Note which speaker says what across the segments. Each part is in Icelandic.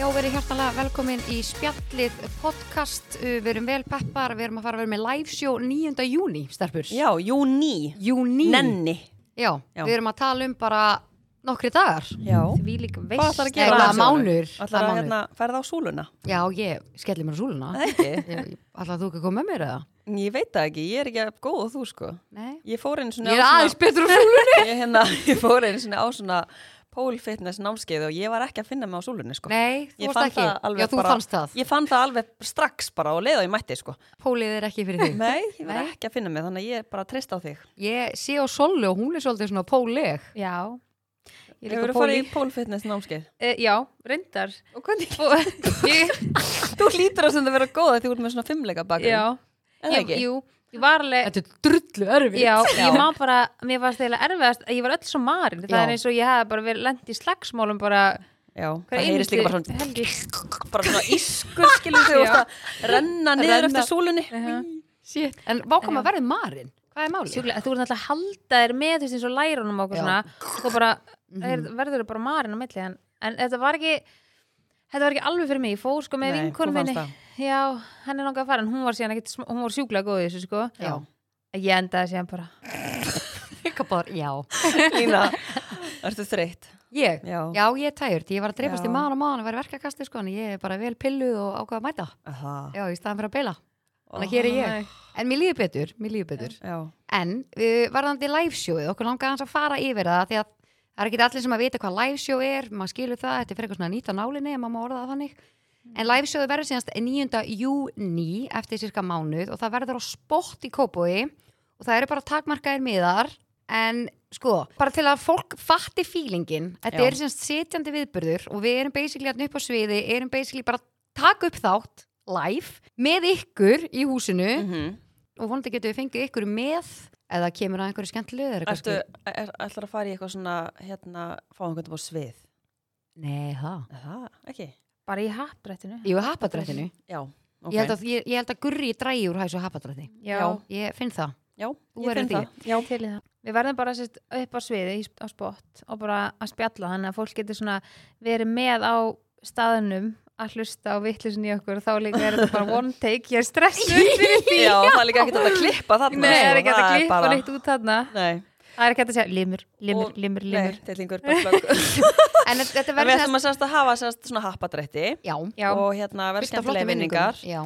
Speaker 1: Já, verið hjartalega velkomin í spjallið podcast. Uh, Við erum vel peppar, við erum að fara að vera með live show 9. júni, stelpur.
Speaker 2: Já, júni.
Speaker 1: Júní.
Speaker 2: Nenni.
Speaker 1: Já,
Speaker 2: Já.
Speaker 1: við erum að tala um bara nokkri dagar.
Speaker 2: Já.
Speaker 1: Því lík veist.
Speaker 2: Hvað ætlar að gera?
Speaker 1: Það er mánur.
Speaker 2: Ætlar að hérna, ferða á súluna?
Speaker 1: Já, ég skelli mér á súluna.
Speaker 2: Það ekki.
Speaker 1: Ætlar þú ekki að koma með mér eða?
Speaker 2: Eh, Ég veit það ekki, ég er ekki að góða þú sko.
Speaker 1: Nei.
Speaker 2: Ég fór einu svona...
Speaker 1: Ég er
Speaker 2: á
Speaker 1: aðeins betur á súluna.
Speaker 2: svona, ég, hérna, ég fór einu svona á svona pole fitness námskeið og ég var ekki að finna mig á súlunni sko.
Speaker 1: Nei, þú
Speaker 2: Ég
Speaker 1: varst
Speaker 2: fann
Speaker 1: ekki.
Speaker 2: það alveg
Speaker 1: Já, þú
Speaker 2: bara-
Speaker 1: fannst það.
Speaker 2: Ég fann það alveg strax bara og leið og ég mætti sko.
Speaker 1: Pólið er ekki fyrir þig.
Speaker 2: Nei, ég var
Speaker 1: Nei.
Speaker 2: ekki að finna mig þannig að ég er bara trist á þig.
Speaker 1: Ég sé á Sollu og hún er svolítið svona póleg.
Speaker 3: Já, ég
Speaker 2: Hefur
Speaker 3: líka
Speaker 2: þú farið
Speaker 3: pólí.
Speaker 2: í pole fitness námskeið?
Speaker 3: Uh, já, reyndar.
Speaker 2: Og hvernig?
Speaker 3: Og, ég,
Speaker 2: Þú lítur á sem það vera góð að þú ert með svona fimmleika bakgrunn.
Speaker 3: já,
Speaker 2: Er það
Speaker 3: ég,
Speaker 2: ekki?
Speaker 3: jú, ég var alveg,
Speaker 1: Þetta er drullu örfið.
Speaker 3: já, ég má bara, mér var stæðilega erfiðast að ég var öll svo marinn. Það
Speaker 1: Já.
Speaker 3: er eins og ég hef bara verið lent í slagsmálum bara,
Speaker 2: Já,
Speaker 3: Hver
Speaker 2: það heyrist
Speaker 3: einustu
Speaker 2: líka bara svona
Speaker 3: helgi.
Speaker 2: bara svona ískur skilur þau
Speaker 3: Já.
Speaker 2: og það renna niður
Speaker 3: Renna.
Speaker 2: eftir súlunni
Speaker 1: Shit. En vákama verðið marinn. Hvað er málið?
Speaker 3: Sjúklega, þú verður alltaf að halda þér með þú veist eins og lærunum og
Speaker 1: Já.
Speaker 3: okkur svona og þú bara,
Speaker 2: Mhm.
Speaker 3: þeir, verður þér bara marinn á milli en, en þetta var ekki þetta var ekki alveg fyrir mig, ég fór sko með
Speaker 2: Nei, þú
Speaker 3: vinkonum
Speaker 2: fannst
Speaker 3: minni
Speaker 2: það.
Speaker 3: já, henni er nokkuð að fara en hún var síðan ekki, hún var sjúklega góð í þessu sko
Speaker 1: Já.
Speaker 3: ég endaði síðan bara
Speaker 1: Líka bara, já.
Speaker 2: Lína, ertu þreytt
Speaker 1: Ég?
Speaker 2: Já.
Speaker 1: Já, ég er tægjurt. Ég var að dreipast
Speaker 2: Já.
Speaker 1: í maðan og maðan og væri verkakasti sko, en ég er bara vel pilluð og ákvað að mæta.
Speaker 2: Það
Speaker 1: Já, í staðan fyrir að beila. Þannig að hér er ég. En mér líður betur, mér líður betur.
Speaker 2: Já,
Speaker 1: En við varðandi live showið, okkur langar hans að fara yfir það, því að það er ekki allir sem að vita hvað live show er, maður skilur það, þetta er fyrir eitthvað svona nýtt á nálinni, ef maður má orða það þannig. En live showið verður síðanst 9. júni eftir cirka mánuð og það verður á spott í kópói og það eru bara takmarkaðir miðar, en sko, bara til að fólk fatti fílingin, þetta
Speaker 2: Já.
Speaker 1: eru síðanst sitjandi viðburður og við erum basically að upp á sviði, erum basically bara að taka upp þátt live með ykkur í húsinu
Speaker 2: Mhm.
Speaker 1: og vonandi getum við fengið ykkur með eða kemur að einhverju skemmtileg eða
Speaker 2: ertu
Speaker 1: kannski,
Speaker 2: er, ætlar að fara í eitthvað svona hérna, fá einhvern veginn á svið
Speaker 1: nei það
Speaker 2: Er Það, ekki
Speaker 3: bara í happrættinu
Speaker 1: ég er hapadrættinu,
Speaker 2: Já, Ah, ok
Speaker 1: ég, held að, ég, ég held að gurri drægi úr hæs og hapadrætti
Speaker 3: Já,
Speaker 2: Já.
Speaker 1: ég finn það,
Speaker 2: Já,
Speaker 1: Þú
Speaker 2: ég
Speaker 1: verður
Speaker 2: finn
Speaker 1: því.
Speaker 2: það Já,
Speaker 3: til í það Við verðum bara sérst, upp á sviði í- á spott og bara að spjalla þannig að fólk getur svona verið með á staðnum að hlusta á vittlusin í okkur og þá líka er þetta bara one take ég er stressuð fyrir því
Speaker 2: Já, það er líka ekkert hægt að klippa þarna
Speaker 3: Nei,
Speaker 2: sko,
Speaker 3: það er ekki hægt
Speaker 2: það
Speaker 3: að klippa
Speaker 2: bara-
Speaker 3: neitt út þarna
Speaker 2: Nei,
Speaker 3: Það er ekki hægt að segja limur, limur,
Speaker 2: Og-
Speaker 3: limur,
Speaker 2: nei,
Speaker 3: limur
Speaker 2: tillingur bara flögg
Speaker 1: en þetta- þetta
Speaker 2: Við
Speaker 1: verður
Speaker 2: ætlum að sérst að hafa sérst svona happadrætti
Speaker 1: já,
Speaker 3: Já,
Speaker 2: og hérna verða
Speaker 1: fullt af flottum
Speaker 2: skemmtilega minningar
Speaker 1: minningum. já,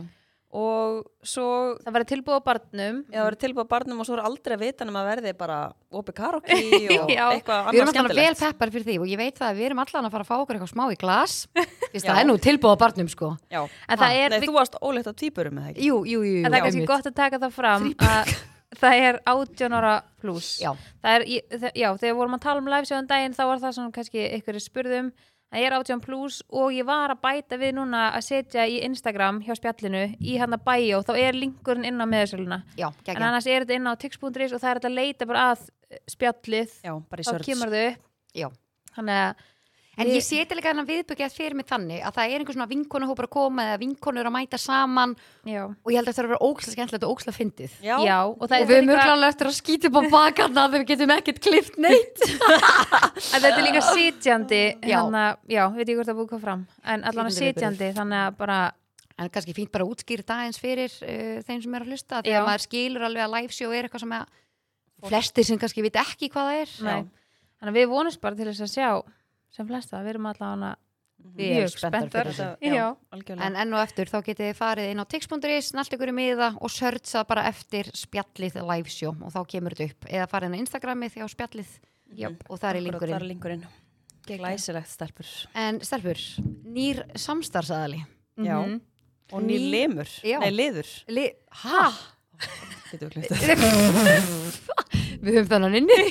Speaker 2: og svo
Speaker 3: það verður tilbúið á barnum
Speaker 2: Já, það verið tilbúið að barnum og svo er aldrei að vita nema að verði bara opið karokki og
Speaker 3: Já.
Speaker 1: við erum
Speaker 2: eitthvað annað
Speaker 1: alltaf vel
Speaker 2: skemmtilegt.
Speaker 1: peppar fyrir því og ég veit það að við erum allan að fara að fá okkur eitthvað smá í glas fyrst
Speaker 2: Já.
Speaker 1: það er nú tilbúið á barnum sko
Speaker 2: Já,
Speaker 3: En það
Speaker 1: Ha,
Speaker 3: er,
Speaker 2: nei, þú varst ólegt á týpurum eða ekki?
Speaker 1: jú, jú, jú,
Speaker 3: en það er kannski
Speaker 1: einmitt.
Speaker 3: gott að taka það fram að það er 18 ára pluss
Speaker 1: Já.
Speaker 3: það er, ég- það- já, þegar við vorum að tala um livesjóðan daginn þá var það svona kannski ykkur er spurðum að ég er 18 pluss og ég var að bæta við núna að setja í Instagram hjá spjallinu í hann að bæjó, þá er linkurinn inn á meðsöluna
Speaker 1: já,
Speaker 3: en
Speaker 1: geggjað.
Speaker 3: annars er þetta inn á tix.is og það er þetta að leita bara að eh, spjallið
Speaker 2: Já, bara í
Speaker 3: þá
Speaker 2: sörts.
Speaker 3: kemur þau upp
Speaker 1: Já.
Speaker 3: þannig að
Speaker 1: En ég seti líka hennan viðbyggjað fyrir mig þannig að það er einhver svona vinkonahópar að koma eða vinkonur að mæta saman
Speaker 3: já,
Speaker 1: og ég held að þetta er að vera ókslega skemmtilegt og ókslega fyndið
Speaker 2: Já,
Speaker 3: já og
Speaker 1: og
Speaker 3: það er
Speaker 1: við
Speaker 3: líka-
Speaker 1: erum örglanlega eftir að skýta upp á bakarna þegar við getum ekkert klift neitt
Speaker 3: En þetta er líka sitjandi
Speaker 1: Já.
Speaker 3: hana, já, veit ég hvort það búið hvað fram en allan að
Speaker 1: Sitjandi viðburður.
Speaker 3: sitjandi, þannig að bara
Speaker 1: en kannski fínt bara að útskýra það eins fyrir uh, þeim sem er að hlusta
Speaker 3: Já.
Speaker 1: þegar maður skilur alveg að live show er eitthvað sem að flestir sem kannski vita ekki hvað það er
Speaker 3: nei, þannig að við vonumst bara til þess að sjá sem flesta, við erum allan að
Speaker 1: Við erum spenntar fyrir
Speaker 2: Þetta-
Speaker 3: já,
Speaker 2: já,
Speaker 3: já.
Speaker 2: algjörlega.
Speaker 1: en enn og eftir þá getið þið farið inn á tix.is snallt ykkur í miða og sörtsað bara eftir spjallið live show og þá kemur þetta upp eða farið inn á Instagramið því á spjallið
Speaker 3: Jöp.
Speaker 1: og það er
Speaker 2: Akkurat, Það er
Speaker 1: lingurinn
Speaker 2: lingurinn. Glæsilegt stelpur.
Speaker 1: en stelpur, nýr samstarfsaðali
Speaker 2: Já. Og ný
Speaker 1: Ný-
Speaker 2: limur.
Speaker 1: Já.
Speaker 2: Nei, liður.
Speaker 1: Li ha?
Speaker 2: Getum við klipt það.
Speaker 1: við höfum þennan inni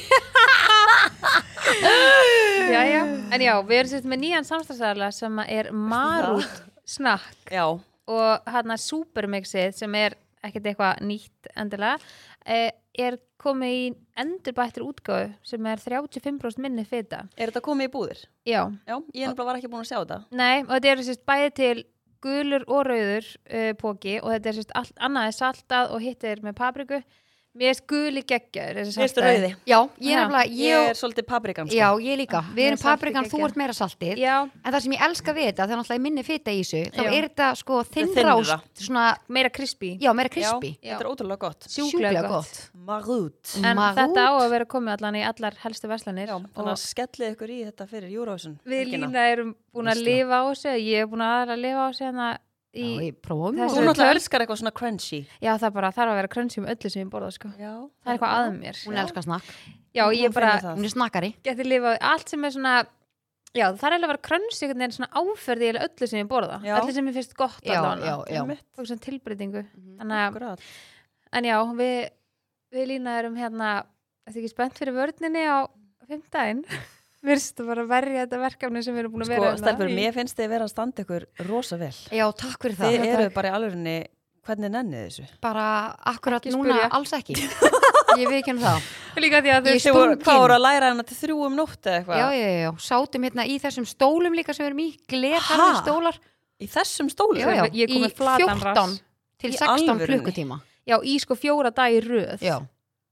Speaker 3: já, já, en já, við erum sérst með nýjan samstagsæðala sem að er marút snakk
Speaker 2: Já,
Speaker 3: og hann að supermixið sem er ekkert eitthvað nýtt endilega eh, er komið í endurbættir útgáðu sem er 35% minni fita
Speaker 2: er þetta komið í búðir?
Speaker 3: já,
Speaker 2: Já, ég nefnilega var ekki búin að sjá þetta.
Speaker 3: Nei, og þetta eru sérst bæði til eh, gulur og rauður uh, póki og þetta er sérst allt annað er saltað og hitt er með papriku Mér er skuli geggjaður þessi
Speaker 2: Sérstu
Speaker 3: saltaði.
Speaker 2: rauði.
Speaker 1: Já, ég er
Speaker 3: Já,
Speaker 1: nefnilega,
Speaker 2: Ég
Speaker 1: ég,
Speaker 2: er svolítið paprikan, sko.
Speaker 1: já, ég líka. Við erum
Speaker 3: Mér er Ah, saltið
Speaker 1: paprikan, þú
Speaker 3: geggjað.
Speaker 1: ert meira saltið.
Speaker 3: Já,
Speaker 1: En það sem ég elska við þetta, þegar náttúrulega er minni fita í þessu, þá
Speaker 3: Já.
Speaker 1: er þetta sko
Speaker 2: Þynnra.
Speaker 1: þinnrást, svona,
Speaker 3: meira krispi
Speaker 1: já, meira krispi.
Speaker 3: Já. Mm.
Speaker 2: Þetta er ótrúlega gott.
Speaker 1: Sjúklega gott.
Speaker 2: Marút.
Speaker 3: En
Speaker 1: Marút.
Speaker 3: þetta á að vera komið allan í allar helstu verslanir
Speaker 2: Já, þannig að
Speaker 3: og
Speaker 2: skellið ykkur í þetta fyrir Eurovision.
Speaker 3: við
Speaker 2: helgina.
Speaker 3: Lína erum búin að
Speaker 2: Veisla.
Speaker 3: lifa á þessu ég er búin að aðra að lifa á þessu hérna í,
Speaker 1: Já, ég prófum
Speaker 3: Þessu-
Speaker 2: Þú
Speaker 1: og
Speaker 2: náttúrulega elskar eitthvað svona crunchy.
Speaker 3: já, það bara þarf að vera krönsi um öllu sem ég borða sko.
Speaker 2: Já.
Speaker 3: það er eitthvað að mér
Speaker 1: hún elskar snakk.
Speaker 3: já, ég bara
Speaker 2: finnur það.
Speaker 1: Hún er snakkari.
Speaker 3: geti lifað allt sem er svona já, það er eiginlega að vera krönsi einhvern veginn svona áferði í öllu sem ég borða
Speaker 2: Já.
Speaker 3: öllu sem ég finnst gott
Speaker 1: Já,
Speaker 3: allavega.
Speaker 1: já, já.
Speaker 2: Einmitt.
Speaker 3: og svona tilbreytingu
Speaker 1: Mhm.
Speaker 3: Þannig að-
Speaker 2: Akkurat.
Speaker 3: en já, við, við Lína erum hérna þetta ekki spennt fyrir vörninni á fimmtæðin Virstu bara að verja þetta verkefni sem við erum búin að
Speaker 2: Sko,
Speaker 3: vera hérna
Speaker 2: stelpur,
Speaker 3: í-
Speaker 2: mér finnst þið vera að standa ykkur rosa vel.
Speaker 1: Já, takk fyrir það.
Speaker 2: Þið eruð bara í alvörinni, hvernig nennið þessu?
Speaker 1: Bara akkurat
Speaker 3: Ekki
Speaker 1: núna
Speaker 3: spyrja.
Speaker 1: alls ekki. Ég viðkynna það.
Speaker 3: Líka því að
Speaker 1: Ég
Speaker 3: þau
Speaker 1: Þið voru-
Speaker 2: hvað voru að læra hana til þrjú um nótt eða
Speaker 1: Já,
Speaker 2: eitthvað?
Speaker 1: já, já, já. Sátum hérna í þessum stólum líka sem við erum í, glerharðir
Speaker 2: Ha?
Speaker 1: stólar.
Speaker 2: Í þessum stólu?
Speaker 1: Já, já,
Speaker 3: Ég kom
Speaker 1: í
Speaker 3: með flatan
Speaker 1: 14
Speaker 3: rass.
Speaker 1: til
Speaker 2: Í
Speaker 1: 16
Speaker 2: alvörunni?
Speaker 1: klukkutíma.
Speaker 3: Já, í sko fjóra dag í röð
Speaker 1: Já.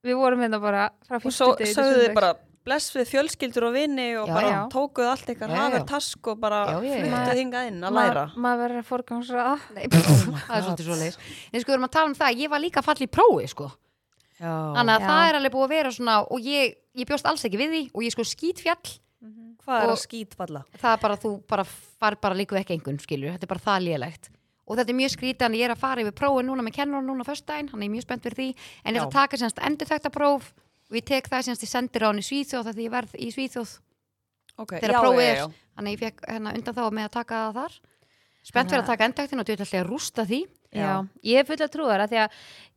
Speaker 3: Við vorum hérna bara frá
Speaker 2: Og
Speaker 3: fyrstu
Speaker 2: svo
Speaker 3: degi til
Speaker 2: sögðu þið
Speaker 3: sunnudags.
Speaker 2: bara bless við fjölskyldur og vini og
Speaker 1: Já,
Speaker 2: bara
Speaker 3: já.
Speaker 2: tókuð allt ykkar
Speaker 1: Já,
Speaker 2: hafur
Speaker 1: já.
Speaker 2: task og bara
Speaker 1: Já, já, já.
Speaker 2: fluttuð hingað inn að
Speaker 3: Ma-
Speaker 2: læra.
Speaker 3: Maður verður að forgangsraða
Speaker 1: Nei, pff,
Speaker 2: my
Speaker 1: það er
Speaker 2: God.
Speaker 1: svolítið svo leiðis. En sko, við erum að tala um það, ég var líka fallið í prófi, sko.
Speaker 2: Já.
Speaker 1: Þannig að
Speaker 3: Já.
Speaker 1: það er alveg búið að vera svona, og ég, ég bjóst alls ekki við því, og ég sko skýtfjall,
Speaker 2: Hvað er
Speaker 1: og-
Speaker 2: að skítfalla?
Speaker 1: það er bara, þú bara far bara líku ekki engun, skilur, þetta er bara það lélegt. Og þetta er mjög skrítið, en ég er að fara yfir prófi núna með kennarann núna föstudaginn, hann er mjög spennt fyrir því, en ég ætla að
Speaker 2: Já.
Speaker 1: taka semst endurþekta próf, og ég tek það semst í sendiráðin í Svíþjóð, þegar ég verð í Svíþjóð,
Speaker 2: Okay.
Speaker 1: þegar
Speaker 2: já,
Speaker 1: prófið
Speaker 2: já,
Speaker 1: er,
Speaker 2: já.
Speaker 1: þannig að ég fekk hérna undan þá með að taka það þar. Spennt fyrir
Speaker 3: Þannig
Speaker 1: að taka endurþektin og þú ætla að rústa því.
Speaker 3: Já. ég er full að trúa þar að því að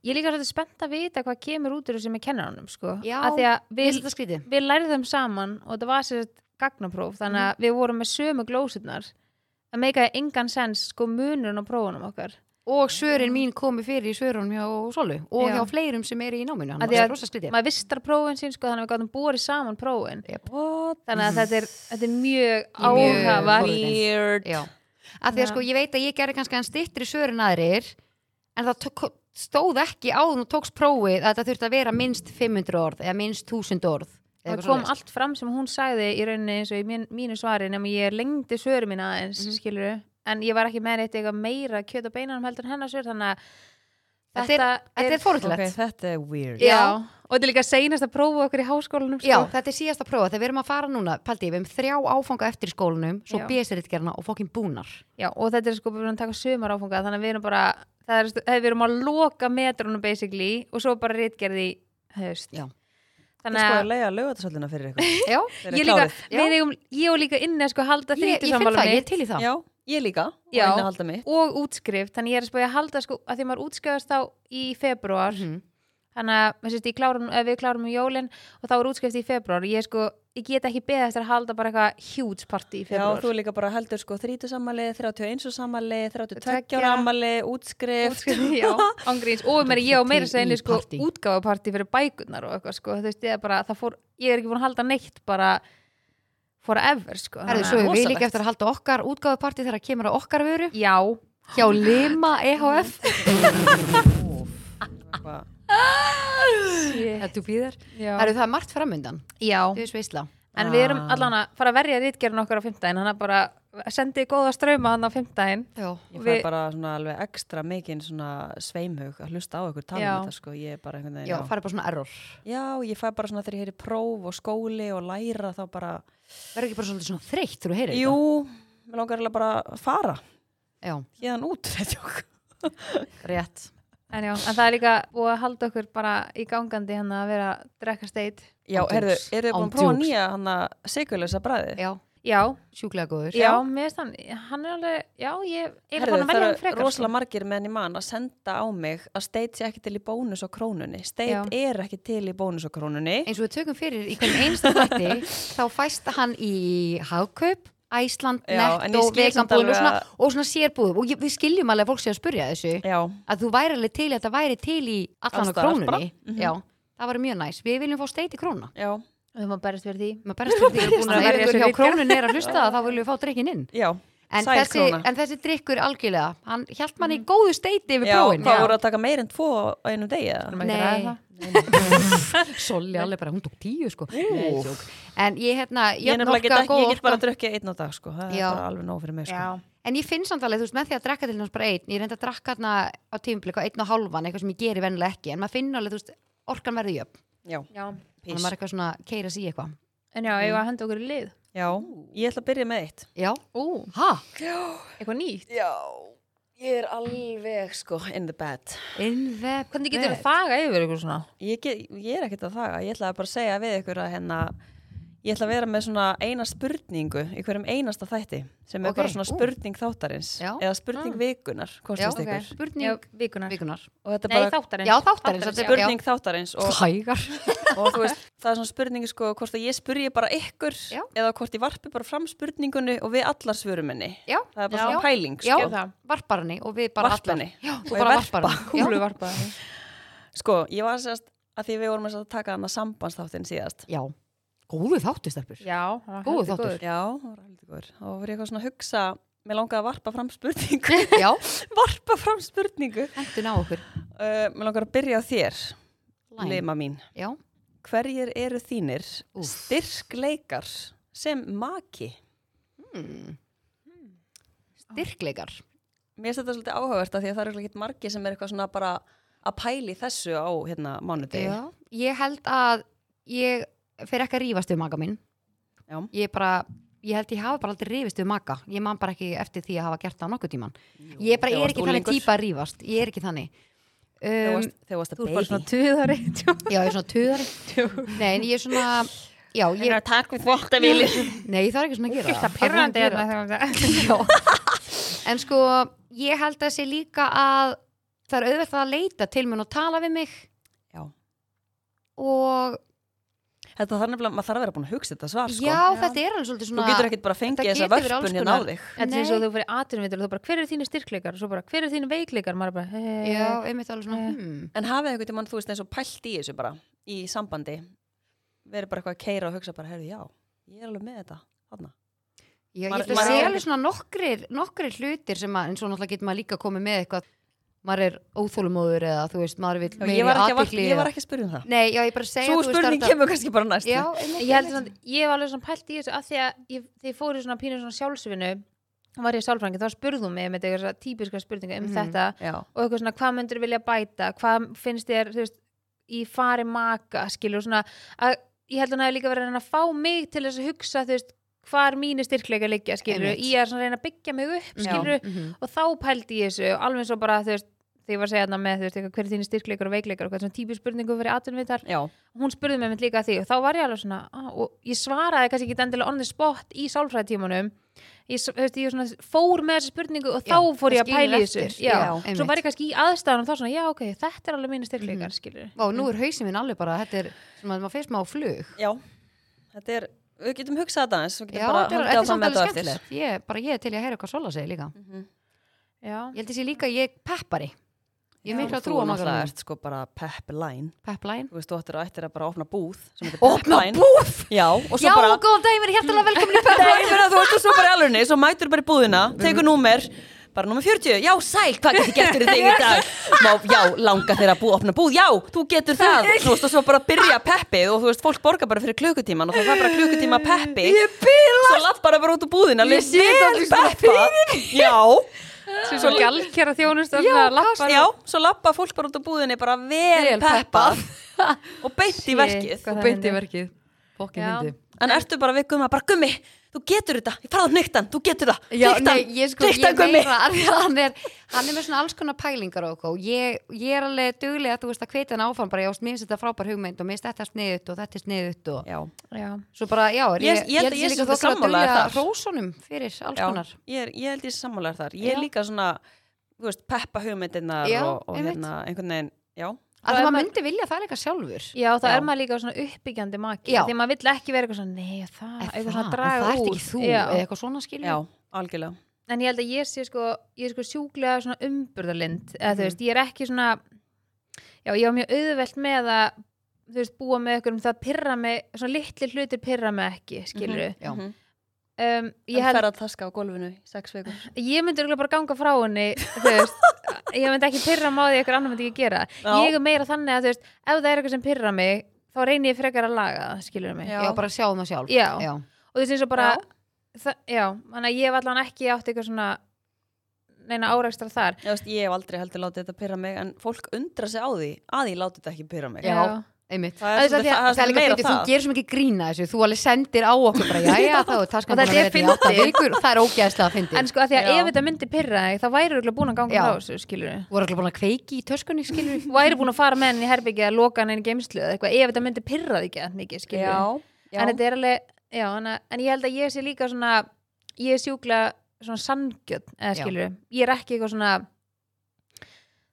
Speaker 3: ég er líka svolítið spennt að vita hvað kemur út úr þessu með kennaranum sko.
Speaker 1: Já,
Speaker 3: að því að
Speaker 1: Mér
Speaker 3: við,
Speaker 1: finnst þetta skrítið.
Speaker 3: við lærðum saman og þetta var sér gagnapróf þannig að við vorum með sömu glósurnar það meikaði engan sens sko munurinn á prófunum okkar
Speaker 1: og svörin mín komi fyrir í svörunum hjá Solu og
Speaker 3: Já.
Speaker 1: hjá fleirum sem er í náminu
Speaker 3: Af
Speaker 1: þannig
Speaker 3: því
Speaker 1: að það
Speaker 3: að
Speaker 1: er rosa skrítið
Speaker 3: maður vistar prófin sín sko þannig að við gáttum bórið saman prófin
Speaker 2: What?
Speaker 3: þannig að þetta er, þetta er mjög
Speaker 1: Mjög
Speaker 3: áhafa
Speaker 1: forvitið.
Speaker 2: Weird.
Speaker 1: Já. af því að sko ég veit að ég gerði kannski hann stittri svörin aðrir en það tók, stóð ekki áður og tókst prófið að það þurfti að vera minnst 500 orð eða minnst 1000 orð eða
Speaker 3: það
Speaker 1: eitthvað
Speaker 3: kom
Speaker 1: svoleiðis.
Speaker 3: allt fram sem hún sagði í rauninni eins og í mín, mínu svari nema ég lengdi svöru mín aðeins mm
Speaker 1: Mhm.
Speaker 3: en ég var ekki með neitt eitthvað meira kjöt og beinanum heldur en hennar svör þannig að
Speaker 1: Þetta er- þetta er
Speaker 2: Ok,
Speaker 1: fórhaldilegt
Speaker 2: þetta er weird.
Speaker 3: já. og þetta er líka seinast að prófa okkur í háskólanum sko.
Speaker 1: Já, þetta er síðasta prófa, þegar við erum að fara núna Paldi, við erum þrjá áfanga eftir í skólanum svo
Speaker 3: Já.
Speaker 1: bésirittgerna og fokkin búnar
Speaker 3: Já, og þetta er sko, við erum að taka sömur áfunga þannig að við erum bara, það er, stu- við erum að loka metrunum basically og svo bara rítgerði höst
Speaker 1: Já.
Speaker 2: Ég
Speaker 3: Þannig
Speaker 2: sko
Speaker 3: að
Speaker 2: að leiða lögatasöldina fyrir ykkur.
Speaker 1: Já,
Speaker 2: Þeir eru
Speaker 3: ég líka,
Speaker 2: klárir.
Speaker 1: Já.
Speaker 3: við eigum, ég og líka inni að sko halda
Speaker 1: ég, ég
Speaker 3: þrítið
Speaker 1: finn það,
Speaker 3: sammála
Speaker 1: ég er
Speaker 3: mitt
Speaker 1: til í það
Speaker 2: Já, ég líka.
Speaker 3: Já.
Speaker 2: Og innihalda mitt.
Speaker 3: og útskrift, þannig ég er að spója að halda sko, að því maður útskrifast þá í februar
Speaker 1: Mhm.
Speaker 3: þannig að við, sérst, klárum, ef við klárum um jólin og þá er útskrift í februar ég er sko, ég get ekki beðið eftir að halda bara eitthvað huge party í
Speaker 2: Já,
Speaker 3: februar
Speaker 2: þú líka bara heldur sko 30 sammali, 31 sammali, 32
Speaker 3: Tveggja.
Speaker 2: ára ammali, útskrift.
Speaker 3: útskrift, já, ángríns og mér ég á meira
Speaker 1: Til í
Speaker 3: segni sko
Speaker 1: partí.
Speaker 3: útgáfapartí fyrir bækurnar og eitthvað sko, þú veist, ég er bara, það fór ég er ekki búin að halda neitt bara forever sko
Speaker 1: Herðu,
Speaker 3: þannig
Speaker 1: svo
Speaker 3: að-
Speaker 1: erum við líka
Speaker 2: rosalegt.
Speaker 1: eftir að halda okkar útgáðuparti þegar kemur að okkar vöru
Speaker 3: já,
Speaker 1: hjá Lima E EHF
Speaker 2: Úff.
Speaker 1: Þetta þú býðar
Speaker 3: já,
Speaker 1: Það eru það er margt framundan
Speaker 3: já.
Speaker 1: Þú veist veistla
Speaker 3: en við
Speaker 1: Ah.
Speaker 3: erum allan að fara að verja rítgerðin okkar á fimmtæðin, hann að bara sendi góða strauma hann á fimmtæðin
Speaker 1: Já
Speaker 2: Ég fæ
Speaker 3: Við-
Speaker 2: bara svona alveg ekstra mikinn svona sveimhug að hlusta á ykkur tala
Speaker 3: Já.
Speaker 2: um þetta sko, ég er bara einhvern veginn
Speaker 1: Já, farið bara svona error
Speaker 2: já, ég fæ bara svona þegar ég heyri próf og skóli og læra þá bara,
Speaker 1: Verður ekki bara svolítið svona þreytt þegar þú heyrir
Speaker 2: jú, mér langar eiginlega bara að fara
Speaker 1: þetta Já,
Speaker 2: hérna út, þetta okkur.
Speaker 1: rétt
Speaker 3: en já, en það er líka búið að halda okkur bara í gangandi hann að vera að drekka steit
Speaker 2: Já,
Speaker 1: Án
Speaker 2: heyrðu,
Speaker 1: djúks.
Speaker 2: eru þið búin
Speaker 1: Án
Speaker 2: að prófa
Speaker 1: djúks.
Speaker 2: nýja hann að sigurlösa bræði?
Speaker 1: Já,
Speaker 3: já,
Speaker 1: sjúklega góður
Speaker 3: já, mér finnst hann hann er alveg, já, ég ég er
Speaker 2: Heyrðu,
Speaker 3: hann að
Speaker 2: það
Speaker 3: velja hann
Speaker 2: eru
Speaker 3: frekar sko.
Speaker 2: rosalega margir meðan í mann að senda á mig að steit sé ekki til í bónus og krónunni. Steit
Speaker 3: Já.
Speaker 2: er ekki til í bónus og krónunni.
Speaker 1: Eins og við tökum fyrir í hvernig einsta þætti þá fæst hann í hagkaup Æsland,
Speaker 2: Já, en
Speaker 1: Netto,
Speaker 2: ég skil
Speaker 1: veganbúðum
Speaker 2: samt
Speaker 1: og
Speaker 2: alveg
Speaker 1: svona,
Speaker 2: að-
Speaker 1: og svona sérbúðum og ég, við skiljum alveg að fólk sé að spurja þessu
Speaker 2: Já,
Speaker 1: að þú væri alveg til í að þetta væri til í allan á
Speaker 2: Alls staðar bara. Mhm.
Speaker 1: krónunni Já, það var mjög næs Við viljum fá steiti krónuna
Speaker 2: já,
Speaker 3: við höfum að berjast fyrir því
Speaker 1: maður berst fyrir því að
Speaker 3: að
Speaker 1: búin að
Speaker 3: verja
Speaker 1: verja
Speaker 3: sér
Speaker 1: hjá
Speaker 3: ritgerð.
Speaker 1: krónun er að hlusta það, þá viljum við fá drikkin inn
Speaker 2: já.
Speaker 1: en
Speaker 2: Sæl
Speaker 1: þessi,
Speaker 2: króna. Mhm.
Speaker 1: en þessi drikkur algjörlega, hann hjælt manni í góðu steiti yfir
Speaker 2: Já,
Speaker 1: prófin
Speaker 2: það voru að taka meir en tvo á einum degi eða?
Speaker 3: Erum ekki að ræða
Speaker 1: Nei.
Speaker 3: það?
Speaker 1: Solli alveg bara, hún tók tíu sko Nei, jók. En ég hérna,
Speaker 2: Ég,
Speaker 1: jöfn
Speaker 2: nefnilega get,
Speaker 1: orka,
Speaker 2: ekki,
Speaker 1: góð
Speaker 2: ég get bara
Speaker 1: orka
Speaker 2: að drukja einn á dag sko, það
Speaker 1: Já.
Speaker 2: er bara alveg nóg fyrir mig sko.
Speaker 1: En ég finn samt alveg, þú veist, með því að drekka til hans bara einn Ég reyndi að drakka hérna á tímublik á einn og hálfan Eitthvað sem ég geri vennilega ekki En maður finn alveg, þú veist, orkan verði jöfn
Speaker 2: Já.
Speaker 3: Já.
Speaker 1: Þannig að maður er eitthvað svona keira sig í eitthvað
Speaker 3: En já, eigum við að henda okkur í lið
Speaker 2: Já, ég ætla að byrja með eitt.
Speaker 1: Já,
Speaker 3: Ú,
Speaker 1: ha,
Speaker 3: eitthvað nýtt
Speaker 2: Já, ég er alveg sko in the bed.
Speaker 1: in the
Speaker 3: Hvernig getur við
Speaker 1: bed.
Speaker 3: þaga yfir eitthvað svona?
Speaker 2: Ég, get, ég er ekkert að þaga, ég ætla að bara segja við ykkur að hérna, ég ætla að vera með svona eina spurningu í hverjum einasta þætti sem er
Speaker 1: Ok,
Speaker 2: bara svona
Speaker 1: ú.
Speaker 2: spurning þáttarins
Speaker 1: Já. Mm.
Speaker 2: eða spurning
Speaker 3: Ah.
Speaker 2: vikunar,
Speaker 1: Já,
Speaker 2: kostast
Speaker 1: ok.
Speaker 2: ykkur.
Speaker 3: Já,
Speaker 1: Spurning
Speaker 3: vikunar
Speaker 1: vikunar
Speaker 2: Og þetta er
Speaker 3: Nei,
Speaker 2: bara
Speaker 3: þáttarins
Speaker 1: Já, þáttarins, þetta er-
Speaker 2: spurning þáttarins og,
Speaker 1: Hægar
Speaker 2: og þú veist, það er svona spurningi sko hvort að ég spurji bara ykkur
Speaker 1: Já.
Speaker 2: eða hvort ég varpi bara fram spurningunni og við allar svörum henni.
Speaker 1: Já,
Speaker 2: Það er bara
Speaker 3: Já.
Speaker 2: svona pæling
Speaker 1: Já.
Speaker 2: sko.
Speaker 3: Gerðu það.
Speaker 1: varpar henni og við bara
Speaker 2: Varpa
Speaker 1: allar-
Speaker 2: henni.
Speaker 1: Já,
Speaker 2: Og
Speaker 1: þú
Speaker 2: ég
Speaker 1: bara
Speaker 2: varpa.
Speaker 1: varpar henni Já.
Speaker 3: Kúluvarpa
Speaker 2: Sko, ég var sérst að því við vorum að taka hana sambandsþáttin síðast.
Speaker 1: Já, góðu þáttu stelpur
Speaker 3: Já, það var
Speaker 1: Góður
Speaker 3: heldur
Speaker 1: þáttur.
Speaker 3: góður.
Speaker 2: Já, það var heldur góður. Og var ég eitthvað svona að hugsa, mér langaði að varpa fram spurningu.
Speaker 1: Já,
Speaker 2: varpa fram spurningu.
Speaker 1: hendun á okkur
Speaker 2: Uh, mér langar að byrja á þér,
Speaker 1: Lime.
Speaker 2: Lima mín.
Speaker 1: Já,
Speaker 2: Hverjir eru þínir
Speaker 1: Úff.
Speaker 2: styrkleikar sem maki?
Speaker 1: styrkleikar
Speaker 2: Mér finnst þetta svolítið áhugavert af því að það eru ekkert margi sem er eitthvað svona bara að pæli þessu á hérna mánudegi.
Speaker 1: Já, ég held að ég fer ekki að rífast við maga minn
Speaker 2: Já.
Speaker 1: ég bara, ég held ég hafa bara aldrei rífist við maga, ég man bara ekki eftir því að hafa gert það nokkuð tíman, ég bara er
Speaker 2: þegar varst
Speaker 1: ekki þannig
Speaker 2: unglingur.
Speaker 1: típa að rífast, ég er ekki þannig
Speaker 2: Þegar
Speaker 1: um,
Speaker 2: varst- þegar varst að
Speaker 3: Þú er bara
Speaker 2: baby.
Speaker 3: svona tuðari
Speaker 1: já, ég er svona töðari nei, en ég er svona já, ég,
Speaker 2: að taka við þvóttavili.
Speaker 1: nei, það er ekki svona að gera það
Speaker 3: Pirrandi
Speaker 1: er
Speaker 3: hérna
Speaker 1: það.
Speaker 3: þegar maður-
Speaker 1: en sko, ég held að sé líka að það er auðvitað að leita til mér og tala við mig
Speaker 2: Já.
Speaker 1: og
Speaker 2: Þetta þarf nefnilega, maður þarf að vera búin að hugsa þetta svar, sko.
Speaker 1: já, þetta er alveg svolítið
Speaker 2: Þú
Speaker 1: svona
Speaker 2: getur ekkert bara að fengja
Speaker 1: Þetta
Speaker 2: þessa
Speaker 1: getur verið alls
Speaker 2: vörpun hérna á
Speaker 1: konar.
Speaker 2: þig.
Speaker 3: Þetta er
Speaker 1: Nei.
Speaker 3: eins og þú fyrir atvinnuvitur og þú bara, hver eru þínu styrkleikar? Og svo bara, hver eru þínu veikleikar? Maður bara, hei,
Speaker 1: já, einmitt alveg svona,
Speaker 3: Nei.
Speaker 1: hmm
Speaker 2: En hafið eitthvað tímann, þú veist, eins og pælt í þessu bara, í sambandi, verið bara eitthvað að keira og hugsa bara, heyrðu, já, ég er alveg með þetta, þarna.
Speaker 1: Já, ég held
Speaker 2: Maður-
Speaker 1: að
Speaker 2: maður
Speaker 1: sé
Speaker 2: á-
Speaker 1: alveg svona nokkrir, nokkrir hlutir sem að, en svo náttúrulega getur maður líka komið með eitthvað, maður er óþólumóður eða þú veist, maður vil
Speaker 2: Já, ég, var ekki að varpa- ég
Speaker 1: eða-
Speaker 2: var ekki að spyrja um það.
Speaker 1: Nei, já, ég bara segja
Speaker 2: Svo spurning kemur kannski bara næst.
Speaker 1: Já,
Speaker 3: Ég held svona, ég var alveg svona pælt í þessu að því að ég, þegar ég fór í svona pínu svona sjálfsvinnu var ég sjálfrængi, þá spurðum mig með eitthvað svona típiska spurningu um
Speaker 1: Mhm.
Speaker 3: þetta
Speaker 2: Já.
Speaker 3: og eitthvað svona, hvað myndur vilja bæta hvað finnst þér, þú veist í fari maka, skilur svona að, ég held að hann hafi líka verið að reyna að fá mig til þess að hugsa, þú veist, hvar mínu styrkleika liggja, skilur,
Speaker 1: Einmitt.
Speaker 3: ég er svona að reyna að byggja mig upp,
Speaker 2: Já.
Speaker 3: skilur,
Speaker 1: Mhm.
Speaker 3: og þá pældi ég þessu, alveg svo bara, þú veist þegar ég var að segja þarna með, þú veist, eitthvað, hver er þínu styrkleikar og veikleikar og hvað svona típisk spurningu fyrir atvinnvitar
Speaker 2: Já.
Speaker 3: hún spurði mig mitt líka að því og þá var ég alveg svona ah, og ég svaraði kannski ekki endilega on the spot í sálfræðtímanum ég, s- þú veist, ég svona, fór með þessu spurningu og þá
Speaker 1: Já,
Speaker 3: fór
Speaker 1: það
Speaker 3: ég að
Speaker 1: skilur
Speaker 3: pæla í þessu
Speaker 1: eftir,
Speaker 3: já.
Speaker 1: já, einmitt. Mhm.
Speaker 3: svo var ég kannski í aðstæðan og þá svona, já ok, þetta er alveg mínu styrkleikar mm. skilur
Speaker 1: Vá, nú er hausin minn alveg bara, þetta er sem að maður feist maður á flug.
Speaker 2: Já. Þetta er, við getum hugsað þetta aðeins, við
Speaker 1: Já,
Speaker 2: getum
Speaker 1: þetta er-
Speaker 2: bara haldið
Speaker 1: þetta er
Speaker 2: áfram
Speaker 1: samt
Speaker 2: með
Speaker 1: alveg
Speaker 2: þetta á eftir. Mhm.
Speaker 1: skemmtilegt. Ég, bara ég er til ég að heyra hvað Sola segir líka.
Speaker 3: já,
Speaker 1: Ég held að sé líka, að ég er peppari. Ég er
Speaker 2: Já.
Speaker 1: mikla um
Speaker 2: Þú
Speaker 1: trú á maður
Speaker 2: náttúrulega
Speaker 1: minn.
Speaker 2: ert sko bara pep line.
Speaker 1: Pepplæn.
Speaker 2: Þú veist, þú ættir að ættir að bara opna búð sem heitir pep
Speaker 1: Opna
Speaker 2: line.
Speaker 1: búf!
Speaker 2: Já, og svo
Speaker 1: Já,
Speaker 2: bara
Speaker 1: góðan dag, ég er hjertalega velkomin í
Speaker 2: Nei,
Speaker 1: pepplæn.
Speaker 2: ég meina, þú veist, svo bara í alvörunni, svo mætur bara í búðina, tekur númer, bara númer 40, já, sæl, hvað getur gert fyrir þig í dag? Má, já, langa þeirra að bú, opna búð, já, þú getur það, þú veist, og svo bara byrja peppið og þú veist, fólk borgar bara fyrir klukkutíman og það er bara klukkutíma peppi. Ég bílast! Svo lapp bara bara út úr búðina, les
Speaker 1: sé þetta alls bara
Speaker 2: peppa. Já,
Speaker 3: svo svo gælkjara þjónust já,
Speaker 2: já, svo lappa fólk bara út úr búðinni, bara
Speaker 1: Vel
Speaker 2: vel peppað og beint í
Speaker 3: Shit,
Speaker 2: verkið.
Speaker 3: hvað-
Speaker 1: Og beint í verkið. Fokkin
Speaker 3: Já.
Speaker 1: myndi.
Speaker 2: En ertu bara við gumma, bara gummi, þú getur þetta, ég farað á nýttan, þú getur það,
Speaker 1: Já,
Speaker 2: nýttan,
Speaker 1: nei, ég sko, ég meira af því að hann er, hann er með svona alls konar pælingar og okkur og ég, ég er alveg duglega að þú veist að hvetja hann áfram bara, já, veist, mér finnst þetta frábær hugmynd og mér finnst þetta sniðut og þetta er sniðut og
Speaker 2: Já.
Speaker 3: já.
Speaker 1: svo bara, já, er
Speaker 2: Ég- ég held að
Speaker 1: sé
Speaker 2: ég sé
Speaker 1: líka
Speaker 2: svolítið
Speaker 1: þokkalega
Speaker 2: sammála
Speaker 1: dugleg
Speaker 2: þar.
Speaker 1: að rósunum fyrir alls konar
Speaker 2: Já, ég, er, ég held ég sammálar þar. Ég
Speaker 1: Já.
Speaker 2: er líka svona, þú veist, peppa hugmyndirnar
Speaker 1: Já,
Speaker 2: og, og
Speaker 1: einmitt.
Speaker 2: hérna, einhvern veginn, já.
Speaker 1: að
Speaker 3: er
Speaker 1: það maður
Speaker 3: maður-
Speaker 1: myndi vilja það líka sjálfur
Speaker 3: já, þá
Speaker 2: Já.
Speaker 3: er maður líka svona uppbyggjandi maki
Speaker 1: Já.
Speaker 3: því maður vill ekki vera eitthvað svona, nei, það
Speaker 1: Er
Speaker 3: eitthvað
Speaker 1: það,
Speaker 3: svona
Speaker 1: en
Speaker 3: draga
Speaker 1: það ert
Speaker 3: úr
Speaker 1: ekki þú
Speaker 3: Já.
Speaker 1: eða eitthvað svona skilur
Speaker 2: Já, algjörlega.
Speaker 3: en ég held að ég sé sko, ég er sko sjúklega svona umburðarlind, eða
Speaker 1: Mhm.
Speaker 3: þú veist, ég er ekki svona já, ég var mjög auðvelt með að,
Speaker 1: Mhm.
Speaker 3: þú veist, búa með ykkur um það pyrra mig, svona litli hlutir pyrra mig ekki, skilur
Speaker 1: Já.
Speaker 2: Mhm.
Speaker 3: um,
Speaker 2: Ég
Speaker 3: ég, held,
Speaker 2: fer að taska á gólfinu í sex vikur.
Speaker 3: ég myndi örugglega bara ganga frá henni þú veist, ég myndi ekki pyrra mig á því eitthvað annar myndi ekki gera
Speaker 2: Já.
Speaker 3: ég um- er meira þannig að þú veist, ef það er eitthvað sem pyrra mig þá reynir ég frekar að laga það, skilur mig
Speaker 1: Já, bara sjáum það sjálf
Speaker 3: Já.
Speaker 1: Já.
Speaker 3: og þú veist eins og bara það, já, þannig að ég hef allan ekki átt eitthvað svona neina árekstra þar
Speaker 2: Ég, veist, ég hef aldrei heldur látið þetta pyrra mig en fólk undra sig á því að ég látið þetta ekki pyrra mig.
Speaker 1: Já. einmitt
Speaker 2: Það
Speaker 3: Það
Speaker 2: er
Speaker 3: er
Speaker 2: svolítið
Speaker 3: það því að-
Speaker 2: það,
Speaker 1: Það er
Speaker 2: það
Speaker 1: líka
Speaker 2: meira
Speaker 1: fyrir þú
Speaker 2: það.
Speaker 1: gerir svo mikið grína þessu, þú alveg sendir á okkur bara, já, já, þá er taskan
Speaker 3: Og
Speaker 1: búin að
Speaker 3: þetta er
Speaker 1: vera hérna í átta
Speaker 3: fyndið.
Speaker 1: vikur, það er ógeðslega að fyndi.
Speaker 3: en sko að því að
Speaker 2: Já.
Speaker 3: ef þetta myndi pyrra þig þá væri þú búin að ganga
Speaker 1: Já.
Speaker 3: frá þessu skilur
Speaker 1: Þú voru alveg búin að kveiki í töskunni, skilur
Speaker 3: væri búin að fara með henni í herbyggið að loka henni inn í geimslu eða eitthvað, ef þetta myndi pyrra þig ekki mikið skilur
Speaker 2: Já, já.
Speaker 3: en þetta er alveg já, en, en ég held að ég sé líka svona ég er sjúkla svona sangjöld eða
Speaker 1: Já.
Speaker 3: skilur, ég er ekki eitthvað svona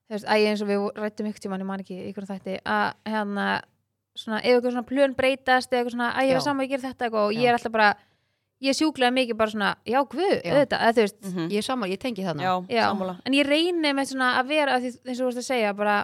Speaker 3: þú veist, æg eins og við rættum ykkur tímann, ég man ekki ykkur þætti að hérna, svona, ef eitthvað svona plön breytast eða eitthvað svona, æg
Speaker 1: Já.
Speaker 3: er saman, ég ger þetta eitthvað og
Speaker 1: Já.
Speaker 3: ég er alltaf bara, ég sjúkla mikið bara svona, já, guð,
Speaker 1: Já. Mm.
Speaker 3: auðvitað, eða þú veist
Speaker 2: Mhm.
Speaker 1: Ég er saman, ég tengi þarna.
Speaker 2: Já,
Speaker 3: Já,
Speaker 2: sammála.
Speaker 3: en ég reyni með svona að vera að því, eins og þú vorst að segja bara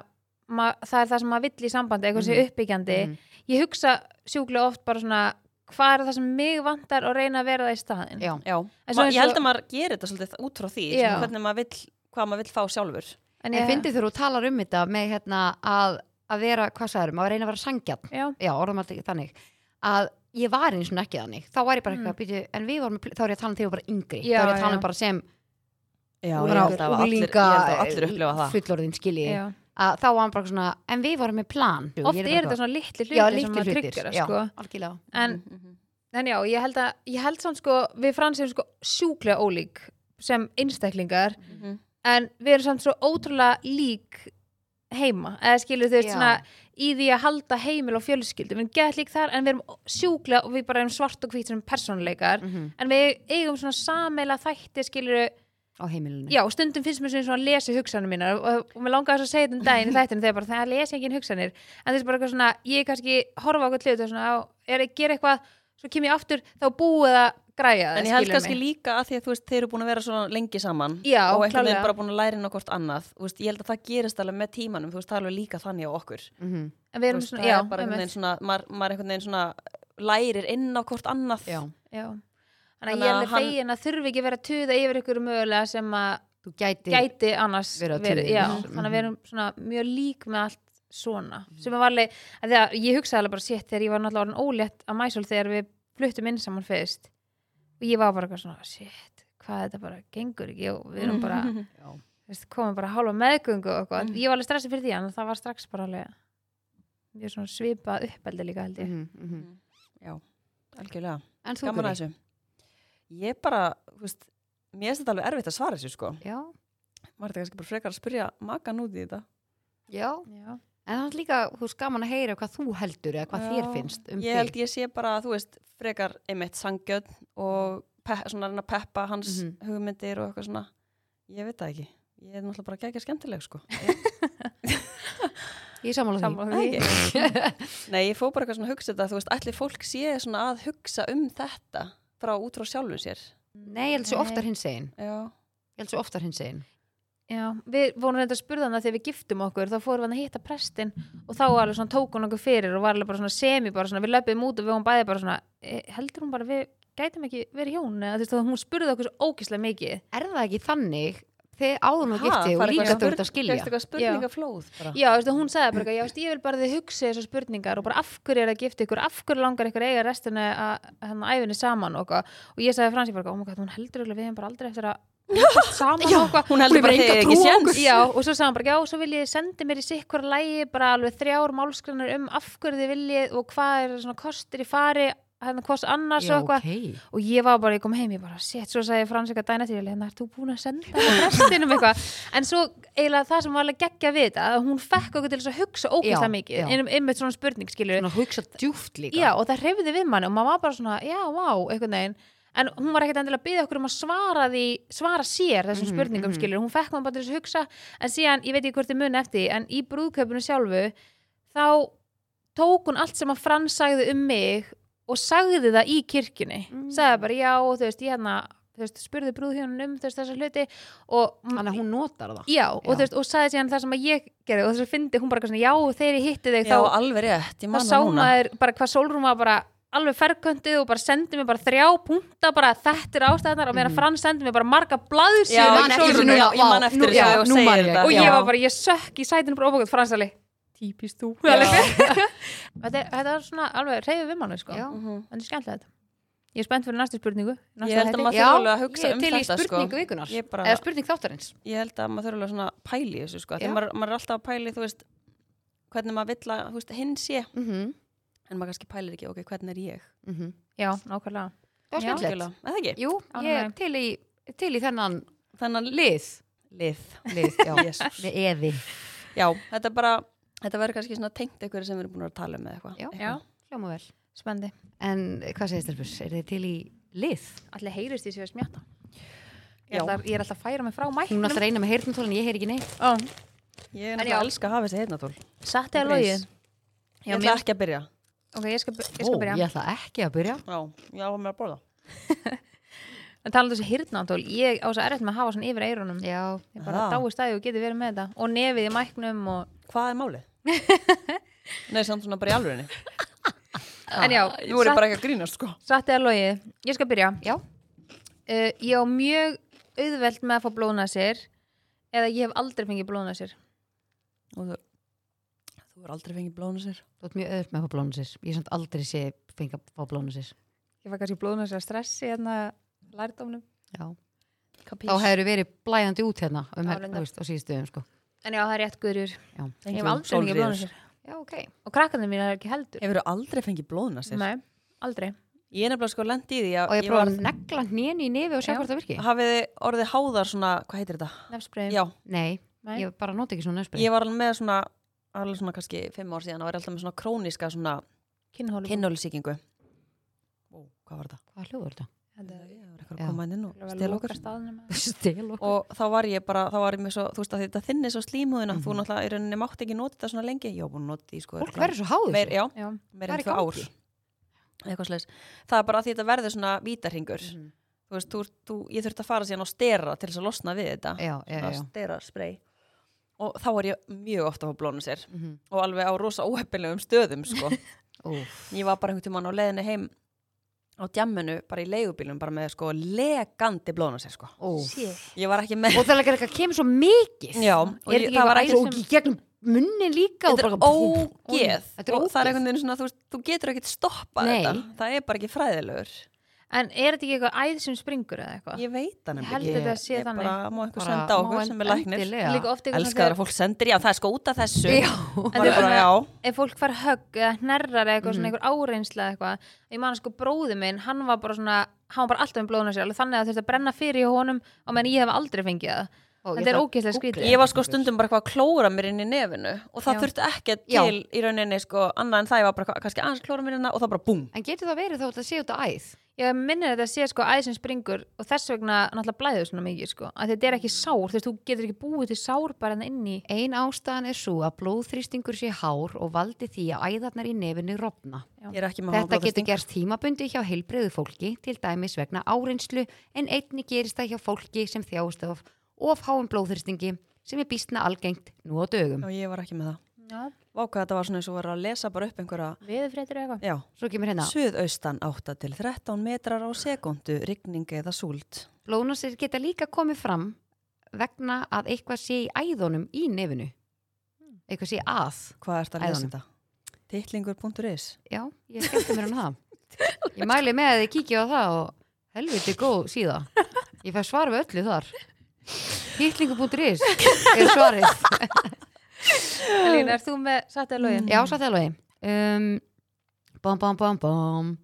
Speaker 3: ma, það er það sem maður vill í sambandi eitthvað sé
Speaker 1: Mhm.
Speaker 3: uppbyggjandi
Speaker 1: Mhm.
Speaker 3: ég hugsa sjúklega oft bara svona hvað er það sem mig vantar og reyna að vera það í staðin
Speaker 1: Já.
Speaker 2: Já.
Speaker 3: En svo
Speaker 2: Ma,
Speaker 3: eins
Speaker 2: ég held
Speaker 3: og-
Speaker 2: að maður gerir þetta svolítið út frá því,
Speaker 3: Já.
Speaker 2: svona, hvernig maður vill, hvað maður vill fá sjálfur.
Speaker 3: en
Speaker 1: En fyndið þegar þú talar um þetta með hérna að, að vera, hvað sagður, maður reyna að vera sangjarn,
Speaker 3: já,
Speaker 1: já, orðum alltaf þannig, að ég var eins og ekki þannig, þá var ég bara
Speaker 3: Mm.
Speaker 1: eitthvað, býtu, en við vorum, með pl- þá er ég að tala um þegar ég var bara yngri,
Speaker 3: Já,
Speaker 1: þá er ég að tala
Speaker 3: já.
Speaker 1: um bara sem
Speaker 2: Já, ég
Speaker 1: bara
Speaker 2: held að allir, ég
Speaker 1: unglinga,
Speaker 2: held að allir upplifa það.
Speaker 1: fullorðin skilji,
Speaker 3: já.
Speaker 1: að þá var hann bara svona, en við vorum með plan.
Speaker 3: oft er þetta svona litli hluti
Speaker 1: Já,
Speaker 3: sem
Speaker 1: litli
Speaker 3: maður
Speaker 1: hlutir,
Speaker 3: tryggur
Speaker 1: já.
Speaker 3: sko.
Speaker 1: algjörlega.
Speaker 3: en, en já, ég held að ég held samt sko, við fransum sko sjúklega ólík sem einstaklingar
Speaker 2: Mhm.
Speaker 3: en við erum samt svo ótrúlega lík heima, eða skilur þau
Speaker 1: Já.
Speaker 3: svona í því að halda heimil og fjölskyldum við erum gett lík þar en við erum sjúklega og við bara erum svart og hvít sem persónuleikar
Speaker 1: Mhm.
Speaker 2: Mm.
Speaker 3: en við eigum svona sameila þætti skilur,
Speaker 1: Á heimilinu.
Speaker 3: já, stundum finnst mér svona svona að lesa hugsanir mínar og, og mér langaði svo að segja þetta um daginn í þættinu þegar bara það lesa engin hugsanir en þessi bara eitthvað svona, ég kannski horfa á eitthvað hlut og svona, á, er að gera eitthvað svo kem ég aftur, þá er búið að græja það
Speaker 2: En ég held
Speaker 3: skilurðu
Speaker 2: kannski
Speaker 3: mig.
Speaker 2: líka að því að þú veist, þeir eru búin að vera svona lengi saman
Speaker 3: Já,
Speaker 2: og einhvern
Speaker 3: klárlega.
Speaker 2: veginn bara búin að læra inn á hvort annað. Þú Veist, ég held að það gerist alveg með tímanum, þú veist, það er alveg líka þannig á okkur.
Speaker 1: Mhm.
Speaker 3: en við
Speaker 2: Þú
Speaker 3: erum
Speaker 2: veist,
Speaker 3: svona,
Speaker 2: það
Speaker 3: já,
Speaker 2: er bara einhvern
Speaker 3: einmitt.
Speaker 2: veginn svona, maður, maður einhvern veginn svona lærir inn á hvort annað.
Speaker 1: Já.
Speaker 3: Já. Þannig að
Speaker 2: Þannig að
Speaker 3: ég er alveg
Speaker 2: hann-
Speaker 3: fegin að þurfi ekki að vera að tuða yfir ykkur mögulega sem að
Speaker 1: Þú gæti,
Speaker 3: gæti annars
Speaker 1: Verið að tuða
Speaker 3: verið.
Speaker 1: yfir.
Speaker 3: Já,
Speaker 1: Mhm.
Speaker 3: þannig að við erum svona mjög lík með allt svona. Sem að varlega, að að ég hugsaði alveg bara sétt þegar ég var náttúrulega orðin ólétt að mæsól þegar við fluttum inn saman fyrst. Og ég var bara eitthvað svona, sétt, hvað þetta bara gengur ekki og við erum bara,
Speaker 1: Já.
Speaker 3: þú veist, komum bara hálfa meðgöngu og eitthvað.
Speaker 2: Mhm.
Speaker 3: Ég var alveg stressið fyrir því, en það var strax bara alveg, mjög svona svipað uppeldi líka held ég.
Speaker 1: Mhm, mhm.
Speaker 2: Já, algjörlega.
Speaker 1: En þú
Speaker 2: Gaman að
Speaker 1: Guri?
Speaker 2: þessu. Ég bara, þú veist, mér finnst þetta alveg erfitt að svara þessu, sko.
Speaker 1: Já,
Speaker 2: Maður þetta kannski bara frekar að spyrja makan út í þetta.
Speaker 1: já.
Speaker 3: Já.
Speaker 1: En það er líka, þú veist, gaman að heyra hvað þú heldur eða hvað þér
Speaker 2: Já.
Speaker 1: finnst um
Speaker 2: ég
Speaker 1: þig.
Speaker 2: held ég sé bara, þú veist, frekar einmitt sangjöð og pe svona reyna að peppa hans
Speaker 1: Mhm.
Speaker 2: hugmyndir og eitthvað svona ég veit það ekki, ég er náttúrulega bara ekki skemmtileg sko
Speaker 1: Ég er sammála því.
Speaker 3: Sammála
Speaker 2: Það
Speaker 3: því.
Speaker 2: ekki. nei, ég fór bara eitthvað svona að hugsa þetta þú veist, allir fólk sé svona að hugsa um þetta frá út frá sjálfum sér
Speaker 1: Nei, ég held svo
Speaker 3: Nei.
Speaker 1: oftar hins einn.
Speaker 2: já,
Speaker 1: Ég held svo oftar hins einn.
Speaker 3: Já, við vorum reynda að spurða hann að þegar við giftum okkur þá fórum við hann að hitta prestin og þá alveg svona tók hún okkur fyrir og var alveg bara svona semi bara svona, við löpum út og við hún bæði bara svona "Eh, heldur hún bara við gætum ekki verið hjón eða þú veist þá hún spurði okkur svo ógislega mikið
Speaker 1: Er það ekki þannig þegar áður og
Speaker 2: Ha,
Speaker 1: gifti og
Speaker 2: fara
Speaker 1: líka
Speaker 2: eitthvað
Speaker 1: þú ert
Speaker 2: spurn-
Speaker 1: að skilja?
Speaker 2: fékkstu eitthvað spurningaflóð bara.
Speaker 3: Já, þú veist, og hún sagði bara eitthvað, já, veist, ég vil bara að þið hugsa þessar spurningar og bara af hverju er það gift ykkur, af hverju langar ykkur að eiga restina að hann æfinni saman og eitthvað og ég sagði frans, ég bara, eitthvað, oh my god, hún heldur örugglega við hefum bara aldrei eftir að hittast saman og eitthvað
Speaker 2: hún
Speaker 1: Hún hefur
Speaker 2: heldur bara að
Speaker 1: enga
Speaker 2: þið
Speaker 1: trú
Speaker 2: ekki
Speaker 1: á
Speaker 2: séns
Speaker 1: okkur.
Speaker 3: Já, og svo sagði hann bara, já, svo vil ég sendi mér í sikkur lægi bara alveg þrjár málskrannar um af hverju þið viljið og hvað er svona kostir í fari hérna hvors annars og eitthvað
Speaker 1: ok.
Speaker 3: og ég var bara, ég kom heim, ég bara, shit, svo sagði Frans eitthvað dæna til, ég leið, hérna, ert þú búin að senda það restinum eitthvað, en svo eiginlega það sem var alveg geggja við þetta, að hún fekk okkur til þess að hugsa
Speaker 1: Já,
Speaker 3: ógeðslega
Speaker 1: já.
Speaker 3: mikið, einum einmitt svona spurning, skilur
Speaker 1: Svona hugsa djúft líka.
Speaker 3: Já, og það hreyfði við manni og maður var bara svona, já, vá, einhvern veginn en hún var ekkert endilega að byggja okkur um að svara því svara sér þessum
Speaker 1: Mhm,
Speaker 3: spurningum
Speaker 1: mhm.
Speaker 3: skilur, hún fekk maður bara til þess að hugsa en síðan, ég veit ekki hvort þið muni eftir því, en í brúðkaupinu sjálfu þá tók hún allt sem að Frans sagði um mig og sagði það í kirkjunni
Speaker 1: Mm.
Speaker 3: sagði bara, já, og þú veist, ég hérna þú veist, spurði brúðhjónun um þú veist, þessa hluti og
Speaker 1: Þannig að hún notar það.
Speaker 3: já, og
Speaker 1: Já.
Speaker 3: þú veist, og sagði síðan það sem að ég gerði og þess að fyndi, hún bara eitthvað svona, já, þegar ég hitti þig
Speaker 2: já
Speaker 3: þá
Speaker 2: alveg rétt, ég
Speaker 3: þá
Speaker 2: manna
Speaker 3: sá
Speaker 2: núna
Speaker 3: maður bara hvað Sólrún var bara alveg ferköntið og bara sendi mér bara þrjá punta bara þetta er ástæðanar og meira Frans sendi mér bara marga blaðsíður
Speaker 2: Já,
Speaker 3: í
Speaker 1: man eftir
Speaker 3: sólrúnu.
Speaker 1: þessu núna.
Speaker 2: já, ég man
Speaker 1: Vá,
Speaker 2: eftir
Speaker 1: nú- já,
Speaker 2: þessu og
Speaker 1: nú
Speaker 2: segir
Speaker 1: man ég.
Speaker 2: þetta
Speaker 3: og ég
Speaker 2: já.
Speaker 3: var bara, ég sökk í sætinu bara ofokvæmt Frans alveg, típist þú alveg. þetta, þetta var svona alveg reyðu við manni sko,
Speaker 1: Já.
Speaker 2: Mhm.
Speaker 3: þetta er skemmtilegt þetta Ég er spennt fyrir næstu spurningu næsta
Speaker 2: Ég held að
Speaker 3: þætti.
Speaker 2: maður
Speaker 1: Já,
Speaker 2: þurfa alveg að hugsa
Speaker 1: ég er
Speaker 2: um
Speaker 1: til í
Speaker 2: þetta sko.
Speaker 1: spurningu vikunar
Speaker 2: Ég bara-
Speaker 1: eða spurning þáttarins
Speaker 2: Ég held að maður þurfa alveg svona að pæli í þessu sko.
Speaker 1: Já.
Speaker 2: Þegar maður, maður er alltaf að pæli, þú veist, hvernig maður vill að þú veist, hinn sé.
Speaker 1: mm -hmm.
Speaker 2: En maður kannski pælir ekki, ok, hvernig er ég?
Speaker 1: mhm.
Speaker 3: Já, nákvæmlega
Speaker 1: það var
Speaker 3: Já.
Speaker 1: skemmtilegt
Speaker 2: Algjörlega. Eða ekki?
Speaker 1: Jú, ég er
Speaker 3: Ánægð.
Speaker 1: til í, til í þennan
Speaker 2: Þannig að
Speaker 1: lið,
Speaker 2: lið.
Speaker 1: lið já.
Speaker 2: Jesús.
Speaker 1: með eði
Speaker 2: Já, þetta er bara, þetta verður kannski svona tengt eitthvað sem við erum búin að tala um eða eitthvað.
Speaker 1: Já.
Speaker 2: Eitthvað.
Speaker 1: hljóma vel
Speaker 3: Spendi,
Speaker 1: En hvað segir stelpur, er þið til í lið?
Speaker 3: allir heyrist því sem ég að smjata ég,
Speaker 2: Já.
Speaker 3: ætla, ég er alltaf að færa mig frá
Speaker 1: Hún
Speaker 3: mæknum
Speaker 1: alltaf reyna með heyrnatólin, ég heyr ekki neitt
Speaker 3: Ó,
Speaker 2: Ég er
Speaker 3: En já.
Speaker 2: náttúrulega elska að hafa þessi heyrnatól.
Speaker 3: Satt eða
Speaker 2: Grace.
Speaker 3: logið
Speaker 2: Ég ætla ekki að byrja.
Speaker 3: Ok, ég skal,
Speaker 1: Ó,
Speaker 3: ég skal byrja
Speaker 1: ég ætla ekki að byrja
Speaker 2: Já, ég áhuga mér að borða.
Speaker 3: En talað um þessi hirtnáttól, ég á þess að erfitt með að hafa svona yfir eyrunum
Speaker 1: Já,
Speaker 3: Ég bara
Speaker 2: Ah.
Speaker 3: dái stæði og geti verið með þetta Og nefið í mæknum og...
Speaker 2: Hvað er málið? Nei, samt svona bara í alvörinni.
Speaker 3: En já,
Speaker 2: Ah, Nú er ég
Speaker 3: satt-
Speaker 2: bara ekki að grínast, sko.
Speaker 3: Satt eða logið, ég skal byrja
Speaker 1: já,
Speaker 3: uh, Ég á mjög auðvelt með að fá blóðnasir Eða ég hef aldrei fengið blóðnasir
Speaker 2: Og Þú þú er aldrei fengið blóðinu sér.
Speaker 1: þú ert mjög öðvöld með að fá blónusir Ég er samt aldrei sé fengið að fá blónusir
Speaker 3: Ég fæ kannski blóðnasir að stressi hérna lærdómnum
Speaker 1: Já,
Speaker 2: Kapís.
Speaker 1: þá hefur verið blæjandi út hérna um
Speaker 3: Já,
Speaker 1: her,
Speaker 3: reyndar.
Speaker 1: þú veist, á síðustu um sko
Speaker 3: En já, það er rétt guður
Speaker 1: Já,
Speaker 3: Ég hef aldrei fengið blóðnasir
Speaker 1: já ok
Speaker 3: Og krakkarnir mín er ekki heldur
Speaker 2: Hefur þú aldrei fengið blóðina sér?
Speaker 3: Nei, aldrei
Speaker 2: Ég er nefnilega sko lent í því
Speaker 1: Og
Speaker 2: að
Speaker 1: ég prófa að negla hnén í nefi og sjá
Speaker 3: Já.
Speaker 1: hvort það virki
Speaker 2: hafiði orðið háðar svona, hvað heitir þetta?
Speaker 3: Nefnsbreiðum
Speaker 2: Já,
Speaker 1: Nei,
Speaker 3: Nei.
Speaker 1: ég bara nota ekki svona nösbrið
Speaker 2: ég var alveg með svona, alveg svona kannski fimm ár síðan, að var ég alltaf með svona króniska svona
Speaker 1: Mhm.
Speaker 3: Kinnhólu
Speaker 2: kinnólusíkingu. Ó, hvað var það?
Speaker 1: Hvað hljóður þetta?
Speaker 3: Þetta er-
Speaker 2: Ég var eitthvað
Speaker 1: Já.
Speaker 2: að koma inn og
Speaker 3: Þetta er um
Speaker 2: stela
Speaker 3: loka
Speaker 2: okkur.
Speaker 3: staðnum
Speaker 1: Stil og
Speaker 2: Og þá var ég bara, þá var ég með svo, þú veist að þetta þinni svo slímhúðina, þú náttúrulega í rauninni mátt ekki nota þetta svona lengi. Ég var búin að nota því sko.
Speaker 1: Mhm. Fólk
Speaker 2: örugglega-
Speaker 1: verður svo háður
Speaker 2: meir, já,
Speaker 3: Já,
Speaker 2: meir
Speaker 1: Hvað
Speaker 2: en
Speaker 1: er í
Speaker 2: tvö ár
Speaker 1: gangi?
Speaker 2: eitthvað slags það er bara að því þetta verður svona vítarhingur
Speaker 1: Mhm.
Speaker 2: þú veist, þú, ert- þú, ég þurfti að fara síðan á stera til þess að losna við þetta
Speaker 1: Já, já,
Speaker 2: Svona
Speaker 1: já.
Speaker 2: stera spray og þá er ég mjög ofta á blónu sér
Speaker 1: Mhm.
Speaker 2: og alveg á rosa óheppilegum stöðum sko.
Speaker 1: Úff,
Speaker 2: ég var bara einhvern tímann á leiðinni heim á djamminu, bara í leigubílum bara með sko legandi blónu sér sko.
Speaker 1: úff.
Speaker 3: Shit.
Speaker 2: ég var ekki með
Speaker 1: Og það er ekki að kemur svo mikið
Speaker 2: já, og
Speaker 3: Er
Speaker 2: ég,
Speaker 3: þetta
Speaker 2: það var
Speaker 3: ekki
Speaker 2: ekki
Speaker 1: og í gegnum munnin líka og
Speaker 2: þetta er
Speaker 1: bara-
Speaker 2: ógeð
Speaker 1: Þetta er
Speaker 2: og
Speaker 1: ógeð.
Speaker 2: það er einhvern veginn svona, þú, veist, þú getur ekkert stoppað
Speaker 1: Nei.
Speaker 2: þetta það er bara ekki fræðilegur
Speaker 3: En er þetta ekki eitthvað æð sem springur eða
Speaker 1: Ah.
Speaker 3: eitthvað?
Speaker 2: Ég veit það
Speaker 3: Ég
Speaker 2: nefnilega
Speaker 3: held
Speaker 2: ekki.
Speaker 3: þetta sé
Speaker 2: Ég
Speaker 3: þannig.
Speaker 2: bara má einhver
Speaker 1: Bara
Speaker 2: senda á
Speaker 1: má
Speaker 2: okkur
Speaker 1: en-
Speaker 2: sem er læknir.
Speaker 1: endilega.
Speaker 3: Líka oft eitthvað
Speaker 2: Elskar það að fólk sendir, já það er sko út af þessu.
Speaker 1: Já.
Speaker 2: Bara,
Speaker 3: En
Speaker 2: bara,
Speaker 3: þegar-
Speaker 2: já.
Speaker 3: ef fólk fær högg eða hnerrar eða eitthvað svona
Speaker 1: Mhm.
Speaker 3: einhver áreinsla eða eitthvað ég man að sko bróði minn, hann var bara svona hann var bara alltaf með blóðuna sér, alveg þannig að það þurfti að brenna fyrir hjá honum og meðan ég hef aldrei fengið það
Speaker 1: Ó, ég
Speaker 3: þetta er
Speaker 1: ætla að
Speaker 3: ógeðslega
Speaker 1: googla.
Speaker 3: skrítið
Speaker 2: Ég var sko stundum bara eitthvað að klóra mér inn í nefinu og það
Speaker 3: Já.
Speaker 2: þurfti ekki
Speaker 1: Já.
Speaker 2: til í rauninni sko annað en það ég var bara eitthvað- kannski aðeins að klóra mér innan og það bara búm.
Speaker 1: En getur það verið þá að það sé út að æð?
Speaker 3: ég minnir þetta að sé sko æð sem springur og þess vegna náttúrulega blæður svona mikið sko að þetta er ekki
Speaker 1: Mm.
Speaker 3: sár, þú veist, þú getur ekki búið til sár bara enn inn í
Speaker 1: Ein ástæðan er svo að blóðþrýstingur sé hár og valdi því að æðarnar í nefinu rofna.
Speaker 2: Ég er ekki með
Speaker 1: Þetta
Speaker 2: háblóðþrýsting.
Speaker 1: getur gerst tímabundi hjá heilbreyðu fólki, til dæmis vegna áreinslu, en einni gerist það hjá fólki sem þjáist af of háum blóðþrýstingi sem er býstna algengt nú á dögum.
Speaker 2: Já, ég var ekki með það.
Speaker 3: Já,
Speaker 2: Vá hvað þetta var svona eins og var að lesa bara upp einhverja,
Speaker 3: veðurfréttir eða eitthvað
Speaker 2: já,
Speaker 1: Svo kemur hérna,
Speaker 2: suðaustan 8 til 13 metrar á sekundu, rigning eða súld.
Speaker 1: blóðnasir geta líka komið fram vegna að eitthvað sé í æðunum í nefinu. Eitthvað sé að.
Speaker 2: Hvað ert að lesa
Speaker 1: Æðunum.
Speaker 2: þetta? Tittlingur.is
Speaker 1: Já, ég skemmti mér um það. Ég mæli með að þið kíkja á það og helviti góð síða. Ég fær svar við öllu þar. Hittlingu.is er svarið.
Speaker 3: Elín, er þú með satt eða lögin?
Speaker 1: Já,
Speaker 2: Mhm.
Speaker 1: satt það alveg. Um, bom, bom, bom, bom.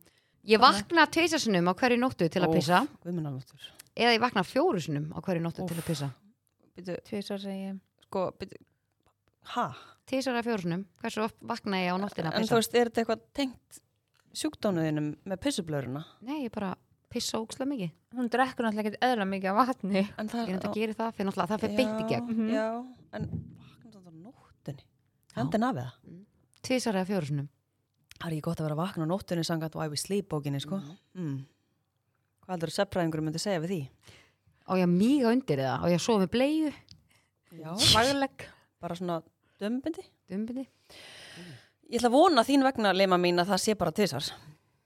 Speaker 1: Ég vakna teisasunum á hverju nóttu til að pissa
Speaker 2: Guðmennalóttur.
Speaker 1: eða ég vakna fjórusunum á hverju nóttu til að pissa.
Speaker 2: Býtu,
Speaker 3: Tvisvar segi ég.
Speaker 2: sko, býtu, hæ?
Speaker 1: Teisar að fjórusunum, hversu oft vakna ég á nóttina að
Speaker 2: En þú
Speaker 1: pissa?
Speaker 2: veist, er þetta eitthvað tengt sjúkdónuðinum með pissublöruna?
Speaker 1: Nei, ég bara pissa ógslag mikið.
Speaker 3: Hún drekkur náttúrulega ekkert eðla mikið af vatni
Speaker 2: En
Speaker 1: Ég
Speaker 2: það
Speaker 1: reynda að gera það, fyrir náttúrulega það fyrir beint í gegn.
Speaker 3: Mhm.
Speaker 2: Já, en vakna þetta á nóttunni. Hendin af það.
Speaker 1: Teisar að fjórusunum.
Speaker 2: Það er ekki gott að vera að vakna á nóttunni sangat Why We Sleep bókinni, sko. Mm. Hvað heldur að sefræðingur myndi segja við því?
Speaker 1: Á ég að míga undir eða? Á ég að sofa með bleiðu?
Speaker 2: Já.
Speaker 3: Vagleg
Speaker 2: Bara svona dömbindi?
Speaker 1: Dumbindi?
Speaker 2: Ég ætla að vona þín vegna, leima mín, að það sé bara tvisar.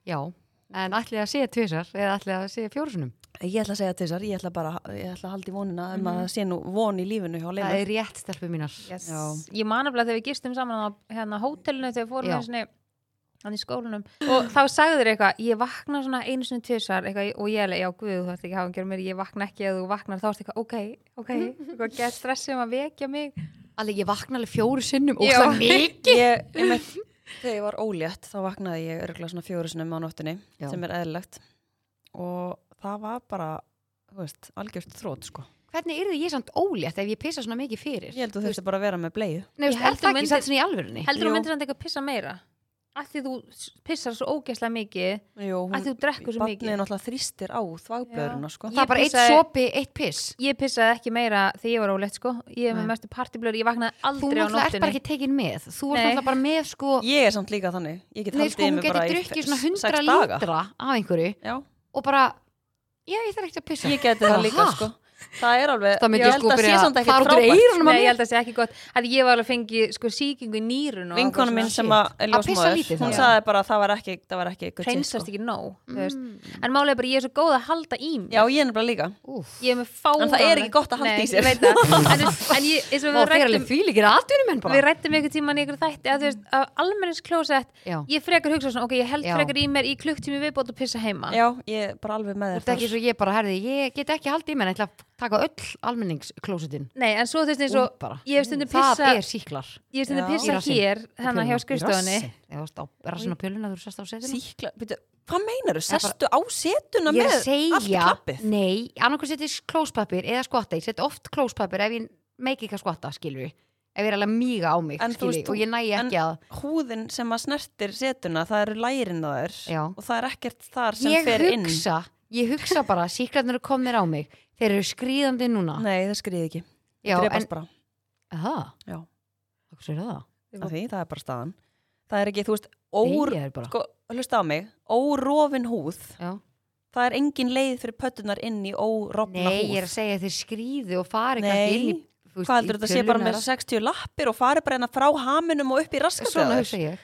Speaker 1: já, en ætlið að sé tvisar eða ætlið að sé fjórusunum
Speaker 2: Ég ætla að segja til þessar, ég ætla bara ég ætla að halda í vonina um að það sé nú von í lífinu hjá
Speaker 1: það
Speaker 2: Leila.
Speaker 1: er rétt stelpu mínar
Speaker 3: yes.
Speaker 2: Já.
Speaker 3: ég man aflega þegar við gistum saman á hérna, hótelinu þegar við fórum
Speaker 1: Já.
Speaker 3: einu sinni hann í skólanum og þá sagði þér eitthvað ég vakna svona einu sinni tvisar eitthvað, og ég alveg, já guð, þú þarft ekki að hafa að gera mér ég vakna ekki að þú vaknar, þá ertu eitthvað, ok, ok eitthvað gett stressið um að vekja mig
Speaker 1: alveg ég vakna alveg fjóru sinnum og
Speaker 3: Já.
Speaker 1: það mikið
Speaker 2: Ég, ég með, þegar ég var ólétt þá vaknaði ég örgulega svona fjóru sinum á nóttinni
Speaker 1: Já.
Speaker 2: sem er eðlilegt og það var bara, þú veist, algjört þrótt sko.
Speaker 1: hvernig yrði ég samt ólétt ef ég pissa svona mikið fyrir
Speaker 2: Ég held að þú þurfti bara að vera með bleið.
Speaker 1: Nei,
Speaker 3: Ég
Speaker 1: veist,
Speaker 3: held
Speaker 1: er
Speaker 3: þú
Speaker 1: það ekki
Speaker 3: myndir-
Speaker 1: satt svona í alvörunni
Speaker 3: heldur þú
Speaker 2: Jú.
Speaker 3: myndir hann eitthvað pissa meira að því þú s- pissar svo ógeðslega mikið
Speaker 2: Jú,
Speaker 3: að þú drekkur svo
Speaker 2: barnið
Speaker 3: mikið
Speaker 2: náttúrulega þrýstir á þvagblöðurina sko.
Speaker 1: það er bara eitt
Speaker 3: pissaði-
Speaker 1: sopi, eitt piss
Speaker 3: ég pissaði ekki meira þegar ég var ólegt sko ég er
Speaker 1: Nei.
Speaker 3: með mestu partyblöður, ég vaknaði
Speaker 1: þú
Speaker 3: aldrei á
Speaker 1: náttúrulega ert
Speaker 3: nóttinni
Speaker 1: bara ekki tekin með þú ert
Speaker 3: Nei.
Speaker 1: náttúrulega bara með sko
Speaker 2: Ég er samt líka þannig. Ég get
Speaker 1: Nei,
Speaker 2: haldið
Speaker 1: sko,
Speaker 2: í
Speaker 1: hún
Speaker 2: mig bara
Speaker 1: getur
Speaker 2: í
Speaker 1: drukkið svona
Speaker 2: sex
Speaker 1: 100
Speaker 2: daga.
Speaker 1: lítra af einhverju
Speaker 2: Já,
Speaker 1: og bara, já, ég þarf ekkert að pissa
Speaker 2: ég geti það
Speaker 1: Aha.
Speaker 2: líka sko. Það er alveg,
Speaker 1: Það myndi
Speaker 2: ég
Speaker 1: ég
Speaker 2: held
Speaker 1: sko
Speaker 2: að sé
Speaker 1: byrja
Speaker 2: samt
Speaker 1: að
Speaker 2: ekkert
Speaker 1: fara út úr
Speaker 2: frábært.
Speaker 1: eyrunum á
Speaker 3: Nei, ég
Speaker 1: mér
Speaker 3: held að það sé ekki gott að ég var alveg að fengi sko, síkingu í nýrun og
Speaker 2: vinkonu
Speaker 3: eitthvað
Speaker 2: mín
Speaker 3: svona.
Speaker 2: sem
Speaker 1: shit.
Speaker 2: að er
Speaker 1: Að pissa
Speaker 2: ljósmóður,
Speaker 1: lítið
Speaker 2: hún
Speaker 1: þá?
Speaker 2: sagði bara að það var ekki, það var ekki good shit,
Speaker 3: hreinsast
Speaker 2: sko.
Speaker 3: ekki nóg þú veist.
Speaker 1: Mm,
Speaker 3: en málega bara ég er svo góð að halda í mig
Speaker 2: Já, ég er nefnilega líka
Speaker 1: úff.
Speaker 3: ég er með fáan
Speaker 2: En það er ekki gott að halda
Speaker 3: Nei,
Speaker 2: í sér.
Speaker 3: ég veit það. en, en ég, eins og
Speaker 1: Vá,
Speaker 3: við
Speaker 1: þeir eru alveg
Speaker 3: rættum
Speaker 1: því líkir aðdunum en
Speaker 3: við
Speaker 1: bara
Speaker 3: rættum ykkur tíman í ykkur þætti að þú veist, að almennins klósett
Speaker 1: Já.
Speaker 3: ég frekar hugsa svona, ok, ég held
Speaker 1: Já.
Speaker 3: frekar í mér í klukktími viðbót og pissa heima
Speaker 2: Já, ég er bara alveg með
Speaker 1: Þú
Speaker 2: þér
Speaker 1: ert ekki svo ég bara herði, ég get ekki haldið í mér en ég ætla að taka öll almenningsklósutin
Speaker 3: nei, en svo þú veist eins og ég hef stundum
Speaker 1: Það
Speaker 3: pissa
Speaker 1: er síklar
Speaker 3: ég hef stundum
Speaker 2: Já.
Speaker 1: Í
Speaker 3: pissa
Speaker 1: rassinn.
Speaker 3: hér hennar hjá skrifstofunni
Speaker 1: Eða á rassin á pjöluna þú sest á setinu
Speaker 2: Sýkla, byrju, hvað meinar þú? Sestu á setuna
Speaker 1: Ég
Speaker 2: með
Speaker 1: er að
Speaker 2: allt
Speaker 1: segja,
Speaker 2: klappið?
Speaker 1: nei, annarkur setji klóspapir eða skvatta, ég setji oft klóspapir ef ég meik ekki að skvatta, skilur ef ég er alveg að míga á mig,
Speaker 2: En þú
Speaker 1: skilur
Speaker 2: veist,
Speaker 1: og ég næ
Speaker 2: en-
Speaker 1: ekki að
Speaker 2: Húðin sem að snertir setuna, það eru lærin á þér
Speaker 1: Já.
Speaker 2: og það er ekkert þar sem
Speaker 1: ég
Speaker 2: fer inn
Speaker 1: hugsa, ég hugsa bara síklarnir eru komnir á mig, þeir eru skríðandi núna
Speaker 2: Nei, það skriði ekki,
Speaker 1: Já, en,
Speaker 2: drefast bara
Speaker 1: aha,
Speaker 2: Já.
Speaker 1: hvað sér það?
Speaker 2: Af Því, það er bara staðan Það er ekki, þú veist,
Speaker 1: Úr,
Speaker 2: ór
Speaker 1: er bara,
Speaker 2: sko, hlusta á mig, órofin húð
Speaker 1: Já.
Speaker 2: það er engin leið fyrir pöttunar inn í órofna
Speaker 1: nei,
Speaker 2: húð
Speaker 1: ég er að segja þeir skríðu og fari kannski inn í
Speaker 2: Nei,
Speaker 1: þú veist,
Speaker 2: hvað
Speaker 1: í
Speaker 2: heldur þetta sé bara
Speaker 1: tölvuna
Speaker 2: með
Speaker 1: eða-
Speaker 2: 60 lappir og fari bara hérna frá haminum og upp í raskat
Speaker 1: svona hugsa ég,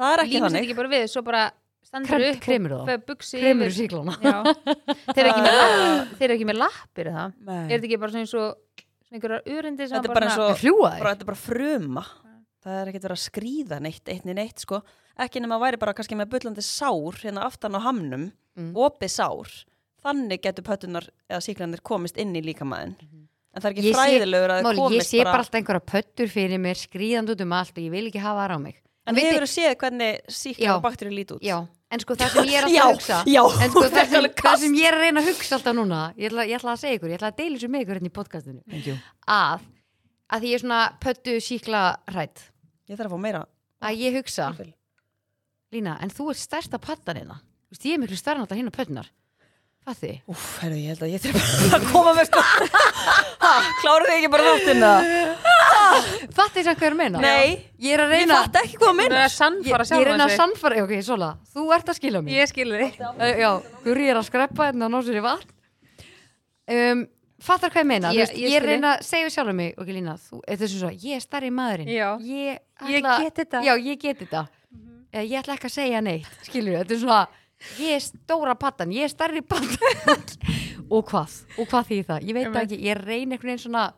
Speaker 2: Það er ekki
Speaker 3: límið sér
Speaker 2: þannig
Speaker 3: ekki bara við, svo bara standur
Speaker 1: Krem-
Speaker 3: upp
Speaker 1: kremur
Speaker 3: og
Speaker 1: það.
Speaker 3: fer buxi
Speaker 1: kremur
Speaker 3: yfir
Speaker 1: síklana
Speaker 3: Já. þeir eru ekki með lapp- þeir eru ekki með lappir er það er
Speaker 2: Nei.
Speaker 3: þetta ekki bara svona eins og svona einhverjar örindi sem
Speaker 2: Þetta er
Speaker 3: bara
Speaker 2: bara eins
Speaker 3: svona-
Speaker 2: og
Speaker 1: hljúa
Speaker 2: bara,
Speaker 1: þeir,
Speaker 2: þetta er bara fruma það er ekkert verið að skríða neitt eitt neitt neitt sko, ekki nema að væri bara kannski með bullandi sár hérna aftan á hamnum
Speaker 1: Mm.
Speaker 2: opið sár, þannig getur pöttunar eða síklanir komist inn í líkamæðin en það er ekki
Speaker 1: Mhm. Ég sé-
Speaker 2: fræðilegur að það
Speaker 1: Máli, ég
Speaker 2: komist
Speaker 1: sé bara alltaf einhverja pöttur fyrir mér skríðandi út um allt og ég vil ekki hafa þar á mig
Speaker 2: en
Speaker 1: Vitið-
Speaker 2: við hefur séð hvernig
Speaker 1: Já.
Speaker 2: síklar og bakterjur lít út
Speaker 1: Já, en sko það sem ég er alltaf
Speaker 2: Já,
Speaker 1: að hugsa
Speaker 2: já,
Speaker 1: En sko
Speaker 2: þú
Speaker 1: það
Speaker 2: fekk
Speaker 1: sem,
Speaker 2: alveg
Speaker 1: það
Speaker 2: kast.
Speaker 1: sem ég er að reyna að hugsa alltaf núna Ég ætla, ég ætla að segja ykkur, ég ætla að deila þessu með ykkur hérna í podcastinu
Speaker 2: Thank you.
Speaker 1: Að, að því ég er svona pöttu síkla hrætt
Speaker 2: ég þarf að fá meira
Speaker 1: Að ég hugsa,
Speaker 2: Vel.
Speaker 1: Lína, en þú ert stærsta pattan hérna Þú veist, ég er miklu stærna alltaf hérna pöttunar Það þið?
Speaker 2: Úff, herru, ég held að ég þurf að koma með sko Kláru þið ekki bara þáttina?
Speaker 1: Fatt þið sem hvað ég er að meina?
Speaker 2: Nei,
Speaker 1: Ég er að
Speaker 2: ég
Speaker 1: reyna
Speaker 2: fatt ekki hvað að
Speaker 3: Hún er
Speaker 2: minna
Speaker 3: að sannfara
Speaker 1: Ég er að
Speaker 3: sjálfa
Speaker 1: reyna að sannfara, ok, svola Þú ert að skila mér
Speaker 3: Ég skilur þig
Speaker 1: Uh, já, Guri er að skreppa hérna og ná sér í vatn um, Fattar hvað ég meina? Ég,
Speaker 3: Ég- ég
Speaker 1: ég, ég
Speaker 3: skil.
Speaker 1: reyna að segja sjálfum mig Ok Lína, þú, eða þessu svo, ég er starri maðurinn
Speaker 3: Já.
Speaker 1: ég,
Speaker 3: Ég
Speaker 1: ætla-
Speaker 3: get þetta. Mhm.
Speaker 1: Já, ég get þetta Eh, Ég ætla ekki að segja neitt, skilur Þetta er svona, ég er stóra pattan Ég er starri pattan Og hvað, og hvað þýðir það? Ég veit það
Speaker 3: Einmitt.
Speaker 1: ekki, ég reyna einhvern veginn svona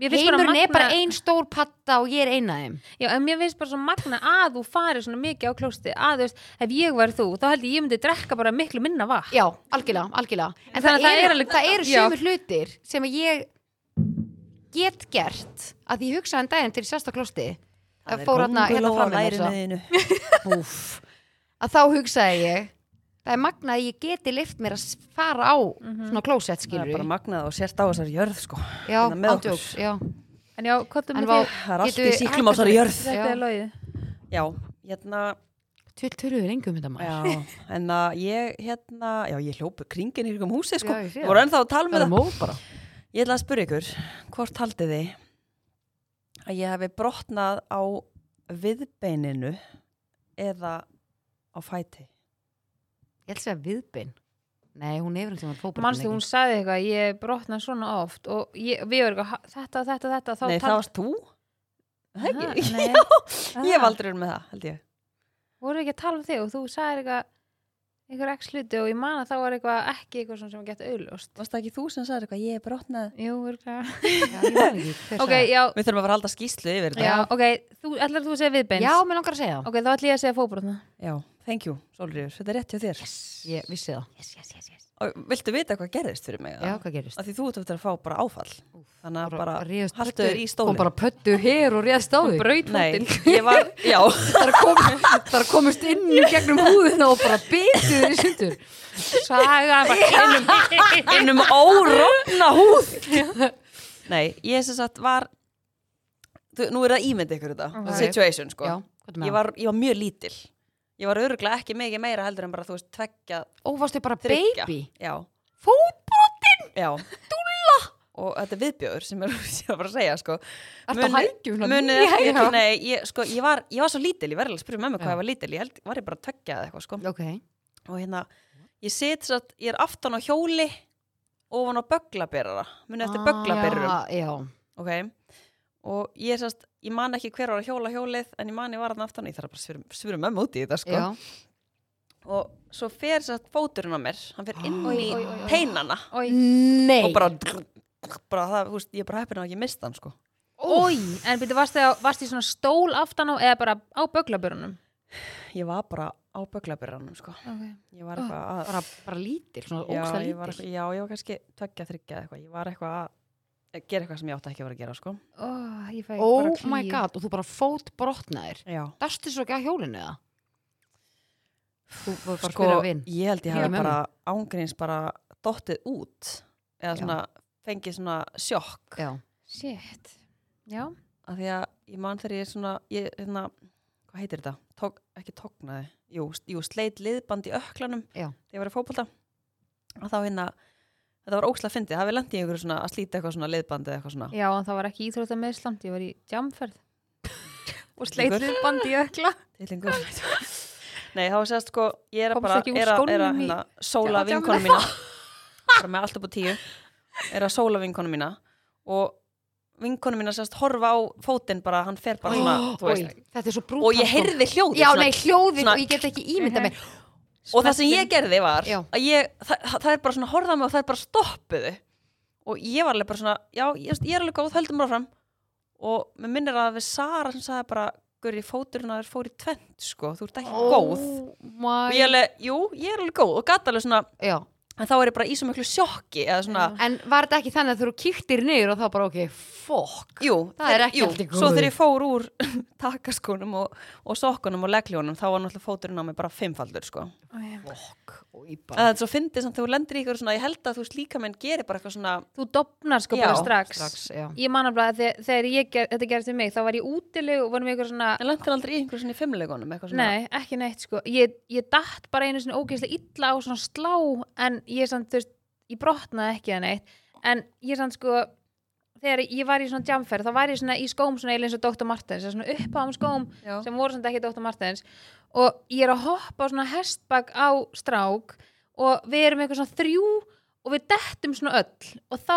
Speaker 3: Mér finnst bara
Speaker 1: Heimurinn er
Speaker 3: magna-
Speaker 1: bara ein stór patta og ég er eina þeim
Speaker 3: Já, en mér finnst bara svo magna að þú farir svona mikið á klósti að þú veist, ef ég var þú, þá held ég ég myndi drekka bara miklu minna vatn
Speaker 1: Já, algjörlega, algjörlega En
Speaker 3: Þannig
Speaker 1: það,
Speaker 3: að það
Speaker 1: eru,
Speaker 3: er alveg-
Speaker 1: það eru
Speaker 3: Já.
Speaker 1: sömu hlutir sem að ég get gert að ég hugsaði en daginn til sérsta klosti að fór hérna hérna fram með þess
Speaker 2: þínu
Speaker 1: að Úff. að þá hugsaði ég það er magnað að ég geti lift mér að s- fara á svona klósett
Speaker 2: Það er
Speaker 1: skilur
Speaker 2: bara magnað og sérst á þessari jörð sko
Speaker 1: já,
Speaker 2: hérna með okkur.
Speaker 1: ándjóks, já
Speaker 3: En já, hvað þú
Speaker 1: En
Speaker 3: með
Speaker 1: vá,
Speaker 3: þig?
Speaker 2: Það er allt
Speaker 1: Getum
Speaker 2: í
Speaker 1: við
Speaker 2: síklum á þessari jörð
Speaker 3: Þetta
Speaker 1: Já.
Speaker 3: er logið
Speaker 2: Já, hérna
Speaker 1: Töl töluðu rengum þetta maður
Speaker 2: já, En að ég, hérna Já, ég hljópu kringin í ykkur húsi sko
Speaker 1: Já, ég sé
Speaker 2: Ég voru ennþá að tala
Speaker 1: Það
Speaker 2: með
Speaker 1: er
Speaker 2: það
Speaker 1: móð bara
Speaker 2: Ég ætla að spyrja ykkur, hvort haldið þið að ég hefði brotnað á viðbeininu eða á fæti?
Speaker 1: Ég ætla að segja viðbein Nei, hún hefur einhvern tímann fótbolta
Speaker 3: Manstu, hún sagði eitthvað, ég brotna svona oft og ég, við erum eitthvað, ha- þetta, þetta, þetta þá
Speaker 2: Nei,
Speaker 3: tal-
Speaker 2: það varst þú? Það
Speaker 3: Ha,
Speaker 2: ekki?
Speaker 3: nei.
Speaker 2: Já, ég hef
Speaker 3: Ah.
Speaker 2: aldrei verið með það, held ég.
Speaker 3: voru ekki að tala um þig og þú sagði eitthvað einhver ekki sluti og ég man að þá var eitthvað ekki eitthvað svona sem að geta auðljóst
Speaker 2: Varst það ekki þú sem sagði eitthvað, ég er brotnað
Speaker 3: Jú, örgulega
Speaker 1: Já, ég man ekki hver
Speaker 3: Ok,
Speaker 1: sagði það.
Speaker 3: já,
Speaker 2: Við þurfum að fara að halda skýslu yfir
Speaker 3: já,
Speaker 2: þetta
Speaker 3: ok, þú, ætlar þú að segja viðbeins?
Speaker 1: Já, mér langar að segja það.
Speaker 3: Ok, þá ætla ég að segja fóbrotna
Speaker 2: Já, thank you, Solríður, þetta er rétt hjá þér
Speaker 1: Ég vissi það.
Speaker 3: Yes, yes, yes, yes
Speaker 2: og Viltu vita hvað gerðist fyrir mig? eða?
Speaker 1: Já, hvað gerist?
Speaker 2: Af því þú ert eftir að fá bara áfall Þannig að bara,
Speaker 1: réðst
Speaker 2: haltu
Speaker 1: pöddu-
Speaker 2: þér í stólinn.
Speaker 1: Kom bara pöttu hér og réðst á þig.
Speaker 3: Braut
Speaker 2: Nei,
Speaker 3: fótinn
Speaker 2: ég var, já
Speaker 1: Það er kom, þar komist inn í gegnum húðina og bara bitu þér í sundur.
Speaker 3: Saga bara innum
Speaker 2: Einum órofna um húð Nei, ég sem sagt var þú, Nú er það ímynd ykkur þetta
Speaker 3: Ok.
Speaker 2: Situation, sko
Speaker 1: Já, hvað er
Speaker 2: ég,
Speaker 1: með það?
Speaker 2: var, ég var mjög lítil Ég var öruglega ekki mikið meira heldur en bara, þú veist, tveggja
Speaker 1: Ó, varstu bara
Speaker 2: þryggja.
Speaker 1: baby?
Speaker 2: Já,
Speaker 1: Fótbrotinn?
Speaker 2: já Dúlla Og þetta er viðbjöður sem er, sem ég var að segja, sko
Speaker 1: Ertu að
Speaker 2: Munið-
Speaker 1: hækjum? svona
Speaker 2: munið
Speaker 1: ný
Speaker 2: eftir,
Speaker 1: hækjum?
Speaker 2: nei, ég, sko, ég, var, ég var svo lítil, ég verði alveg að spyrja mömmu
Speaker 1: Já.
Speaker 2: hvað ég var lítil, ég held, var ég bara að tökja eða eitthvað, sko.
Speaker 1: Ok,
Speaker 2: Og hérna, ég sit svo að ég er aftan á hjóli ofan á böglaberara, munið
Speaker 1: Ah,
Speaker 2: eftir ah, böglaberurum,
Speaker 1: já, já.
Speaker 2: ok? Og ég sérst, ég man ekki hver var að hjóla hjólið, en ég man ég var hann aftan, ég þarf bara að spyrja, spyrja mömmu út í þetta, sko.
Speaker 1: já.
Speaker 2: Og svo fer sérst fóturinn á mér, hann fer inn
Speaker 1: Oj,
Speaker 2: í
Speaker 3: oj, oj, oj.
Speaker 2: teinana
Speaker 1: Nei
Speaker 2: og bara, bara það, þú veist, ég er bara heppin að ég mista hann, sko.
Speaker 3: Ói, en byrju, varst þið varst í svona stól aftan á eða bara á böglabörunum?
Speaker 2: Ég var bara á böglaberanum, sko.
Speaker 3: Okay.
Speaker 2: Ég
Speaker 1: Ah.
Speaker 2: var eitthvað að...
Speaker 1: bara, bara lítil, svona
Speaker 2: já,
Speaker 1: ógsta
Speaker 2: ég var,
Speaker 1: lítil
Speaker 2: já, ég var kannski tveggja, þryggja eða eitthvað, ég var eitthvað að gera eitthvað sem ég átti ekki að vera að gera, sko
Speaker 3: Oh, ég fæ
Speaker 1: Oh
Speaker 3: bara klíu.
Speaker 1: my god, og þú bara fót brotnaðir
Speaker 2: Já,
Speaker 1: Dastu svo ekki að hjólinu það? Þú var bara
Speaker 2: sko,
Speaker 1: sko, að vin
Speaker 2: ég held ég
Speaker 1: Heyra
Speaker 2: hafi
Speaker 1: með
Speaker 2: bara ángríns bara dottið út eða
Speaker 1: Já.
Speaker 2: svona, fengið svona sjokk
Speaker 1: Já,
Speaker 3: Shit Já,
Speaker 2: af því að ég man þegar ég svona ég, hérna, hvað heitir þetta? Tók, ekki tóknaði, jú, s- jú sleit liðband í öklanum
Speaker 1: Já.
Speaker 2: þegar ég var í fótbolta og þá hérna, þetta var ókslega fyndið, hafi lendið í einhverju svona að slíta eitthvað svona liðbandi eða eitthvað svona
Speaker 3: já en það var ekki íþrótta með Ísland, ég var í jamferð
Speaker 2: Ykkur.
Speaker 3: og sleitið bandi í ökla
Speaker 2: Tillingur Nei, þá sést sko, ég er að
Speaker 3: Komst
Speaker 2: bara
Speaker 3: ekki
Speaker 2: er að,
Speaker 3: úr
Speaker 2: er að
Speaker 3: skónum í-
Speaker 2: hérna, sóla
Speaker 3: Já, já,
Speaker 2: vinkonu mína bara með allt upp á tíu er að sóla vinkonu mína og vinkonu mína sést horfa á fótinn bara, hann fer bara svona
Speaker 1: Ó,
Speaker 2: þú veist,
Speaker 1: oi, Þetta er svo sko. brúnt
Speaker 2: og ég heyrði hljóð
Speaker 1: Já, nei, hljóðið
Speaker 2: svona- Mhm.
Speaker 1: og ég get ekki ímynda mér
Speaker 2: og það sem ég gerði var
Speaker 1: Já.
Speaker 2: að ég, það, það er bara svona horfað á mig og það er bara stoppuðu og ég var alveg bara svona já, ég, ég er alveg góð, höldum bara fram og mér minnir að við Sara sem sagði bara Guri, fóturinn að þér fór í tvent sko, þú ert ekki góð og ég
Speaker 1: my...
Speaker 2: alveg, jú, ég er alveg góð og gata alveg svona,
Speaker 1: Já,
Speaker 2: en þá er ég bara í svo miklu sjokki eða svona,
Speaker 1: en var þetta ekki þannig að þú kíktir niður og þá bara, ok, fuck
Speaker 2: jú,
Speaker 1: Það
Speaker 2: þegar-
Speaker 1: er ekki
Speaker 2: jú,
Speaker 1: allt í góðu.
Speaker 2: svo þegar ég fór úr takaskunum og, og sokkunum og legljónum þá var náttúrulega fóturinn á mig bara fimmfaldur sko.
Speaker 3: gerði
Speaker 1: Fuck, og ég
Speaker 2: að
Speaker 1: bara
Speaker 2: þetta er svo fyndið samt þegar þú lendir í ykkur svona, ég held að þú veist líka menn gerir bara eitthvað svona
Speaker 3: Þú dopnar sko
Speaker 2: Já,
Speaker 3: bara strax,
Speaker 1: strax, já.
Speaker 3: Ég man alveg að þegar, þegar ég ger, þetta gerðist við mig þá var ég útilegu og vorum við ykkur svona
Speaker 2: en lendir aldrei í einhver svona í fimmleikunum eitthvað svona,
Speaker 3: Nei, ekki neitt sko. Ég, ég datt bara einu svona ógeðslega illa á svona slá en ég samt, þú veist, ég brotnaði ekki að neitt. En ég samt sko, þegar ég var í svona jamferð, þá var ég svona í skóm svona eiginlega eins og Dr. Martens, svona upp á um skóm
Speaker 2: Já.
Speaker 3: sem voru svona ekki Dr. Martens og ég er að hoppa á svona hestbak á strák og við erum eitthvað svona þrjú og við dettum svona öll og þá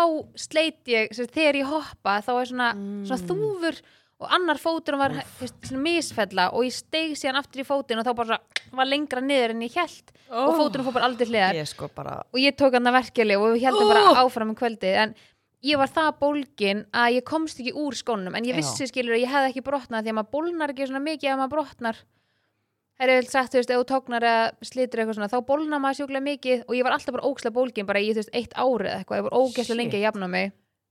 Speaker 3: sleit ég, sem sagt, þegar ég hoppa þá er svona, svona þúfur og annar fótur var þú veist, svona misfella og ég steig síðan aftur í fótinn og þá bara svona, var lengra niður en ég held og fóturinn fór bara aldrei hliðar
Speaker 2: ég er sko bara
Speaker 3: og ég tók hann að verkefli og við heldum bara áfram um kvöldið en ég var það bólgin að ég komst ekki úr skónum en ég
Speaker 1: Já.
Speaker 3: vissi skilur að ég hefði ekki brotnað því að maður bólnar ekki svona mikið ef maður brotnar það er vel sagt, þú veist, ef þú tóknar eða slítur eitthvað svona, þá bólnar maður sjúklega mikið og ég var alltaf bara óksla bólgin bara í, þú veist, eitt árið eitthvað, ég var ógesla
Speaker 1: Shit.
Speaker 3: lengi að jafna mig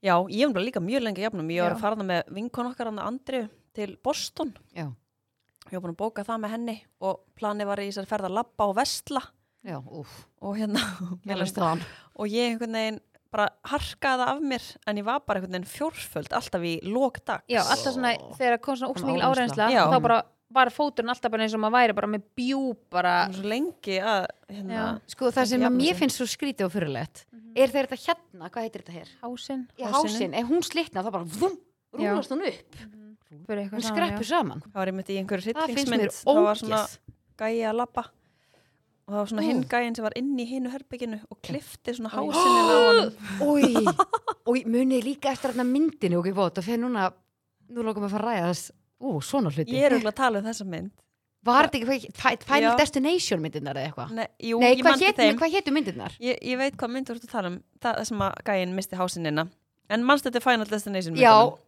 Speaker 2: já, ég er bara líka mjög lengi að jafnum ég var
Speaker 3: Já.
Speaker 2: að fara það með vinkon okkar hann Andri til Boston
Speaker 1: Já,
Speaker 2: ég var búin að bóka það með henni og planið var í þessari ferð að labba og vestla
Speaker 1: já, úf
Speaker 2: og hérna
Speaker 1: Mér leist það
Speaker 2: og ég einhvern veginn bara harkaði það af mér en ég var bara einhvern veginn fjórföld alltaf í lókdags
Speaker 3: já, alltaf svona, þegar kom svona óksla mikil
Speaker 1: Árennsla.
Speaker 3: árensla
Speaker 2: Já.
Speaker 3: þá bara var fóturinn alltaf bara eins og maður væri bara með bjú bara,
Speaker 2: svo lengi að hérna,
Speaker 3: Já.
Speaker 1: Sko, það sem
Speaker 2: Jafna
Speaker 1: að mér
Speaker 2: sig.
Speaker 1: finnst svo skrítið og fyrirlegt er þegar þetta hérna, hvað heitir þetta hér?
Speaker 3: hásinn
Speaker 1: Já,
Speaker 2: Mhm. Hásinn.
Speaker 1: hásinn, ef hún slitna þá bara vum,
Speaker 3: Já.
Speaker 1: rúlast hún upp
Speaker 3: fyrir eitthvað
Speaker 1: hún
Speaker 3: saman, já.
Speaker 1: skreppur saman
Speaker 2: það var einmitt í einhverju
Speaker 1: Það finnst mér
Speaker 2: hryllingsmynd það var svona
Speaker 1: ógeð.
Speaker 2: gæi að labba og það var svona
Speaker 1: Ú.
Speaker 2: hinn gæin sem var inn í hinu herbygginu og klifti svona hásinin á honum
Speaker 1: Úi, úi, munið líka eftir þarna myndinu ok, vót, það fyrir núna nú lókum við að fara að ræða þess, ú, svona hluti
Speaker 2: ég er auðvitað að tala um þessa mynd
Speaker 1: Var þetta ekki hvað- Fi- Final
Speaker 2: Já.
Speaker 1: Destination myndirnar eða eitthvað?
Speaker 2: Nei, Ah. jú,
Speaker 1: Nei,
Speaker 2: ég
Speaker 1: hvað
Speaker 2: mann
Speaker 1: hét-
Speaker 2: þeim
Speaker 1: hvað hétu myndirnar?
Speaker 2: Ég, ég veit hvað myndur þú ert að tala um það sem að gæinn misti hásinina en mannst þetta Final Destination
Speaker 1: Já,
Speaker 2: myndunum?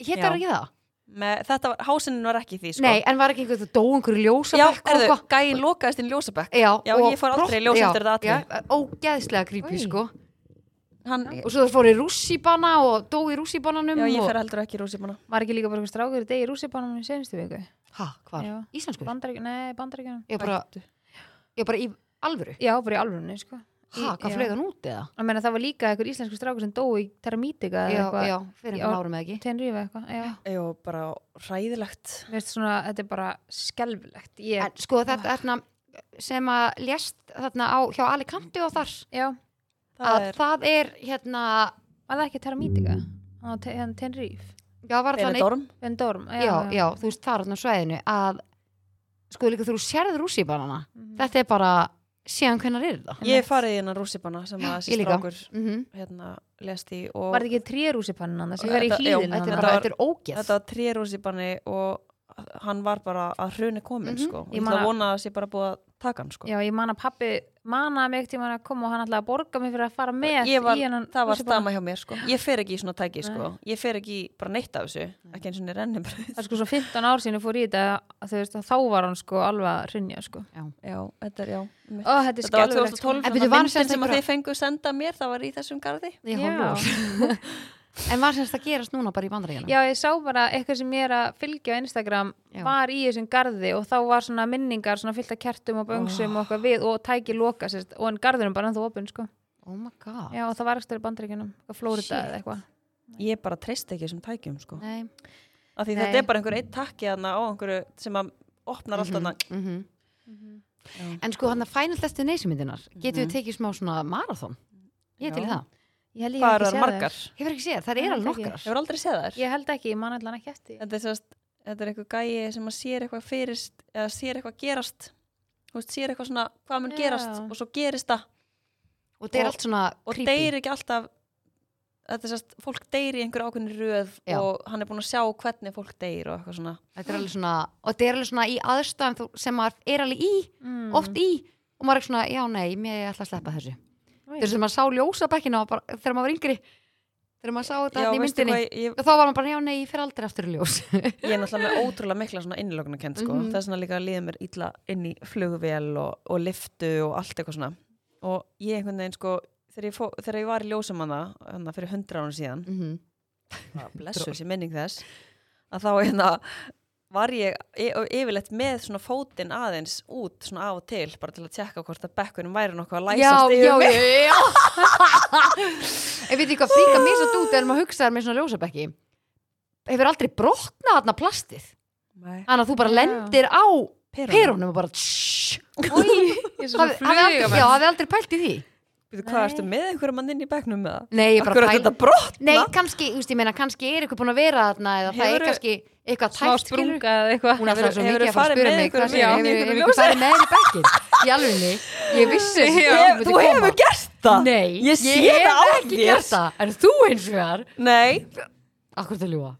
Speaker 1: hétu
Speaker 2: Já.
Speaker 1: það ekki það?
Speaker 2: Með, þetta var, hásinin var ekki í því sko.
Speaker 1: Nei, en var ekki einhver þú dó einhverju
Speaker 2: já,
Speaker 1: ljósabekk og
Speaker 2: erðu,
Speaker 1: eitthvað?
Speaker 2: gæinn lokaðist inn í ljósabekk
Speaker 1: Já,
Speaker 2: Já,
Speaker 1: og
Speaker 2: ég fór aldrei í ljós
Speaker 1: já,
Speaker 2: eftir þetta atriði.
Speaker 1: já, Ógeðslega creepy,
Speaker 3: Oj.
Speaker 1: sko
Speaker 2: hann,
Speaker 1: Og svo þau fór í rússibanna og dó í
Speaker 3: Um
Speaker 1: rússibananum
Speaker 2: já, ég
Speaker 1: og...
Speaker 2: fer heldur ekki í rússimanna
Speaker 3: Var ekki líka bara eitthvað strákur í degi rússipanum í senstu viku?
Speaker 1: Hæ, hvar?
Speaker 3: Já.
Speaker 1: Íslensku?
Speaker 3: Bandarík, nei, bandaríkjunum.
Speaker 1: Ég bara, ég bara í alvöru
Speaker 3: Já, bara í alvörunni, sko.
Speaker 1: Hæ, hvað flöið hann út eða?
Speaker 3: Ég meina, það var líka einhver íslensku strákur sem dói í
Speaker 1: Já,
Speaker 3: Terramítika eða eitthvað.
Speaker 1: já, fyrir
Speaker 3: Já.
Speaker 1: einhvern árum eða ekki
Speaker 3: Tenrífi eða eitthvað, já.
Speaker 2: já, bara ræðilegt
Speaker 3: Mér finnst svona, þetta er bara skelfilegt. Ég,
Speaker 1: En sko þetta
Speaker 2: Ah.
Speaker 1: er þarna sem að lést þarna á, hjá Alicante og þar
Speaker 3: já,
Speaker 1: að
Speaker 2: það er,
Speaker 1: það er hérna
Speaker 3: var það ekki Terramítika? Á te- hérna Tenríf.
Speaker 1: já, var
Speaker 2: er
Speaker 1: þannig,
Speaker 2: þetta orm?
Speaker 3: Vendorm, já.
Speaker 1: já, já, þú veist það er þarna á svæðinu að sko líka þú sérð rússibanana
Speaker 3: Mhm.
Speaker 1: þetta er bara, síðan hvenær er þetta?
Speaker 2: ég hef farið í hennar rússimanna sem að
Speaker 1: ég
Speaker 2: þessi
Speaker 1: líka.
Speaker 2: strákur
Speaker 1: Mm
Speaker 3: Mhm.
Speaker 2: hérna, lest í og
Speaker 3: Var þetta ekki trérússipannan annars? Ég var í
Speaker 2: Þetta- já,
Speaker 3: hlýðin
Speaker 1: þetta, er
Speaker 2: Þetta
Speaker 1: bara,
Speaker 2: var-
Speaker 1: þetta er ógeð
Speaker 2: þetta var trí rússimanni og hann var bara að hruni komin
Speaker 1: Mhm.
Speaker 2: sko. og
Speaker 3: Ég
Speaker 2: ég ætla
Speaker 3: man
Speaker 2: að
Speaker 3: að-
Speaker 2: vona að það sé bara búið að taka hann sko.
Speaker 3: Já, ég man að pappi manaði mig ekkert í að koma og hann ætlaði að borga mig fyrir að fara með
Speaker 2: Ég var,
Speaker 3: í hennan
Speaker 2: það var
Speaker 3: rússíbana.
Speaker 2: stama hjá mér sko. ég fer ekki í svona tæki
Speaker 3: Nei.
Speaker 2: sko. ég fer ekki í bara neitt af þessu ekki eins og niður ennum
Speaker 3: Það er sko svo 15 ár síðan ég fór í þetta að þú veist að þá var hann sko alveg að hrynja sko.
Speaker 2: já, þetta, er, já, mitt.
Speaker 3: Ó, þetta er
Speaker 2: þetta var
Speaker 3: skelfilegt sko.
Speaker 2: 2012
Speaker 1: En
Speaker 2: þannig
Speaker 1: byrju,
Speaker 2: að
Speaker 1: var
Speaker 2: myndin
Speaker 1: semst
Speaker 2: sem að
Speaker 1: einhverja-
Speaker 2: þið fengu senda mér það var í þessum garði
Speaker 1: Ég
Speaker 3: Já.
Speaker 1: horfði á- en var semst að gerast núna bara í bandaríkjana
Speaker 3: Já, ég sá bara eitthvað sem ég er að fylgja á Instagram
Speaker 1: Já.
Speaker 3: var í þessum garði og þá var svona minningar svona fyllt af kertum og böngsum og eitthvað við og tæki loka sérst, og en garðinum bara ennþá opinn sko.
Speaker 1: oh my god
Speaker 3: Já, og það var ekki stöður bandaríkjunum Flórida eða eitthvað.
Speaker 2: ég bara treyst ekki þessum tækjum sko.
Speaker 1: Nei.
Speaker 2: af því
Speaker 3: Nei.
Speaker 2: þetta er bara einhver eitt takki þarna á einhverju sem að opnar alltaf mm
Speaker 1: Mhm, mhm. en sko hann að Final Destination myndinar
Speaker 3: Mhm.
Speaker 1: getur við tekið smá svona marathon ég er til í
Speaker 2: Já.
Speaker 1: það,
Speaker 3: Ég held ég
Speaker 2: hvað
Speaker 3: hef
Speaker 2: eru þær
Speaker 3: ekki séð
Speaker 2: margar?
Speaker 3: þær.
Speaker 1: hefur ekki séð, það
Speaker 3: Nei,
Speaker 1: er alveg
Speaker 3: það ekki.
Speaker 1: nokkrar
Speaker 2: Hefur aldrei séð þær?
Speaker 3: Ég held ekki, ég man allan ekki eftir því.
Speaker 2: þetta er, sérst, þetta er eitthvað gæi sem að sér eitthvað fyrist eða sér eitthvað gerast Þú veist, sér eitthvað svona hvað mun
Speaker 3: Já.
Speaker 2: gerast og svo gerist það
Speaker 1: og það er
Speaker 2: Og-
Speaker 1: allt svona
Speaker 2: og
Speaker 1: creepy.
Speaker 2: deyr ekki alltaf þetta er sérst, fólk deyr í einhverju ákveðni röð
Speaker 1: Já.
Speaker 2: og hann er búin að sjá hvernig fólk deyr og eitthvað svona
Speaker 1: þetta er alveg svona og þetta er alveg svona í aðstæðum þú- sem maður er alveg í,
Speaker 3: Mm.
Speaker 2: Mhm.
Speaker 1: oft í og maður er ekki svona, já nei, mér ég ætla að sleppa þessu
Speaker 3: Oj.
Speaker 1: þegar sem maður sá ljósabekkina og bara, þegar maður var yngri þegar maður sá þetta hérna í
Speaker 2: veistu
Speaker 1: myndinni
Speaker 2: hvað, ég,
Speaker 1: og þá var maður bara, já nei, ég fer aldrei aftur í ljós
Speaker 2: ég er náttúrulega með ótrúlega mikla svona innlögnarkend sko.
Speaker 1: Mhm.
Speaker 2: það er svona líka að líða mér illa inn í flugvél og, og liftu og allt eitthvað svona og ég einhvern veginn sko þegar ég, fó, þegar ég var í ljósamanna hana, fyrir hundra ára síðan
Speaker 1: Mhm.
Speaker 2: blessu þessi minning þess að þá hérna var ég e- og yfirleitt með svona fótinn aðeins út svona af og til bara til að tjekka hvort að bekkunum væri nokkuð
Speaker 1: já,
Speaker 2: að læsast
Speaker 1: já,
Speaker 2: yfir mig
Speaker 1: já, já ég veit ekki hvað fríka mér svo dút þegar maður hugsaðar með svona ljósabekki hefur aldrei brotnað þarna plastið
Speaker 2: Nei,
Speaker 1: þannig að þú bara
Speaker 3: Já.
Speaker 1: lendir á
Speaker 2: perunum.
Speaker 1: Ah, perunum og bara tss,
Speaker 3: Ég er svo
Speaker 1: hafi hafi aldrei, já, hafi aldrei pælt í því
Speaker 2: Býtu, hvað
Speaker 3: Nei.
Speaker 2: ertu með einhverjum mann inn í bekknum með það?
Speaker 1: nei, ég bara
Speaker 2: Akkur að
Speaker 1: pæl-
Speaker 2: þetta brott
Speaker 1: Nei, kannski, þú veist, ég meina, kannski er eitthvað búin að vera þarna eða það er
Speaker 2: Hefurðu
Speaker 1: kannski eitthvað
Speaker 3: smá
Speaker 1: tæft, skilur
Speaker 3: sprunga eða eitthvað.
Speaker 1: Hún er alltaf svo
Speaker 2: Hefurðu-
Speaker 1: mikið að fara að
Speaker 2: hefurðu
Speaker 1: spura mig hvað
Speaker 2: farið með einhverjum-
Speaker 1: sem
Speaker 2: já,
Speaker 1: hefur
Speaker 2: með
Speaker 1: hefur
Speaker 2: einhverjum
Speaker 1: einhver farið með henni bekkinn í alvegni, ég vissi þessi
Speaker 2: Hef- Þú hefur gert það
Speaker 1: Nei,
Speaker 2: Ég sé
Speaker 1: hef
Speaker 2: það á
Speaker 1: ekki
Speaker 2: þér.
Speaker 1: gert það, en þú eins og þar
Speaker 2: Nei,
Speaker 1: Akkur til ljúa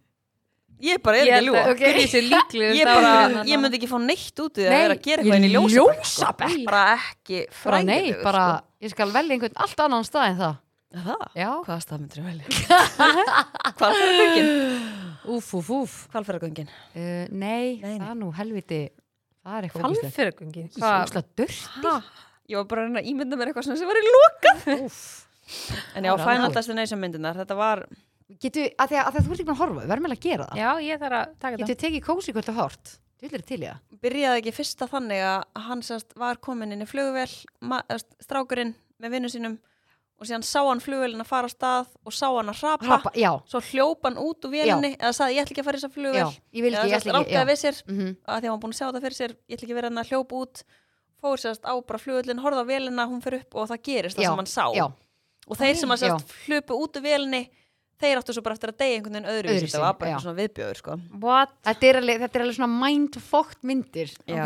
Speaker 2: ég bara er ekki að
Speaker 3: Ég held
Speaker 2: ljúa
Speaker 3: að Gurrý sé líklegust
Speaker 2: Ég,
Speaker 3: á henni
Speaker 2: bara,
Speaker 3: þarna.
Speaker 2: ég myndi ekki fá neitt út í það að
Speaker 1: Nei,
Speaker 2: vera að gera eitthvað inn í
Speaker 1: í
Speaker 2: ljósabekk
Speaker 1: ljósabekk.
Speaker 2: sko. Bara ekki sko.
Speaker 1: Bara
Speaker 2: fræðið
Speaker 1: nei, bara, ég skal velja einhvern allt annan stað en það
Speaker 2: Það?
Speaker 1: Já,
Speaker 2: Hvaða stað myndir ég velja? Hvalfæragöngin
Speaker 1: úf, úf, úf
Speaker 2: Hvalfæragöngin
Speaker 1: Uh, nei,
Speaker 2: Nei, nei.
Speaker 1: það er nú helviti Það er eitthvað ógeðslegt.
Speaker 3: Hvalfjörgungi?
Speaker 1: Svo ógeðslega dörti
Speaker 2: Ég var bara að reyna að ímynda mér eitthvað svona sem var í lokað En
Speaker 1: Það
Speaker 2: já,
Speaker 1: var
Speaker 2: Final
Speaker 1: alveg.
Speaker 2: Destination myndirnar Þetta var,
Speaker 1: Getu, að því að, að því að þú ert ekki búin að horfa, við verðum eiginlega að gera það
Speaker 3: Já, ég þarf að taka
Speaker 1: Getur
Speaker 3: þetta.
Speaker 1: þið tekið kósi kvöld og hort? Þú vilja til í það?
Speaker 2: byrjaði ekki fyrsta þannig að hann sérst var komin inn í flugvél ma- eða st- strákurinn með vinnu sínum og síðan sá hann flugvélina fara af stað og sá hann að hrapa,
Speaker 1: Hrapa, já,
Speaker 2: svo hljóp hann út úr vélinni eða sagði ég ætla ekki að fara í þessa
Speaker 1: já,
Speaker 2: flugvél
Speaker 1: ég vil ekki,
Speaker 2: eða
Speaker 1: ég ætla ekki
Speaker 2: ránkaði
Speaker 1: já.
Speaker 2: við sér
Speaker 1: Mm -hmm.
Speaker 2: að því að hann var búin að sjá þetta fyrir sér ég ætla ekki að vera hann að hljóp út fór sérst á bara flugvélin, horfði á vélina hún fyrir upp og það gerist það
Speaker 1: Já,
Speaker 2: sem hann sá
Speaker 1: já,
Speaker 2: og þeir sem að
Speaker 1: Já.
Speaker 2: sérst hlupu út úr vélinni þeir áttu svo bara eftir að deyja einhvern veginn öðru
Speaker 1: Öðruvísi,
Speaker 2: þetta var bara
Speaker 1: já.
Speaker 2: eitthvað svona viðbjöður sko.
Speaker 3: What?
Speaker 1: þetta er alveg, þetta er alveg svona mindfucked myndir
Speaker 2: Já.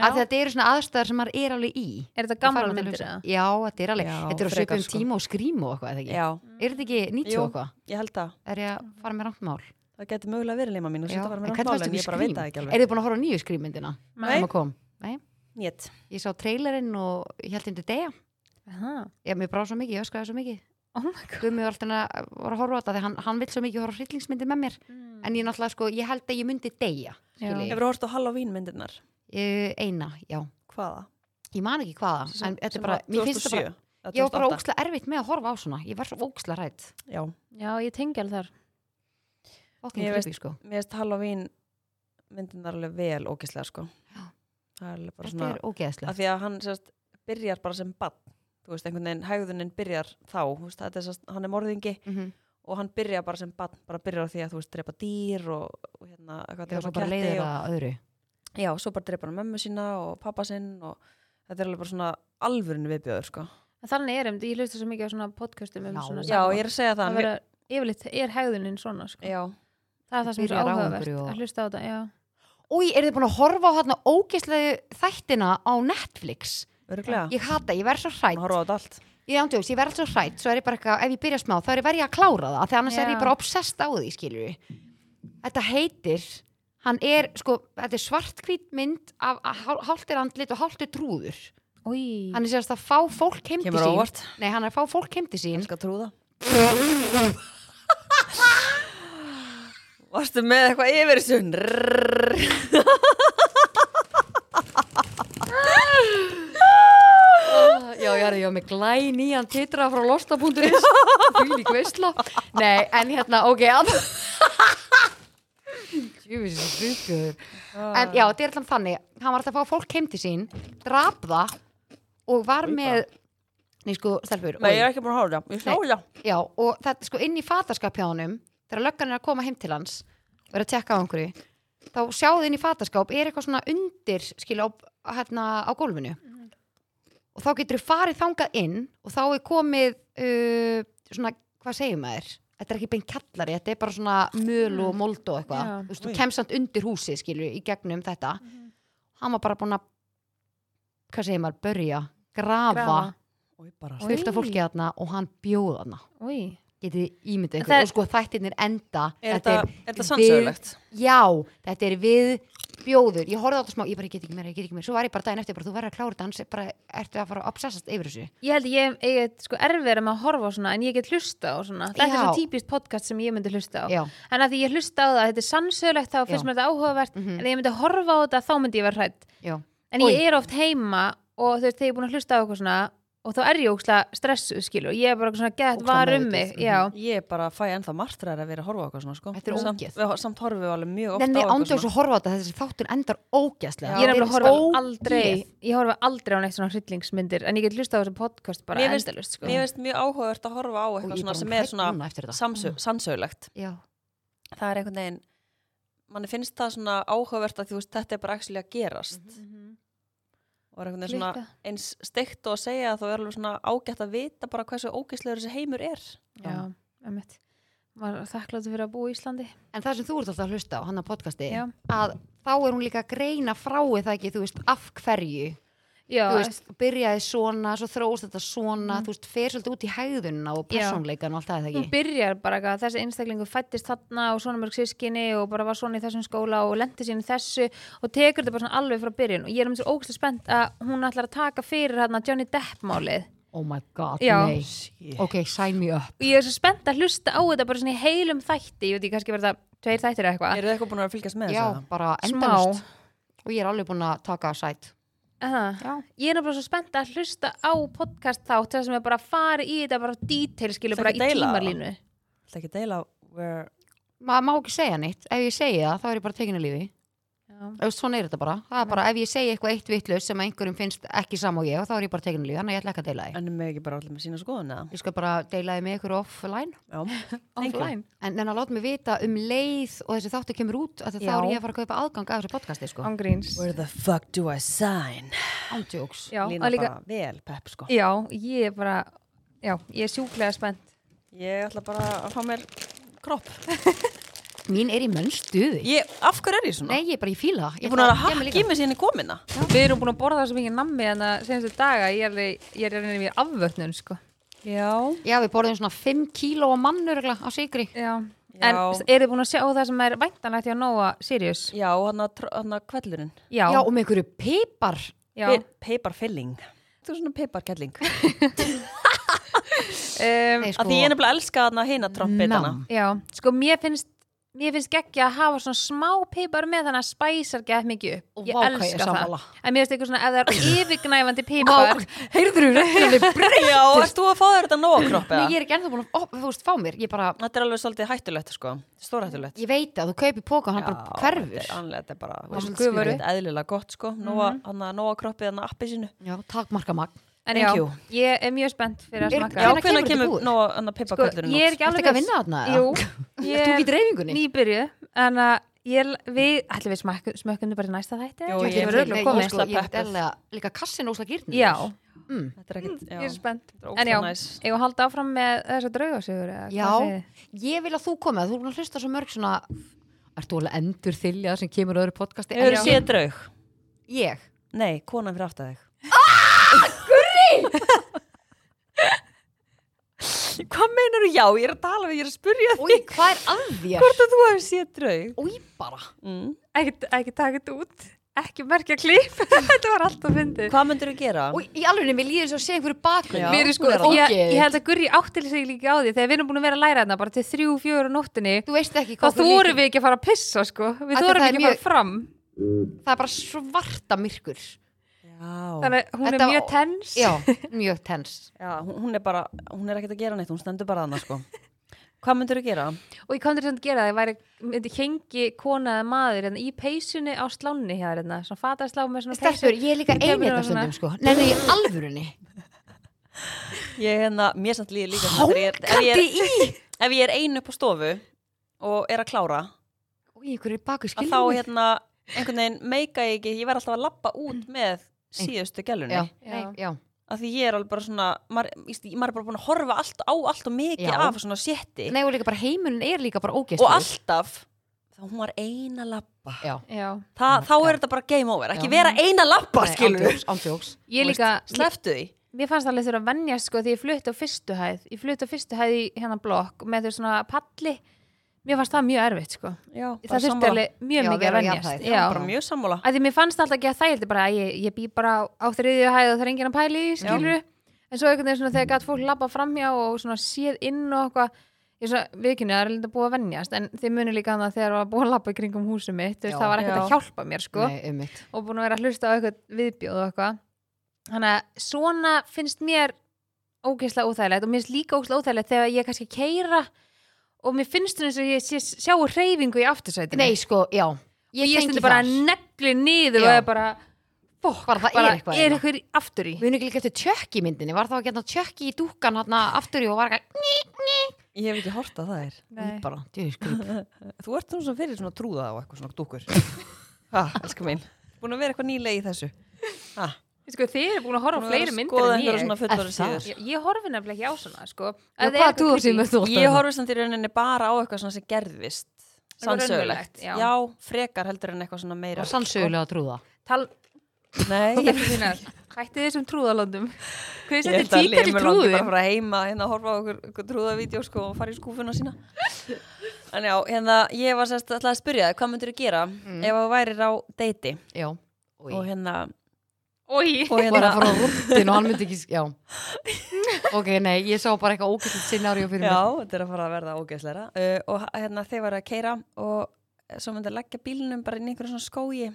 Speaker 1: af því að þetta eru svona aðstæðar sem maður er alveg í
Speaker 3: Er þetta
Speaker 1: Og
Speaker 3: gamla
Speaker 1: fara út að
Speaker 3: myndir
Speaker 1: hugsa.
Speaker 3: eða?
Speaker 1: Já, þetta er alveg,
Speaker 2: Já,
Speaker 1: þetta er um á
Speaker 2: frekar,
Speaker 1: svipum
Speaker 2: sko.
Speaker 1: tíma og skrím og eitthvað, eða ekki?
Speaker 2: Já.
Speaker 1: Er þetta ekki 90
Speaker 2: Jú.
Speaker 1: og eitthvað?
Speaker 2: ég held það
Speaker 1: Er ég að fara með rangt mál?
Speaker 2: það geti mögulega verið leima mín og
Speaker 1: Já,
Speaker 2: þetta var
Speaker 1: en
Speaker 2: mér
Speaker 1: hvernig
Speaker 2: að
Speaker 1: fannst
Speaker 2: mála en ég
Speaker 1: ykkur
Speaker 2: bara
Speaker 1: skrím?
Speaker 2: veit það ekki alveg
Speaker 1: Er þið búin að horfa á nýju skrýmyndina?
Speaker 3: Nei.
Speaker 1: sem að kom? Nei.
Speaker 2: Nét.
Speaker 1: Ég sá trailerinn og ég held hindi degja.
Speaker 3: Aha.
Speaker 1: Ég, mér brá svo mikið, ég öskraði svo mikið.
Speaker 3: Oh my god
Speaker 1: Gumi var alltaf að var að horfa á þetta þegar hann, hann vill svo mikið horfa á hryllingsmyndir með mér. En ég náttúrulega sko, ég held að ég myndi degja.
Speaker 3: Já.
Speaker 1: Ég,
Speaker 2: Hefur þú hort á Halloween myndirnar?
Speaker 1: eina, já.
Speaker 2: Hvaða?
Speaker 1: Ég man ekki hvaða,
Speaker 2: Sem-
Speaker 1: en þetta
Speaker 2: sem
Speaker 1: er bara,
Speaker 2: var
Speaker 1: mér finnst þetta
Speaker 2: 2007
Speaker 1: bara,
Speaker 2: eða
Speaker 1: ég var bara
Speaker 2: 2008.
Speaker 1: ókslega erfitt með að horfa á svona. Ég var svo ókslega rætt.
Speaker 2: Já,
Speaker 3: Já, ég tengi alveg þar
Speaker 1: Fokkin
Speaker 2: Ég veist-
Speaker 1: creepy, sko.
Speaker 2: mér finnst Halloween myndirnar alveg vel ógislega sko
Speaker 1: Já.
Speaker 2: Það er alveg bara
Speaker 1: Þetta
Speaker 2: svona
Speaker 1: er ógeðslegt.
Speaker 2: af því að hann sérst, byrjar bara sem bann þú veist, einhvern veginn, hægðunin byrjar þá þú veist, þetta er sérst, hann er morðingi
Speaker 1: Mm
Speaker 2: og hann byrjar bara sem bann, bara byrjar á því að þú veist, drepa dýr og, og hérna,
Speaker 1: Ég
Speaker 2: eitthvað
Speaker 1: var svo
Speaker 2: drepa
Speaker 1: bara leiðir
Speaker 2: og,
Speaker 1: að öðru.
Speaker 2: já, svo bara drepa hann mömmu sína og pappa sinn og þetta er alveg bara svona alvörinu viðbjöður, sko
Speaker 3: En þannig er um, ég hlusta svo mikið á svona podcastum um
Speaker 1: Já.
Speaker 3: svona
Speaker 2: já, ég er að segja það,
Speaker 3: það
Speaker 2: mér,
Speaker 3: vera, Yfirleitt er hegðunin svona sko.
Speaker 2: já,
Speaker 3: Það er það sem er
Speaker 1: Byrjar
Speaker 3: svo
Speaker 1: á
Speaker 3: áhugavert
Speaker 1: einhverju og-
Speaker 3: að hlusta á þetta já.
Speaker 1: Úi, er þið búin að horfa á þarna ógeðslegu þættina á Netflix?
Speaker 2: örglega
Speaker 1: Ég hata, ég verð svo
Speaker 2: hann
Speaker 1: hrætt.
Speaker 2: horfa á þetta allt
Speaker 1: Ég ándjóks, ég verð svo hrætt, svo er ég bara eitthvað, ef ég byrja smá, þá er ég verið að klára það, því annars
Speaker 3: Já.
Speaker 1: er ég bara obsessed á því, skilur við. Þetta heitir, hann er, sko, þetta er svartkvít mynd af af hál- hálft er andlit og hálft er trúður.
Speaker 3: Új,
Speaker 1: Hann er sérst að fá fólk heim til
Speaker 2: kemur á
Speaker 1: sín.
Speaker 2: óvart,
Speaker 1: Nei, hann er að fá fólk heim til sín.
Speaker 2: ég skal trúða varstu með eitthvað yfir þessu
Speaker 1: Já, Sko, já, já, með glæn í hann titra frá losta.is, fylg í kvisla. Nei, en hérna, ok, að... Jöfis, svikur. En já, þetta er alltaf þannig, hann var alltaf að fá fólk heim til sín, draf það og var með, nei sko, stelpur,
Speaker 2: Nei, ég
Speaker 1: oj,
Speaker 2: er ekki búin að horfa á það.
Speaker 1: Nei.
Speaker 2: Ég sjá það.
Speaker 1: já, og þetta sko inn í fataskapjánum, þegar löggan er að koma heim til hans og er að tekka á einhverju, þá sjáðu inn í fataskáp, er eitthvað svona undir, skilja, á, hérna, á gólfinu. Og þá getur þú farið þangað inn og þá er komið, uh, svona, hvað segir maður? Þetta er ekki bein kallari, þetta er bara svona möl og mold og eitthvað.
Speaker 3: Mm. Já. Mhm.
Speaker 1: Þú veist, þú
Speaker 2: Oj.
Speaker 1: kemst samt undir húsið, skilju, í gegnum þetta. Hann var bara búin að, hvað segir maður, börja, grafa,
Speaker 3: Grafa.
Speaker 1: grafa.
Speaker 2: Úi, bara.
Speaker 3: Oj.
Speaker 1: fullt af fólki þarna og hann bjóð þarna
Speaker 3: új
Speaker 1: getið þið ímyndið
Speaker 3: En
Speaker 1: ykkur
Speaker 3: það-
Speaker 1: og sko þættirnir enda
Speaker 2: Er þetta, er þetta
Speaker 1: við-
Speaker 2: sannsögulegt?
Speaker 1: já, þetta er við bjóður, ég horfði á þetta smá, ég bara "Ég get ekki meira, ég get ekki meira svo var ég bara daginn eftir, bara, þú verður að klára dans bara ertu að fara að obsessast yfir þessu
Speaker 3: Ég held að ég er sko erfið með að horfa á svona en ég get hlusta á svona Þetta er svo
Speaker 1: Já.
Speaker 3: típist podcast sem ég myndi hlusta á
Speaker 1: já,
Speaker 3: En að því ég hlusta á það, þetta er sannsögulegt þá finnst
Speaker 1: Já.
Speaker 3: mér þetta áhugavert En ef ég myndi horfa á þetta þá myndi ég vera hrætt
Speaker 1: já,
Speaker 3: En ég er oft heima og þú veist þegar ég er búin að hlusta á eitthvað svona og þá er ég ókslega stressuð skilur Ég er bara svona gett
Speaker 1: Ógeðslega
Speaker 3: var um
Speaker 1: meðvituð,
Speaker 3: mig
Speaker 1: mhm.
Speaker 3: Já,
Speaker 2: Ég bara fæ ennþá martræðar að vera að horfa á eitthvað svona, sko.
Speaker 1: Þetta er
Speaker 2: Samt-
Speaker 1: ógeð.
Speaker 2: við- Samt horfum við alveg mjög ofta
Speaker 1: en ég
Speaker 2: á
Speaker 1: ándu
Speaker 2: eitthvað sko.
Speaker 1: þess að horfa á þetta þessi þáttur endar ógæslega
Speaker 3: Ég er nefnilega að horfa aldrei Ég horfa aldrei á neitt svona hryllingsmyndir En ég get hlusta á þessu podcast bara
Speaker 2: Mér finnst-
Speaker 3: endalust sko.
Speaker 2: Mér finnst mjög áhugavert að horfa á eitthvað svona sem er svona samsö- sannsögulegt.
Speaker 1: Mm. já,
Speaker 2: Það er einhvern veginn, manni finnst það svona áhugavert að þú veist, þetta er bara actually að gerast.
Speaker 3: Mhm.
Speaker 2: Og er einhvern veginn svona
Speaker 3: Klikka.
Speaker 2: eins steikt og að segja að þá er alveg svona ágætt að vita bara hversu ógeðslegur þessi heimur er.
Speaker 3: Já, emmitt Var þakkláttu fyrir að búa í Íslandi
Speaker 1: en það sem þú ert alltaf að hlusta á hann að podcasti
Speaker 3: Já.
Speaker 1: að þá er hún líka að greina frá er það ekki, þú veist, af hverju
Speaker 3: Já, Mhm.
Speaker 1: þú veist, byrjaði svona, svo þróst þetta svona þú veist, fer svolítið út í hæðunna og
Speaker 3: Já. Mhm.
Speaker 1: persónleikan og allt það er það
Speaker 3: hún
Speaker 1: ekki
Speaker 3: byrjar bara eitthvað að þessi einstaklingu fættist þarna og svona mörg sískinni og bara var svona í þessum skóla og lendi sín í þessu og tekur þetta bara svona alveg frá byrjun og ég er um þessu ógæslega spennt að hún ætlar að taka fyrir hérna Johnny Depp málið
Speaker 1: oh my god,
Speaker 3: Já.
Speaker 1: nei ok, sign me up
Speaker 3: og ég er svo spennt að hlusta á þetta bara svona í heilum þætti, ég veit ekki kannski verða tveir þættir eða eitthvað
Speaker 2: Eru þið eitthvað búin að vera að fylgjast með þessu?
Speaker 1: já,
Speaker 2: eða?
Speaker 1: bara endalust og ég er alveg búin að taka sæt
Speaker 3: Aha.
Speaker 1: Já.
Speaker 3: Ég er náttúrulega svo spennt að hlusta á podcast þátt þar sem er bara að fara í þetta bara detail skilu
Speaker 2: Það
Speaker 3: bara
Speaker 2: ekki
Speaker 3: í
Speaker 2: deila það?
Speaker 3: tímarlínu
Speaker 2: Ætla ekki að deila where
Speaker 1: maður má ekki segja neitt, ef ég segi það þá er ég bara tekinu lífi
Speaker 3: Já.
Speaker 1: Þú veist, svona er þetta bara, það er bara ef ég segi eitthvað eitt vitlaus sem einhverjum finnst ekki sam og ég þá er ég bara tekinu lífi, þannig að ég ætla ekki að deila því
Speaker 2: En með ekki bara allir með sína skoðun eða?
Speaker 1: ég skal bara deila því með ykkur offline
Speaker 2: Já.
Speaker 3: Offline
Speaker 1: en en að láta mig vita um leið og þessi þáttu kemur út að þá
Speaker 3: Já.
Speaker 1: er ég að fara að kaupa aðgang að þessu podcasti sko.
Speaker 3: Ángríns
Speaker 2: Where the fuck do I sign?
Speaker 1: ándjóks
Speaker 3: Já,
Speaker 2: Lína
Speaker 3: og líka,
Speaker 2: bara vel pepp sko.
Speaker 3: já, ég er bara Já, ég er sjúklega spennt
Speaker 2: Ég ætla bara að fá mér kropp.
Speaker 1: mín er í mönn stuði
Speaker 2: Ég, af hverju er ég svona?
Speaker 1: Nei, ég er bara í fíla það.
Speaker 2: ég er búin að
Speaker 1: ætla
Speaker 2: vera
Speaker 1: gera
Speaker 2: að
Speaker 1: mig
Speaker 2: hakka í
Speaker 1: líka.
Speaker 2: mig síðan ég kom hérna. inna.
Speaker 3: Við erum búin að borða svo mikið nammi en að senstu daga ég er, alveg- ég er reynir mér afvötnun sko
Speaker 2: Já.
Speaker 1: Já, við borðum svona 5 kíló á mannur á sigri
Speaker 3: Já, En
Speaker 2: Já.
Speaker 3: eru þið búin að sjá það sem er væntanlegt hjá Nóa Sirius?
Speaker 2: Já, hann að, hann að kvellurinn
Speaker 3: Já,
Speaker 1: Já, og með einhverju pipar
Speaker 3: já.
Speaker 2: Paper filling Þú er svona peiparkelling
Speaker 3: Um,
Speaker 1: Nei, sko.
Speaker 2: Af því ég er nefnilega elska hann að hina trompetana
Speaker 1: Nam.
Speaker 3: já. Sko, mér finnst Mér finnst geggja að hafa svona smá pipar með þannig að spæsar gett mikið upp.
Speaker 1: Og vá,
Speaker 3: Ég
Speaker 1: hvað ég er
Speaker 3: elska það.
Speaker 1: sammála.
Speaker 3: En mér finnst eitthvað svona, ef það er yfirgnæfandi pipar,
Speaker 1: Heyrður þú reyðinni breytt
Speaker 2: Já, erst þú að fá þér þetta nóg á kropp
Speaker 1: Nei, ég
Speaker 2: eða?
Speaker 1: er ekki ennþá búin að, ó, þú veist, fá mér Ég bara,
Speaker 2: Þetta er alveg svolítið hættulegt sko Stórhættulegt
Speaker 1: ég veit að þú kaupir póka og hann
Speaker 2: Já,
Speaker 1: bara hverfur
Speaker 2: Þetta er, annað- þetta er bara, þú
Speaker 1: Hann
Speaker 2: veist,
Speaker 1: gufar
Speaker 2: þetta
Speaker 1: upp.
Speaker 2: er eðlilega gott sko Nóa, hann að nóa kroppið hann að appi sínu
Speaker 1: Já, takk marka magn
Speaker 3: en
Speaker 2: Thank
Speaker 3: já,
Speaker 2: you.
Speaker 3: ég er mjög spennt fyrir að
Speaker 1: Er-
Speaker 3: smaka.
Speaker 2: Já,
Speaker 1: Hvenær
Speaker 2: hvenær
Speaker 1: kemur þetta
Speaker 2: kemur
Speaker 1: búið?
Speaker 2: nóa hann að
Speaker 3: Sko,
Speaker 2: peiparkellurinn
Speaker 3: ég er
Speaker 2: út?
Speaker 3: ekki alveg
Speaker 1: Ertu ekki að
Speaker 3: viss.
Speaker 1: vinna þarna, eða?
Speaker 3: Jú,
Speaker 1: Ert þú ekki í dreifingunni?
Speaker 3: Nýbyrju, en að ég, við, ætlum við smakk, smökkum þau bara í næsta þætti?
Speaker 2: Jú, ég
Speaker 3: Ég ætlum
Speaker 2: er
Speaker 3: við
Speaker 2: til
Speaker 3: örugglega
Speaker 2: í-
Speaker 3: komin.
Speaker 1: ég, sko, ég
Speaker 2: Pepper.
Speaker 1: dælega, líka kassin ósla gýrnir
Speaker 3: Já,
Speaker 2: Þetta er ekkert, já
Speaker 3: Mm, ég er spennt.
Speaker 2: Þetta er
Speaker 3: En já,
Speaker 2: ógeðslega næs.
Speaker 3: ég var halda áfram með þessa draugasögur. eða hvað
Speaker 1: Já,
Speaker 3: segið þið?
Speaker 1: ég vil að þú komi að þú er búin að hlusta svo mörg svona Ertu alveg endur þylja sem kemur á öðru podcasti
Speaker 2: Hefur
Speaker 1: En
Speaker 2: séð draug?
Speaker 1: Ég
Speaker 2: Nei, konan fyrir aftar þig
Speaker 3: Ah,
Speaker 2: Gurri! Hvað meinar þú já? Ég er að tala við, ég er að spurja
Speaker 1: Új, hvað er að þér?
Speaker 2: hvort að þú hefur séð draug
Speaker 1: Új, bara
Speaker 2: mm.
Speaker 3: Ekki, ekki taka þetta út, ekki merkja klip, þetta var alltaf fyndið.
Speaker 2: Hvað myndir þú gera?
Speaker 1: Új, í alveg, mér líður svo að sé einhverju bakunni
Speaker 2: Já.
Speaker 3: Mér er sko,
Speaker 1: Hún
Speaker 3: ég,
Speaker 1: ógeðið.
Speaker 3: ég held að Gurri áttil sig líka á því þegar við erum búin að vera að læra þarna bara til þrjú, fjögur á nóttinni
Speaker 1: Þú veist ekki
Speaker 3: þá
Speaker 1: hvað þú
Speaker 3: þórum
Speaker 1: lítur-
Speaker 3: við ekki að fara að pissa sko við
Speaker 1: Ætli
Speaker 3: þórum
Speaker 1: það er
Speaker 3: ekki að
Speaker 1: mjög-
Speaker 3: fara fram
Speaker 1: Það er bara svarta myrkur
Speaker 2: Já,
Speaker 3: þannig að hún
Speaker 1: Þetta-
Speaker 3: er mjög tens
Speaker 1: Já, mjög tens
Speaker 2: já hún, hún er bara, hún er ekkert að gera neitt, hún stendur bara annars sko Hvað myndir þú gera?
Speaker 3: og ég kom til þess að gera það, ég væri myndi hengi kona eða maður hérna, í peysunni á slánni hér, hérna, svona fatarslá með svona
Speaker 1: Stelpur, ég er líka
Speaker 3: Ég kemur
Speaker 1: einið
Speaker 3: á
Speaker 1: þetta
Speaker 3: svona-
Speaker 1: stundum sko Nei, nei, í alvörunni
Speaker 2: Ég hérna, mér samt líður líka svona þegar ég er- ef
Speaker 1: Hákandi
Speaker 2: ég,
Speaker 1: í
Speaker 2: er, ef ég er ein upp á stofu og er að klára
Speaker 1: Új, einhverju baku
Speaker 2: að
Speaker 1: skilur
Speaker 2: þá hérna, einhvern veginn meika ég ekki, ég verð alltaf að labba út með síðustu
Speaker 3: hérna-
Speaker 2: gælunni
Speaker 1: Já, nei, já
Speaker 2: að því ég er alveg bara svona maður, víst, maður er bara búin að horfa allt, á allt og mikið
Speaker 1: Já.
Speaker 2: af svona sétti
Speaker 1: Nei, og líka bara heimurinn er líka bara ógeðslu
Speaker 2: og alltaf þá hún var eina lappa
Speaker 1: Já
Speaker 3: Já.
Speaker 2: Þa, þá
Speaker 1: Já.
Speaker 2: er þetta bara game over, ekki
Speaker 1: Já.
Speaker 2: vera eina lappa
Speaker 1: Nei,
Speaker 2: skilur
Speaker 1: ándjóks, ándjóks
Speaker 3: ég líka,
Speaker 2: sleftu því
Speaker 3: mér fannst alveg þurfa að vennja sko því ég flutti á fyrstu hæð ég flutti á fyrstu hæð í hérna blokk með þau svona palli mér fannst það mjög erfitt sko
Speaker 2: já,
Speaker 3: það þurfti alveg mjög
Speaker 1: Já,
Speaker 3: mikið að
Speaker 1: vera á
Speaker 3: vennjast
Speaker 1: jafnhæð.
Speaker 3: Já.
Speaker 2: bara mjög sammála
Speaker 3: að því mér fannst alltaf ekki að þægildi bara að ég, ég bý bara á, á þriðju hæð og það er enginn að pæli í, skilur en svo einhvern veginn svona þegar gætt fólk labba framhjá og svona séð inn og eitthvað ég svona viðkynni að það er linda búið að venjast en þið munir líka þannig að þegar það var búið að labba í kringum húsum mitt, þú veist,
Speaker 1: Já.
Speaker 3: það var ekkert
Speaker 2: Já.
Speaker 3: að hjálpa mér sko
Speaker 1: Nei, um mitt
Speaker 3: og búin að vera að hlusta á eitthvað viðbjóð og eitthvað þannig að svona finnst mér ógeðslega óþægilegt og mér finnst líka ógeðslega óþægilegt þegar ég kannski keira og mér finnst svona eins og ég sé, sjáu hreyfingu í aftursætinu
Speaker 1: Nei, sko, já
Speaker 3: ég, ég
Speaker 1: tengi
Speaker 3: stundi bara
Speaker 1: þar.
Speaker 3: negli niður
Speaker 1: Já.
Speaker 3: og er bara fokk,
Speaker 1: Bara það er eitthvað
Speaker 3: er
Speaker 1: hérna.
Speaker 3: eitthvað aftur í
Speaker 1: Við erum ekki líka eftir tjökk í myndinni Var þá ekki hérna tjökk í dúkkan hérna aftur í og var ekki
Speaker 2: ég hef ekki hort að það er
Speaker 3: Nei.
Speaker 1: Bara, djöðu skrýp
Speaker 2: þú ert svona fyrir svona trúða á eitthvað svona dúkur ha, elsku mín búin að vera eitthvað nýlega í þessu ha,
Speaker 3: sko, þið eru búin að
Speaker 2: búin
Speaker 3: horfa á
Speaker 2: að
Speaker 3: fleiri
Speaker 2: vera að
Speaker 3: myndir
Speaker 2: skoða
Speaker 3: en
Speaker 2: einhverjar
Speaker 3: ég
Speaker 2: svona fullorðið
Speaker 1: Er það?
Speaker 2: síður.
Speaker 3: ég, ég horfi nefnilega ekki á svona sko.
Speaker 1: Já, hvað þú sem þú átt að
Speaker 2: Ég
Speaker 1: hérna?
Speaker 2: horfist þannig í rauninni bara á eitthvað svona sem gerðist
Speaker 3: Eitthvað
Speaker 2: sannsögulegt,
Speaker 3: raunverulegt, já.
Speaker 2: já. frekar heldur en eitthvað svona meira sko.
Speaker 1: Og sannsögulega trúða
Speaker 3: tal
Speaker 2: Nei, ég
Speaker 3: hætti þessum trúðalöndum hvað er
Speaker 2: Ég held
Speaker 3: þetta
Speaker 2: að
Speaker 3: tíkar
Speaker 2: Limur
Speaker 3: í
Speaker 2: landi bara
Speaker 3: trúðum
Speaker 2: að fara heima hérna að horfa á okkur, okkur trúðavídeó sko og fara í skúfuna sína En já, hérna, ég var sérst alltaf að spyrja þig, hvað myndirðu gera
Speaker 1: Mm.
Speaker 2: ef þú værir á deiti
Speaker 1: Já
Speaker 2: og
Speaker 1: Og
Speaker 2: hérna,
Speaker 3: Oj.
Speaker 2: og
Speaker 1: bara að
Speaker 2: hérna
Speaker 1: fara á rúttin og hann myndi ekki Já Ok, nei, ég sá bara eitthvað ógæstlegt sinnári og fyrir
Speaker 2: Já,
Speaker 1: mér
Speaker 2: þetta er að fara að verða ógeðsleira uh, og hérna, þeir var að keira og svo myndir leggja bílnum bara inn í einhverjum svona skói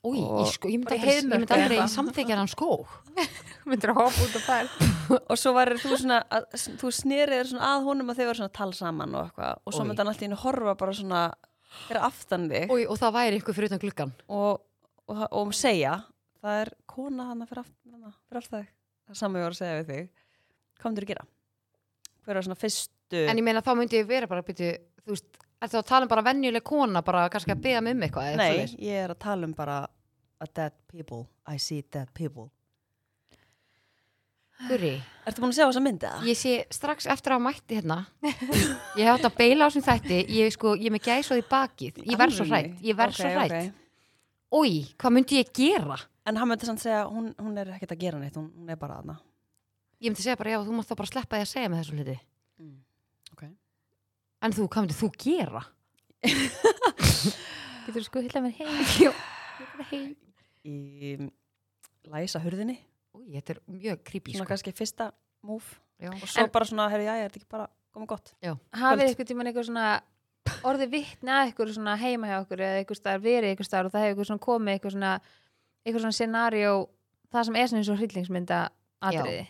Speaker 1: Új, ég, sko, ég myndi aldrei,
Speaker 3: Bara í
Speaker 1: ég
Speaker 3: heiðmörk
Speaker 1: myndi aldrei
Speaker 3: eða eitthvað.
Speaker 1: samþykja hann sko. skó
Speaker 3: myndir að hoppa út og fær
Speaker 2: og svo var þú svona að, þú snerið þér svona að honum og þau var svona að tala saman og eitthvað og svo
Speaker 1: Oj.
Speaker 2: myndi hann alltaf inn að horfa bara svona fyrir aftan þig og,
Speaker 1: Új, og það væri einhver fyrir utan gluggan
Speaker 2: og, og, segja það er kona hann fyrir aftan hana, fyrir aftan þig, það saman ég var að segja við þig hvað myndir þú gera? hver var svona fyrstu
Speaker 1: En ég meina þá myndi ég vera bara byrju, Þú veist, ertu að tala um bara venjuleg kona bara kannski að beða mig um eitthvað eða
Speaker 2: nei,
Speaker 1: svoleiðis?
Speaker 2: ég er að tala um bara a dead people, I see dead people
Speaker 1: Gurrí,
Speaker 2: Ertu búin að sjá þessa myndi það?
Speaker 1: ég sé strax eftir að mætti hérna Ég hef átt að beila á sem þætti Ég, sko, ég er með gæs í bakið Ég verð svo hrætt, ég verð svo hrætt Új, hvað myndi ég gera?
Speaker 2: En hann myndi samt segja, hún, hún er ekkert að gera neitt, hún, hún er bara aðna.
Speaker 1: Mm. Ég myndi segja bara, já, þú mátt þá bara sleppa því að segja með þessum hluti
Speaker 2: Mm.
Speaker 1: en þú, hvað myndir þú gera?
Speaker 3: Getur þú sko hilla mér heim?
Speaker 1: Jú.
Speaker 2: í um, læsa hurðinni
Speaker 1: Új, þetta er mjög creepy
Speaker 2: svona
Speaker 1: sko.
Speaker 2: kannski fyrsta múf
Speaker 1: Já.
Speaker 2: og svo bara svona, herri, já, er þetta ekki bara komið gott
Speaker 3: Hafið
Speaker 2: Kvöld.
Speaker 3: eitthvað tíman eitthvað svona orðið vitni að eitthvað svona heima hjá okkur eða eitthvað staðar verið eitthvað staðar og það hefur eitthvað svona komið eitthvað svona eitthvað svona scenario það sem er svona eins og hryllingsmynda atriði.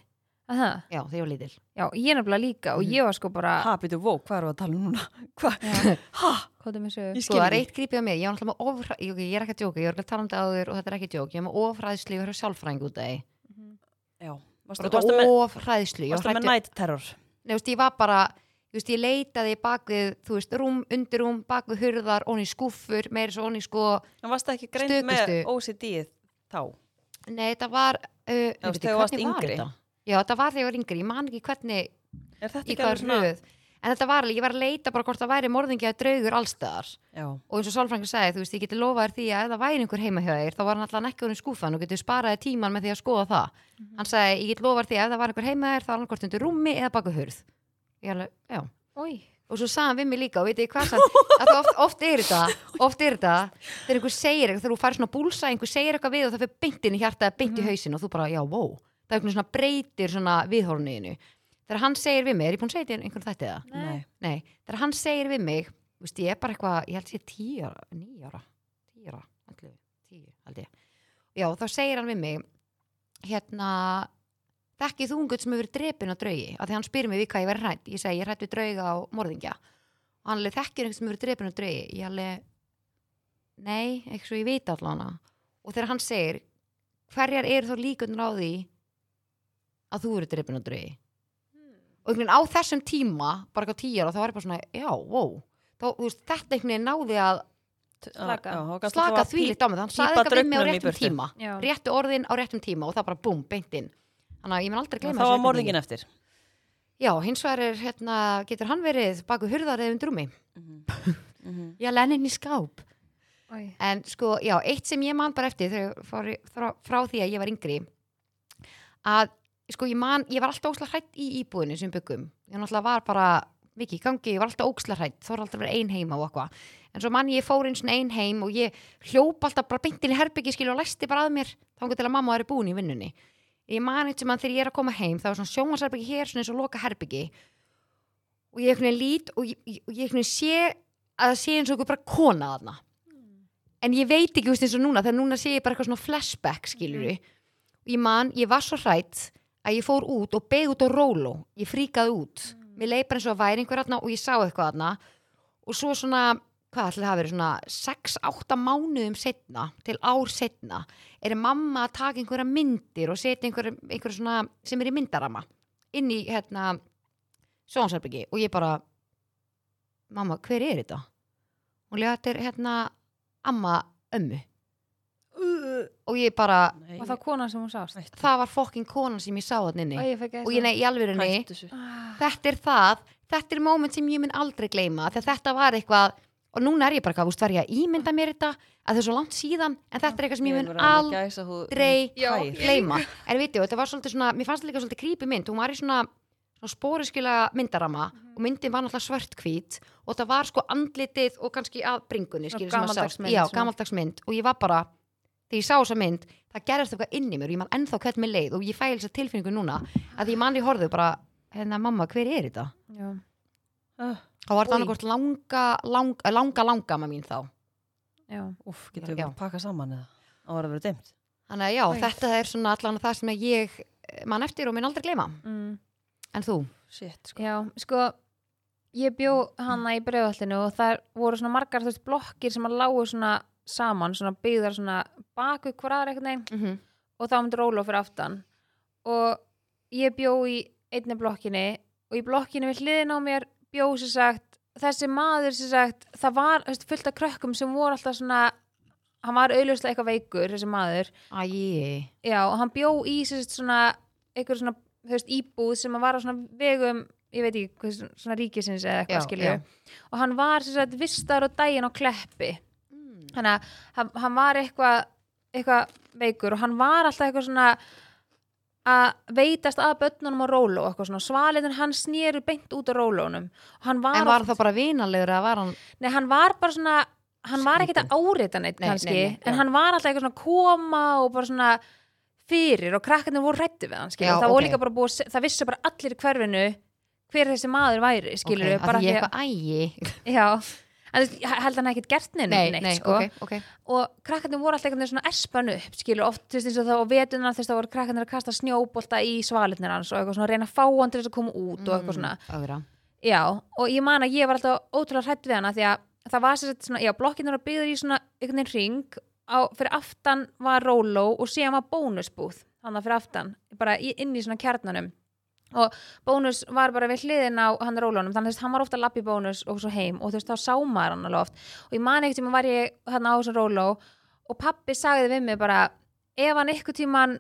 Speaker 3: Að það?
Speaker 1: Já, þegar ég var lítil
Speaker 3: Já, ég er nefnilega líka og
Speaker 1: Mhm.
Speaker 3: ég var sko bara
Speaker 2: ha, byrju, vó, hvað erum við að tala um núna hvað,
Speaker 3: Já,
Speaker 2: ha,
Speaker 3: hvað er með sögur?
Speaker 2: ég
Speaker 1: Sko,
Speaker 2: skil
Speaker 1: það er
Speaker 2: ekki
Speaker 1: eitt creepy á mig, ég var náttúrulega með ofra ég, ég er ekki að djóka, ég var ekki að tala um þetta áður og þetta er ekki að djóka, ég var með ofræðslu, ég var sjálfræðing út af því
Speaker 2: já, varstu, varstu,
Speaker 1: Bara
Speaker 2: með,
Speaker 1: ofræðslu, ég var
Speaker 2: varstu með
Speaker 1: hrædd-
Speaker 2: night terror
Speaker 1: Nei, þú veist, ég var bara, þú veist, ég leitaði bak við, þú veist, rúm, undir rúm, bak við hurðar, onni skúffur, meira svo onni sko,
Speaker 2: en varstu ekki greind
Speaker 1: Stökustu.
Speaker 2: með OCD-ið þá
Speaker 1: nei, þetta var, uh, ég veit
Speaker 2: varst
Speaker 1: ekki,
Speaker 2: þegar þú varst
Speaker 1: hvernig var
Speaker 2: yngri.
Speaker 1: þetta? Já, þetta var þegar ég var yngri, ég man ekki hvernig,
Speaker 2: er þetta
Speaker 1: í
Speaker 2: ekki alveg
Speaker 1: hvað
Speaker 2: svona
Speaker 1: röð, en þetta var alveg, ég var að leita bara hvort það væri morðingi að draugur allstaðar
Speaker 2: já,
Speaker 1: og eins og Solfrængur sagði, þú veist, ég geti lofaðir því að ef það væri einhver heima hjá þér, þá var hann allan ekki unni skúfan og getur sparaði tíman með því að skoða það
Speaker 2: Mhm.
Speaker 1: hann sagði, ég get lofaðir því að ef það var einhver heima hjá þér, þá var hann hvort undir rúmi eða baku hurð ég alveg, já
Speaker 3: Új,
Speaker 1: og svo sagði hann við mig líka og veit ég hvað sann að það oft, oft er þetta oft er þetta þegar einhver segir eitthvað þegar þú fær svona búlsa einhver segir eitthvað við og það fyrir beintin í hjarta eða beint í hausin og þú bara já wow það er einhvern svona breytir svona viðhorniðinu þegar hann segir við mig er ég búin að segja þetta í einhvern þætti eða?
Speaker 2: nei,
Speaker 1: Nei, þegar hann segir við mig þú veist, ég er bara eitthvað, ég held ég tíu ára níu ára, tíu ára allir, tíu, held ég já, þá segir hann við mig hérna þekkið þú ungut sem hefur verið drepin á draugi af því hann spyr mig við hvað ég verið hrætt ég segi, ég er hrætt við drauga á morðingja og hann alveg þekkir einhvern sem hefur verið drepin á draugi ég alveg, nei, eitthvað svo ég veit allan og þegar hann segir hverjar eru þá líkunar á því að þú verið drepin á draugi og einhvern veginn á þessum tíma bara eitthvað tíjar og þá var ég bara svona, já, wow þá, þú veist, þetta einhvern veginn náði að
Speaker 3: Slaka.
Speaker 2: Já, þá gast
Speaker 1: slaka
Speaker 2: alltaf að
Speaker 1: því
Speaker 2: pí-
Speaker 1: litt á mig, þannig
Speaker 2: pípa
Speaker 1: saði eitthvað við mig á
Speaker 2: draugnum í
Speaker 1: réttum
Speaker 2: burtu.
Speaker 1: tíma
Speaker 3: Já.
Speaker 1: réttu orðin á réttum tíma og það bara búm, beint inn þannig að ég mun aldrei gleyma
Speaker 2: þá var
Speaker 1: þessu
Speaker 2: morðingin eftir
Speaker 1: augnabliki. já, hins vegar er, hérna, getur hann verið baku hurðar eða undir rúmi Mhm.
Speaker 2: Mhm.
Speaker 1: já, lennin í skáp
Speaker 3: új.
Speaker 1: en sko, já, eitt sem ég man bara eftir þegar, frá, frá, frá því að ég var yngri að, sko, ég man ég var alltaf óslega hrætt í íbúðinu sem við byggum ég náttúrulega var bara mikið í gangi, ég var alltaf ókslega hrætt, þó var alltaf að vera ein heima og eitthvað, en svo mann ég fór eins og ein heim og ég hljóp alltaf bara beintin í herbyggi skil og læsti bara að mér þangur til að mamma er búin í vinnunni ég man eitt sem að þegar ég er að koma heim þá er svona sjónvarsherbyggi hér, svona eins og loka herbyggi og ég einhvern veginn lít og ég, ég, og ég einhvern veginn sé að það sé eins og einhver bara kona þarna en ég veit ekki, þú veist eins og núna þegar núna sé ég bara eitthvað svona flashback skilur og ég man, ég var svo hrætt að ég fór út og beig út á róló ég fríkaði út, Mm. mér leið bara eins og að væri einhver þarna og ég sá eitthvað þarna og svo svona, hvað ætli það hafi verið svona 6-8 mánuðum setna til ár setna er mamma að taka einhverja myndir og setja einhverja, einhverja svona sem er í myndarama inn í hérna sjónsherbyggi og ég bara mamma, hver er þetta? hún lega, þetta er hérna amma ömmu og ég bara,
Speaker 2: Nei,
Speaker 3: Og það kona sem hún sást.
Speaker 2: Nei.
Speaker 1: það var fokkin konan sem ég sá þarna inni
Speaker 3: Æ, ég fekk
Speaker 1: og ég nei, í alvörunni
Speaker 2: hættu þessu.
Speaker 3: Ah,
Speaker 1: þetta er það, þetta er moment sem ég mun aldrei gleyma, þegar þetta var eitthvað og núna er ég bara, hvað, þú veist, var ég að ímynda mér þetta að það er svo langt síðan, en þetta er eitthvað sem ég mun aldrei
Speaker 3: Já, ég líka.
Speaker 1: gleyma, en veitu, þetta var svolítið svona mér fannst þetta líka svolítið creepy mynd, hún var í svona svona spóruskila myndarama
Speaker 3: Mhm.
Speaker 1: og myndin var náttúrulega svörtkvít og það var sko andlitið og kannski að bringunni
Speaker 3: Svona
Speaker 1: skilur sem að
Speaker 3: gamaldags
Speaker 1: sást,
Speaker 3: mynd,
Speaker 1: já,
Speaker 3: svona.
Speaker 1: gamaldags mynd og ég var bara, þegar ég sá þessa mynd það gerðist eitthvað inn í mér og ég man ennþá hvernig mér leið og ég fæ þessa tilfinningu núna að því ég manni horfðu bara, hérna mamma, hver er þetta?
Speaker 3: já.
Speaker 2: Ah.
Speaker 1: þá var þetta
Speaker 2: Oj.
Speaker 1: annarkort langa, langa, langa, langa maður mín þá
Speaker 3: Já.
Speaker 2: Úf, getur við
Speaker 1: Já.
Speaker 2: bara pakka saman eða á að vera dimt
Speaker 1: þannig að já,
Speaker 3: Æ.
Speaker 1: þetta er svona allan það sem að ég eh, man eftir og minn aldrei gleyma
Speaker 3: Mm.
Speaker 1: en þú?
Speaker 2: Shit, sko.
Speaker 3: Já, sko ég bjó hana í bregðallinu og þar voru svona margar þú veist blokkir sem að lágu svona saman, svona byggðar svona baku hvaðar einhvern veginn
Speaker 1: Mm -hmm.
Speaker 3: og þá myndi róla fyrir aftan og ég bjó í einni blokkinni og í blokkinni við hliðin á mér bjó sér sagt þessi maður sér sagt, það var þú veist, fullt af krökkum sem voru alltaf svona hann var auðljóslega eitthvað veikur þessi maður
Speaker 1: Æi,
Speaker 3: Já, og hann bjó í sérst svona einhver svona, þú veist, íbúð sem að var á svona vegum, ég veit ekki hvers, svona ríkisins
Speaker 1: Já,
Speaker 3: eða eitthvað skilju og hann var sérst vistar og daginn á kleppi þannig að hann, hann var eitthvað eitthvað veikur og hann var alltaf eitthvað svona að veitast að börnunum á róló og eitthvað svona, svaliðin hann snýru beint út á rólónum og hann var,
Speaker 1: En var það bara vinalegur eða var hann
Speaker 3: nei, hann var bara svona hann var ekkert að áreita neitt
Speaker 1: Nei,
Speaker 3: kannski
Speaker 1: nei, nei, já.
Speaker 3: en hann var alltaf eitthvað svona að koma og bara svona fyrir og krakkarnir voru hrættu við hann skilur,
Speaker 1: Já,
Speaker 3: það voru
Speaker 1: ok.
Speaker 3: líka bara búið, að se- það vissu bara allir í hverfinu hver þessi maður væri skilur
Speaker 1: okay,
Speaker 3: bara
Speaker 1: að
Speaker 3: því
Speaker 1: ég
Speaker 3: að,
Speaker 1: eitthvað ægi?
Speaker 3: já en þú veist, ég held hann ekkert gert neinu neitt, sko
Speaker 1: ok, ok.
Speaker 3: og krakkarnir voru alltaf einhvern veginn svona espan upp skilur oft, þú veist, eins og þá á vetunar þú veist, þá voru krakkarnir að kasta snjóbolta í svalirnir hans og eitthvað svona, reyna að fá hann til þess að koma út og
Speaker 1: Mm.
Speaker 3: eitthvað svona,
Speaker 1: Ögra.
Speaker 3: já, og ég man að ég var alltaf ótrúlega hrætt við hana því að það var sér svona, já, blokkinur að byggður í svona einhvern veginn ring, á, fyrir aftan var róló og síðan var bónusbúð hann fyrir aftan, bara í- inn í svona kjarnanum og bónus var bara við hliðin á hann rólónum þannig að þú veist, hann var ofta að lappa í bónus og svo heim og þú veist, þá sá maður hann alveg oft og ég man ekkert tíma var ég hann á þessum róló og pappi sagði við mig bara ef hann ykkur tíman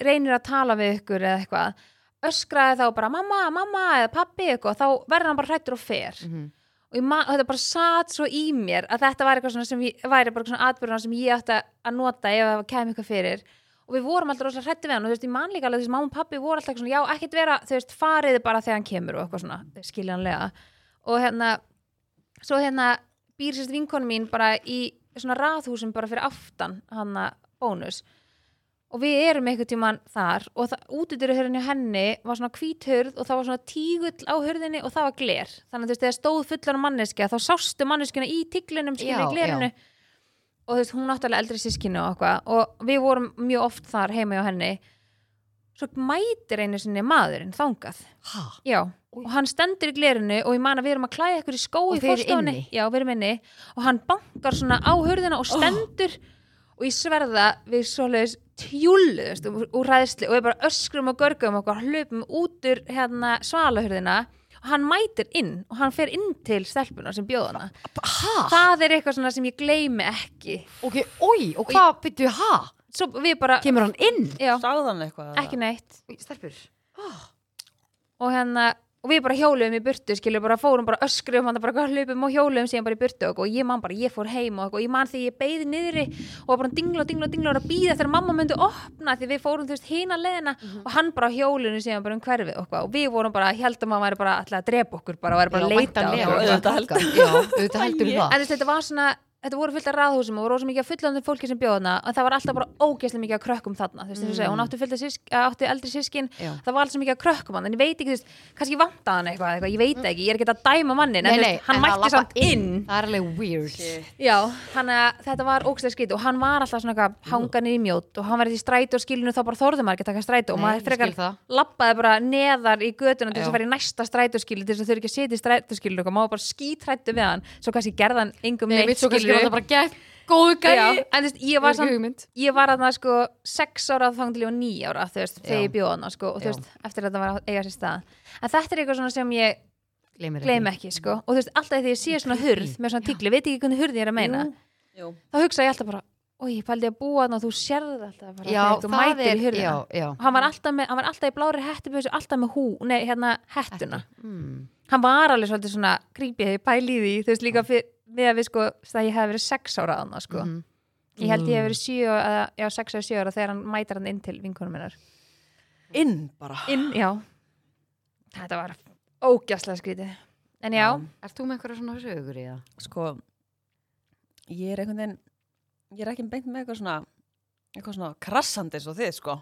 Speaker 3: reynir að tala við ykkur eða eitthvað öskraði þá bara mamma, mamma eða pappi eitthvað, þá verður hann bara hrættur og fer
Speaker 1: Mhm.
Speaker 3: og, ég ma- og þetta bara satt svo í mér að þetta væri eitthvað svona sem ég, væri bara svona atbyrðuna sem ég átti að nota ef það kemur eitthvað fyrir og við vorum alltaf rosalega hrætti við hann og þú veist, ég man líka alveg þess að mamma og pappi voru alltaf eitthvað svona, já, ekkert vera, þú veist, fariði bara þegar hann kemur og eitthvað svona, skiljanlega og hérna, svo hérna býr sérst vinkonu mín bara í svona raðhúsum bara fyrir aftan hann bónus og við erum einhvern tímann þar og útidyrhörðin hjá henni var svona hvíthörð og það var svona tígull á hörðinni og það var gler þannig að þú veist, þegar stóð fullan manneskja þá sástu manneskjuna í tiglinum
Speaker 1: Já,
Speaker 3: skilur í glerinu og þú veist, hún náttúrulega eldri sískinu og eitthvað og við vorum mjög oft þar heima hjá henni svo mætir einu sinni maðurinn þangað
Speaker 1: Ha?
Speaker 3: Já, og hann stendur í glerinu og ég man að við erum að klæða ykkur í skó
Speaker 1: Og
Speaker 3: í
Speaker 1: þið eruð
Speaker 3: forstofunni.
Speaker 1: inni? Oh.
Speaker 3: Já, við erum inni og hann bankar svona á hurðina og stendur og ég sverða við svoleiðis tjúluðust úr, úr ræðsli og við bara öskrum og görgum okkur hlupum út úr hérna svalahurðina og hann mætir inn og hann fer inn til stelpuna sem bjóðana
Speaker 1: Ha?
Speaker 3: það er eitthvað svona sem ég gleymi ekki
Speaker 1: Ok, oi, og hvað byrju ha?
Speaker 3: svo við bara,
Speaker 1: Kemur hann inn?
Speaker 3: já,
Speaker 2: Sáðan eitthvað
Speaker 3: ekki neitt
Speaker 1: Stelpur.
Speaker 3: og hérna og við bara hjóluðum í burtu, skilur bara fórum bara öskrum, hann bara hvað hlupum og hjóluðum síðan bara í burtu og, eitthvað. og ég man bara, ég fór heim og, eitthvað. og ég man því ég beði niðri og var bara dingla og dingla og dingla og var að býða þegar mamma myndi opna því við fórum þú veist hína leðina og hann bara á hjólinu síðan bara um hverfið og, eitthvað. og við vorum bara, heldum að hann væri bara alltaf að drepa okkur bara, og væri bara að leita
Speaker 1: Já,
Speaker 3: okkur.
Speaker 2: já,
Speaker 1: auðvitað
Speaker 2: auðvitað
Speaker 1: heldur. Já, auðvitað heldur
Speaker 2: Æi.
Speaker 1: við það.
Speaker 3: en þú veist, þetta var svona þetta voru fullt af ráðhúsum og voru rosa mikið af fullandum fólki sem bjóðna og það var alltaf bara ógeðslega mikið af krökkum þarna þú veist, mm. segja, hún átti, fullt af sísk, eh, átti eldri sískin
Speaker 1: Já.
Speaker 3: það var alltaf mikið af krökkum hann en ég veit ekki, þú veist, kannski vantaði hann eitthvað, eitthvað ég veit það ekki, ég er ekki að dæma mannin en, þú veist,
Speaker 1: Mm. en
Speaker 3: hann
Speaker 1: að
Speaker 3: mætti
Speaker 1: labba
Speaker 3: samt inn,
Speaker 1: Það er alveg weird.
Speaker 3: Já, þannig að þetta var ógeðslega skrít og hann var alltaf svona eitthvað hangan í mjót og hann verið í strætu og skilinu þá bara þorðum maður ekki að taka strætu og
Speaker 1: Nei, ég
Speaker 3: maður
Speaker 1: skil
Speaker 3: frekar
Speaker 1: það.
Speaker 3: lappaði bara neðar í götuna
Speaker 1: Já.
Speaker 3: til þess að fara í næsta strætu til þess að þau eru ekki að setja í strætu skilu og maður var bara skítrættu við hann svo kannski gerði hann engum
Speaker 1: Nei,
Speaker 3: neitt
Speaker 1: mitt svo kannski var
Speaker 3: skilurðu.
Speaker 1: það bara gætt. Góðu
Speaker 3: Já,
Speaker 1: gæði.
Speaker 3: en þú veist, ég
Speaker 1: Mm,
Speaker 3: var samt
Speaker 1: hugmynd.
Speaker 3: ég var þarna sko 6 ára þang til ég var 9 ára þú veist, þegar
Speaker 1: Já.
Speaker 3: ég bjóð hana sko og þú
Speaker 1: Já.
Speaker 3: veist, eftir að þetta var að eiga sér stað en þetta er eitthvað svona sem ég
Speaker 1: Gleimir
Speaker 3: gleym ekki sko og þú veist, alltaf þegar ég sé svona hurð með svona tíkli, veit ekki hvernig hurð ég er að meina
Speaker 2: Jú.
Speaker 3: þá hugsa ég alltaf bara, oi, ég pældi að búa hana og þú sérði alltaf bara
Speaker 1: Já,
Speaker 3: þegar þú
Speaker 1: það
Speaker 3: mætir
Speaker 1: er,
Speaker 3: í hurðina
Speaker 1: já, já.
Speaker 3: og hann var alltaf, með, hann var alltaf í blári hettubjössu alltaf með hú, nei, hérna hettuna
Speaker 1: Mm.
Speaker 3: hann var alveg svolítið svona creepy hefur pælið í því, þú veist líka fyrir, með að við sko, það ég hef verið sex ára aðna sko.
Speaker 1: Mhm.
Speaker 3: ég held ég hef verið sjö, eða, já, sex eða sjö ára þegar hann mætir hann inn til vinkonum minnar
Speaker 2: Inn bara
Speaker 3: inn, já þetta var ógjastlega skrítið en já,
Speaker 1: Ert þú með einhverja svona sögur í það?
Speaker 2: Sko Ég er einhvern veginn Ég er ekki beint með eitthvað svona Eitthvað svona krassandi eins og þið sko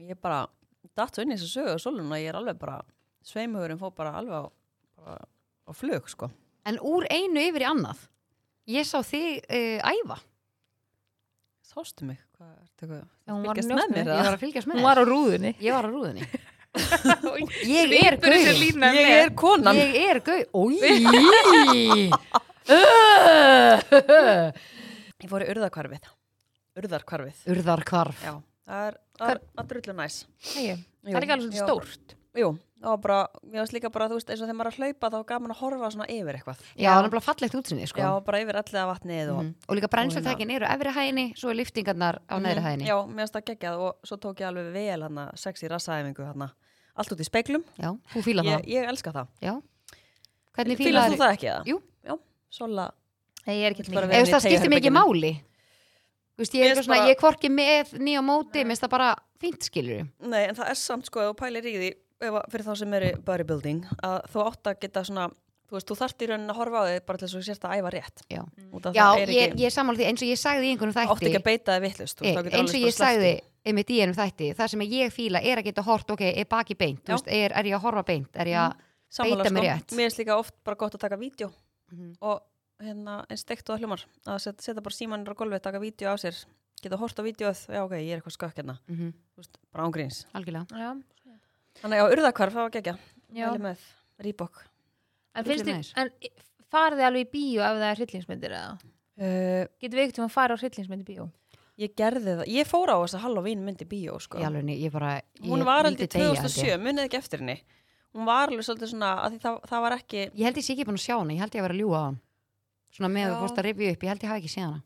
Speaker 2: Ég er bara Datt svo inn í þessu sögu og svolun Og ég er alveg bara Sveimugurinn fór bara alveg á bara, Á flug sko
Speaker 1: En úr einu yfir í annað. Ég sá þig uh, æfa.
Speaker 2: Sástu mig Hvað er þetta
Speaker 3: Já, hún
Speaker 2: eitthvað
Speaker 3: var
Speaker 2: Fylgjast
Speaker 3: njósnari.
Speaker 2: með mér
Speaker 1: Ég
Speaker 2: eða?
Speaker 1: var að fylgjast með
Speaker 3: hún
Speaker 1: þér.
Speaker 3: var á rúðunni
Speaker 1: Ég var á rúðinni. Ég er
Speaker 3: Svipur þessi
Speaker 1: gaur.
Speaker 3: lína
Speaker 2: Ég
Speaker 3: með.
Speaker 2: er konan
Speaker 1: Ég er gauð. Ói! Öh!
Speaker 2: Ég fór í urðarkvarfið Urðarkvarfið
Speaker 1: Urðarkvarf.
Speaker 2: Já, það er, það er að drullu næs
Speaker 3: Nei,
Speaker 2: Jú,
Speaker 3: það er ekki
Speaker 2: já.
Speaker 3: alveg svona stórt
Speaker 2: Jú, það var bara, ég veist líka bara, þú veist, eins og þegar maður er að hlaupa þá er gaman að horfa svona yfir eitthvað
Speaker 1: Já, það er nefnilega fallegt útsinni, sko.
Speaker 2: Já, bara yfir allega vatnið og Mhm.
Speaker 1: Mm. Og líka brennslutækin eru efri hæðinni, svo er liftingarnar á neðri hæðinni.
Speaker 2: Mm, Já, mér finnst það geggjað og svo tók ég alveg vel hann að sexi rassaæfingu hann allt út í speglum,
Speaker 1: Já, þú fíla
Speaker 2: ég,
Speaker 1: það.
Speaker 2: ég elska það
Speaker 1: Já. Hvernig fíla
Speaker 2: Fýlar þú það ekki það?
Speaker 1: Jú.
Speaker 2: Já, svola
Speaker 3: Nei, ég er ekki
Speaker 2: Þú bara
Speaker 3: mikið-
Speaker 1: Ef það skiptir mikið
Speaker 2: Teygjaherberginu.
Speaker 1: máli. Þú veist, ég er eitthvað
Speaker 2: Mér finnst
Speaker 1: svona,
Speaker 2: bara-
Speaker 1: ég er hvorki með nýja móti, mér finnst það bara fínt skilur
Speaker 2: Nei, en það er samt sko, ef þú pælir í því ef, að- fyrir þá sem eru bodybuilding að þú átt að geta svona þú veist, þú þarft í rauninni að horfa á þig bara til þess að þú sért að æfa rétt
Speaker 1: Já,
Speaker 2: Út af
Speaker 1: Mm. já
Speaker 2: það er
Speaker 1: ég,
Speaker 2: ekki,
Speaker 1: ég er sammála því eins og ég sagði í einhvern
Speaker 2: átt ekki
Speaker 1: þætti
Speaker 2: að beita þig vittlust
Speaker 1: Ég- Eh, eins
Speaker 2: sko
Speaker 1: og ég sagði einmitt í einum þætti, það sem ég fíla er að geta hort, ok, er baki beint þú
Speaker 2: Já.
Speaker 1: veist, er, er ég að horfa beint, er ég að
Speaker 2: Sammála,
Speaker 1: beita mér
Speaker 2: sko.
Speaker 1: rétt.
Speaker 2: Mér finnst líka oft bara gott að taka vídeo
Speaker 1: Mhm.
Speaker 2: og hérna, eins steikt og það hlumar að setja, setja bara símanir á gólfið, taka vídeo á sér geta hort á vídeoð, já ok, ég er eitthvað skökk hérna
Speaker 1: mm
Speaker 2: Þú veist, bara ángríns
Speaker 1: algjörlega
Speaker 3: Já,
Speaker 2: Þannig að já, urðakvarf, það var gegja,
Speaker 3: já.
Speaker 2: mæli með Reebok
Speaker 3: En finnst
Speaker 1: Rugglaður
Speaker 3: þið, en farið þið alveg í bíó ef það er hryllingsmyndir eða?
Speaker 2: uh,
Speaker 3: Getum við ekkert um að fara á hryllingsmyndi bíó?
Speaker 2: Ég gerði það, ég fór á þess að Halloween myndi bíó sko.
Speaker 1: í alveg, ég bara ég
Speaker 2: hún var
Speaker 1: myndi
Speaker 2: aldrei
Speaker 1: deyja, held ég.
Speaker 2: 2007, munið ekki eftir henni hún var alveg svolítið svona að það, það var ekki
Speaker 1: ég held ég sé ekki búin að sjá hana, ég held ég að vera að ljúga á hann svona með
Speaker 2: Já.
Speaker 1: að þú fórst að rifja upp, ég held ég hafi ekki séð hana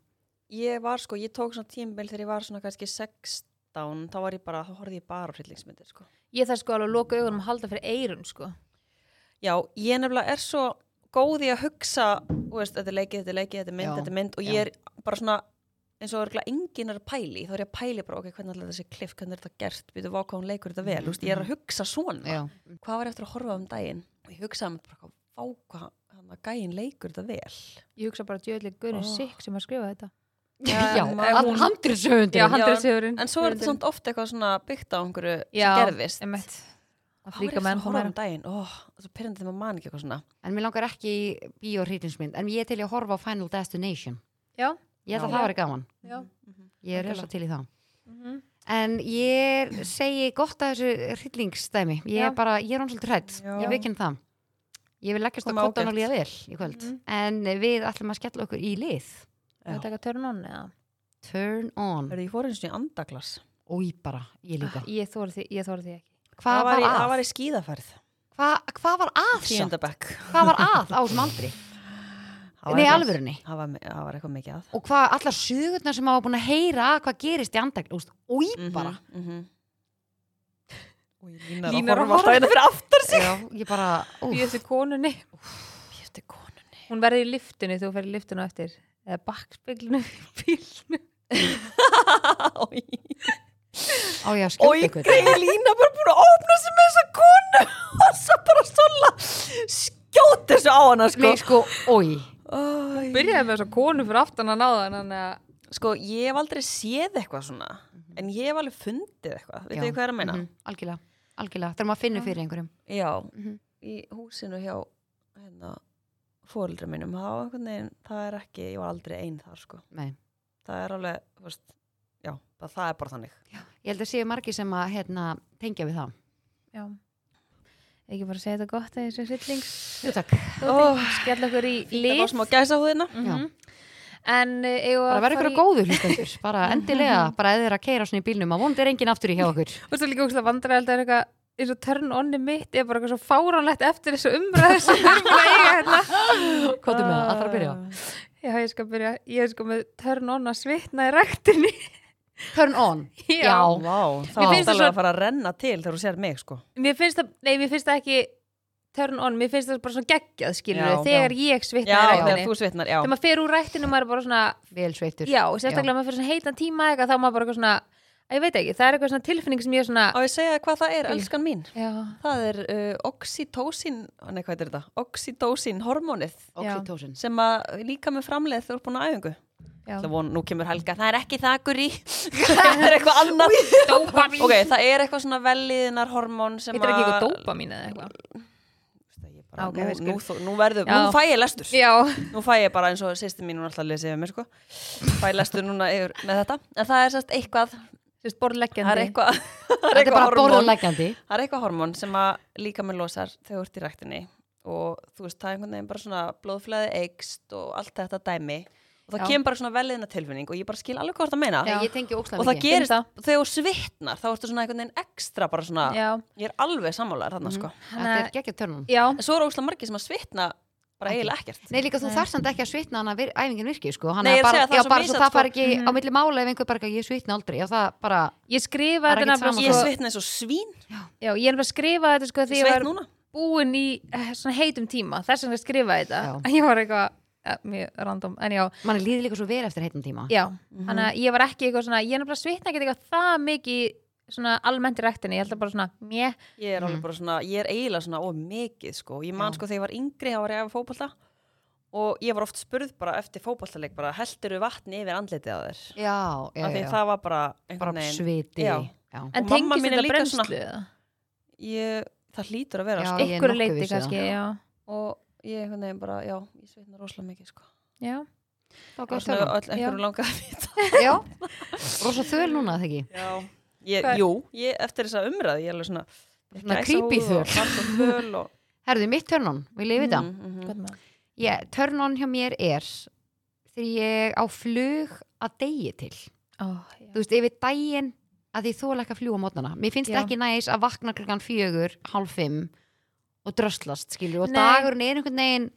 Speaker 2: ég var sko, ég tók svona tímbil þegar ég var svona kannski 16 þá var ég bara, þá horfði ég bara á hryllingsmyndir sko.
Speaker 3: Ég þarf sko alveg að loka augunum og halda fyrir eirun sko.
Speaker 2: já, ég nefnilega er svo góð í að hugsa þú veist, þetta er leikið, þetta er leikið, þetta er mynd,
Speaker 1: Já,
Speaker 2: þetta er mynd og ég er bara svona eins og örgulega enginn er að pæli þá er ég að pæli bara, ok, hvernig alltaf þessi kliff hvernig er þetta gert, býtu váka hún leikur þetta vel mm -hmm. ég er að hugsa svona
Speaker 1: já,
Speaker 2: hvað var ég eftir að horfa um daginn og ég hugsaði með bara váka hann að gæin leikur þetta vel
Speaker 3: Ég hugsa bara djöðlega Gunnar
Speaker 2: Oh.
Speaker 3: oh. Sikk sem að skrifa þetta.
Speaker 1: já,
Speaker 2: maður-
Speaker 1: all- handritshöfundur
Speaker 3: Já,
Speaker 2: hann-
Speaker 3: handriðsjöfurinn.
Speaker 2: en svo er þetta samt oft eitthvað svona byggt á einhverju
Speaker 3: Já,
Speaker 2: sem gerðist
Speaker 3: Emmett.
Speaker 2: Hvað var
Speaker 3: Að
Speaker 2: ég
Speaker 3: flíka
Speaker 2: eftir
Speaker 3: menn
Speaker 2: að
Speaker 3: fór
Speaker 2: horfa um
Speaker 3: mér.
Speaker 2: daginn oh, það er pyrrandi þegar maður man ekki eitthvað svona
Speaker 1: en mér langar ekki í bíóhrýtinsmynd en ég er til í að horfa á Final Destination
Speaker 3: Já,
Speaker 1: ég held
Speaker 2: Já.
Speaker 1: að það væri gaman,
Speaker 3: já.
Speaker 1: ég er rosa til í það
Speaker 3: Mhm.
Speaker 1: en ég segi gott að þessu hryllingsdæmi ég
Speaker 3: Já.
Speaker 1: er bara, ég er hann svolítið hrætt
Speaker 2: Já.
Speaker 1: ég vekinn það ég vil leggjast á
Speaker 2: Koma
Speaker 1: kottan og
Speaker 2: ágætt. Mhm.
Speaker 1: líða vel í kvöld en við ætlum að skella okkur í lið
Speaker 3: Það er taka törn onni eða?
Speaker 1: turn on,
Speaker 2: Hörðu, ég fór eins og í andaglas
Speaker 1: ói bara ég líka,
Speaker 3: Ah, Ég þóri því, ég þóri því ekki.
Speaker 1: hvað
Speaker 2: var,
Speaker 1: var,
Speaker 2: í- það
Speaker 1: að
Speaker 2: var í skíðaferð
Speaker 1: Hva- hvað var að samt?
Speaker 2: tíundabekk
Speaker 1: hvað var að á þessum aldri nei, alvörunni
Speaker 2: það var, það var eitthvað mikið að
Speaker 1: og hvað allar sögurnar sem hafa búin að heyra að hvað gerist í andagn, úst, új bara
Speaker 2: mm -hmm. og ég
Speaker 3: Línar
Speaker 2: línar
Speaker 3: að
Speaker 2: að horfa alltaf einu fyrir aftur
Speaker 1: já, ég bara, úf,
Speaker 3: Býð eftir konunni.
Speaker 2: ég eftir konunni
Speaker 3: Hún verður í liftinu þegar þú ferði í liftinu á eftir. Eða bakspeglinu í bílnu.
Speaker 1: á ég að
Speaker 2: og
Speaker 1: skjóta
Speaker 2: ég
Speaker 1: ykkur
Speaker 2: greiði lína bara búin að opna sig með þessa konu og svo bara svona skjóta þessu á hana sko
Speaker 1: nei, sko, új
Speaker 2: Æ.
Speaker 3: Byrjaði með þessa konu fyrir aftan að náða hann að...
Speaker 2: sko, ég hef aldrei séð eitthvað svona en ég hef alveg fundið eitthvað veitu hvað ég er að meina?
Speaker 1: Mhm, algjörlega, algjörlega, þegar maður finnur fyrir einhverjum
Speaker 2: Já,
Speaker 1: Mhm.
Speaker 2: í húsinu hjá hérna, fóreldra mínum þá einhvern veginn, það er ekki, ég var aldrei einn þar sko,
Speaker 1: nei.
Speaker 2: það er alveg þú veist, já, það, það er bara þannig
Speaker 1: ég held að séu margir sem að hérna, tengja við það
Speaker 3: Já. Ekki bara segja þetta gott að þessu hryllings...
Speaker 1: Jú, takk.
Speaker 3: Oh. Skell okkur í
Speaker 2: Það var
Speaker 3: lið.
Speaker 2: smá gæsa húðina
Speaker 3: Mhm. En uh, eigum við
Speaker 1: bara
Speaker 3: að
Speaker 1: verður ykkur
Speaker 3: fara í-
Speaker 1: að góðu hlustendur bara endilega, bara eða þeir að keira svona í bílnum að vond er enginn aftur í hjá okkur
Speaker 3: Þú veist það líka úrslega vandræðald er eitthvað eins og törn onni mitt er bara eitthvað svo fáránlegt eftir þessu umræðu sem við erum búin að eiga hérna.
Speaker 1: hvað er með það, allra að byrja
Speaker 3: Já, ég skal byrja. Ég er sko með törn onni að svitna í ræktinni.
Speaker 1: turn on,
Speaker 3: Já.
Speaker 1: já.
Speaker 2: Vá, þá var
Speaker 3: Mér finnst
Speaker 2: þetta
Speaker 3: það
Speaker 2: alveg
Speaker 3: svo-
Speaker 2: að fara að renna til þegar þú sér mig sko
Speaker 3: Mér finnst það, nei, mér finnst það ekki törn onni, mér finnst það bara svona geggjað, skilur
Speaker 2: Já,
Speaker 3: þegar ég svitna
Speaker 2: Já,
Speaker 3: í
Speaker 2: þegar
Speaker 3: ræktinni.
Speaker 2: þú svitnar, já
Speaker 3: Þegar maður fer úr ræktinu, maður er bara svona,
Speaker 1: vel sveittur
Speaker 3: já, sérstaklega maður fer svona heitan tíma eitthvað, þá er maður bara eitthvað svona, að ég veit ekki, það er eitthvað svona tilfinning sem ég er svona,
Speaker 2: Á ég að segja þér hvað það er, elskan mín
Speaker 3: já,
Speaker 2: Það er uh, oxytocin, nei hvað er þetta? Oxytocin hormónið
Speaker 1: oxytocin
Speaker 2: sem að líka með framleið þegar þú er búin að æfingu
Speaker 3: já.
Speaker 2: Það von, nú kemur Helga, það er ekki þakur í Það er eitthvað annað Ok, það er eitthvað svona velliðinar hormón sem
Speaker 3: Þetta er ekki
Speaker 2: að-
Speaker 3: eitthvað dópa mín eða eitthvað.
Speaker 2: Ég bara,
Speaker 3: Ah, ok,
Speaker 2: nú,
Speaker 3: við skulum.
Speaker 2: nú, þó- nú verður,
Speaker 3: Já.
Speaker 2: nú fæ ég lestur
Speaker 3: Já,
Speaker 2: Nú fæ ég bara eins og sýsti mín hún er alltaf að lesa yfir mér sko Fæ lestur núna yfir með þetta En það er sérst eitthvað Það
Speaker 3: sérst
Speaker 2: er
Speaker 3: borðleggjandi
Speaker 2: eitthvað Það
Speaker 1: þetta er bara borðanleggjandi
Speaker 2: Það er eitthvað hormón sem að líka með losar þegar þú ert í ræktinni og þú veist, það er einhvern veginn bara svona blóðflæði eikst og allt þetta dæmi og það
Speaker 3: Já.
Speaker 2: kemur bara svona veliðna tilfinning og ég bara skil alveg hvað það meina
Speaker 1: Nei, ég tengi ókslega
Speaker 2: og það
Speaker 1: mikið.
Speaker 2: gerist,
Speaker 3: Finn
Speaker 2: þegar þú svitnar þá ertu svona einhvern veginn ekstra bara svona
Speaker 3: Já,
Speaker 2: ég er alveg sammálaður þarna sko
Speaker 1: þetta er geggjað törnum
Speaker 3: já,
Speaker 2: en svo eru óslega margir sem að svitna bara eiginlega ekkert
Speaker 1: Nei, líka þú þarf samt ekki að svitna hann að vir, æfingin virki, sko. Hann
Speaker 2: Nei, ég
Speaker 1: er bara,
Speaker 2: er að segja, það
Speaker 1: já,
Speaker 2: er svo
Speaker 1: bara svo
Speaker 2: misjafnt,
Speaker 1: það
Speaker 2: sko.
Speaker 1: fari ekki á milli mála ef einhver bara ekki, ég svitna aldrei. Já, það bara,
Speaker 3: ég skrifa
Speaker 1: Það er
Speaker 3: þetta
Speaker 1: ekkert
Speaker 3: nefnilega
Speaker 1: sama
Speaker 2: ég
Speaker 3: sko,
Speaker 2: svitna eins og svín,
Speaker 3: já, ég er bara að skrifa þetta sko því
Speaker 2: ég
Speaker 3: ég
Speaker 2: sveit
Speaker 3: var
Speaker 2: núna
Speaker 3: búin í eh, svona heitum tíma, þess vegna skrifa ég
Speaker 1: Já.
Speaker 3: þetta ég var eitthvað, eh, mjög random en já,
Speaker 1: mann líður líka svo vel eftir heitum tíma.
Speaker 3: já, þannig að ég var ekki eitthvað svona, ég er nefnilega svitna ekki eitthvað það mikið svona almennt í rektinni, ég held að bara svona mjö,
Speaker 2: Ég er alveg bara svona, ég er eiginlega svona of mikið sko, ég man sko þegar ég var yngri þá var ég að fótbolta og ég var oft spurð bara eftir fótboltaleik bara heldiru vatni yfir andlitið að þér
Speaker 1: já, já,
Speaker 2: af því
Speaker 1: já, já.
Speaker 2: það var bara einhvern
Speaker 1: bara
Speaker 2: veginn
Speaker 1: sviti
Speaker 2: Já.
Speaker 1: já.
Speaker 3: en
Speaker 2: Og mamma
Speaker 3: tengist
Speaker 2: mín er
Speaker 3: þetta
Speaker 2: líka svona-
Speaker 3: brennslu eða?
Speaker 2: ég, það hlýtur að vera
Speaker 1: Já,
Speaker 2: sko.
Speaker 1: ég er
Speaker 3: ykkur
Speaker 1: nokkuð
Speaker 3: leiti
Speaker 1: vissi það.
Speaker 3: kannski, já,
Speaker 2: og ég einhvern veginn bara, já, ég sveitna rosalega mikið sko.
Speaker 3: já.
Speaker 1: Það
Speaker 2: og
Speaker 1: var
Speaker 2: svona
Speaker 1: góð
Speaker 2: öll einhverjum langað að vita
Speaker 1: tölum. Já, rosa þöl núna þegar ekki
Speaker 2: já, ég,
Speaker 3: Hvað-
Speaker 2: jú, ég, eftir þessa umræði ég er alveg svona,
Speaker 1: Svona creepy þöl.
Speaker 2: þöl og,
Speaker 1: Herðu, mitt törnón, vil ég vita?
Speaker 2: Mm, mhm.
Speaker 3: Hvað með það?
Speaker 1: Mm. Törnón hjá mér er þegar ég á flug að degi til
Speaker 3: Ó,
Speaker 1: þú veist, yfir daginn að ég þóla ekki að fljúa á mótnana. Mér finnst
Speaker 3: Já.
Speaker 1: ekki næs að vakna klukkan fjögur, hálf fimm og dröslast, skilur, og
Speaker 3: Nei.
Speaker 1: dagurinn er einhvern veginn,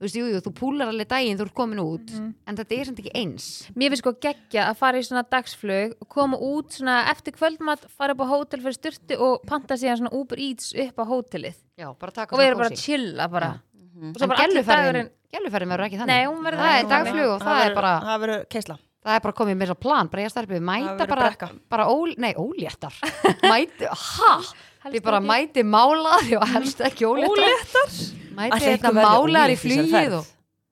Speaker 1: þú veist, jú, jú, þú púlar alveg daginn, þú ert komin út,
Speaker 3: Mhm.
Speaker 1: en þetta er samt ekki eins.
Speaker 3: Mér finnst sko geggja að fara í svona dagsflug og koma út svona eftir kvöldmatt fara upp á hótel fyrir styrtu og panta síðan svona Uber Eats upp á hótelið
Speaker 1: Já, bara taka
Speaker 3: og við erum bara að chilla bara
Speaker 1: Já.
Speaker 2: Mhm.
Speaker 3: og svo bara allir dagurinn
Speaker 1: Gæluferðin verður ekki
Speaker 3: Nei,
Speaker 1: þannig.
Speaker 3: hún verður
Speaker 1: það
Speaker 3: ekki
Speaker 1: er
Speaker 3: þannig.
Speaker 1: dagflug og það er
Speaker 2: verður-
Speaker 1: bara,
Speaker 2: það verður keisla
Speaker 1: það er bara komið með svo plan, bara ég starfið,
Speaker 2: Það
Speaker 1: mæta
Speaker 2: verður
Speaker 1: bara,
Speaker 2: brekka.
Speaker 1: bara ól, nei, óléttar, mæti, ha,
Speaker 3: Helst
Speaker 1: þið bara
Speaker 3: ekki. Mhm.
Speaker 1: mæti málaðar, já, helst ekki óléttar, mæti þetta málaðar hérna í flugið og,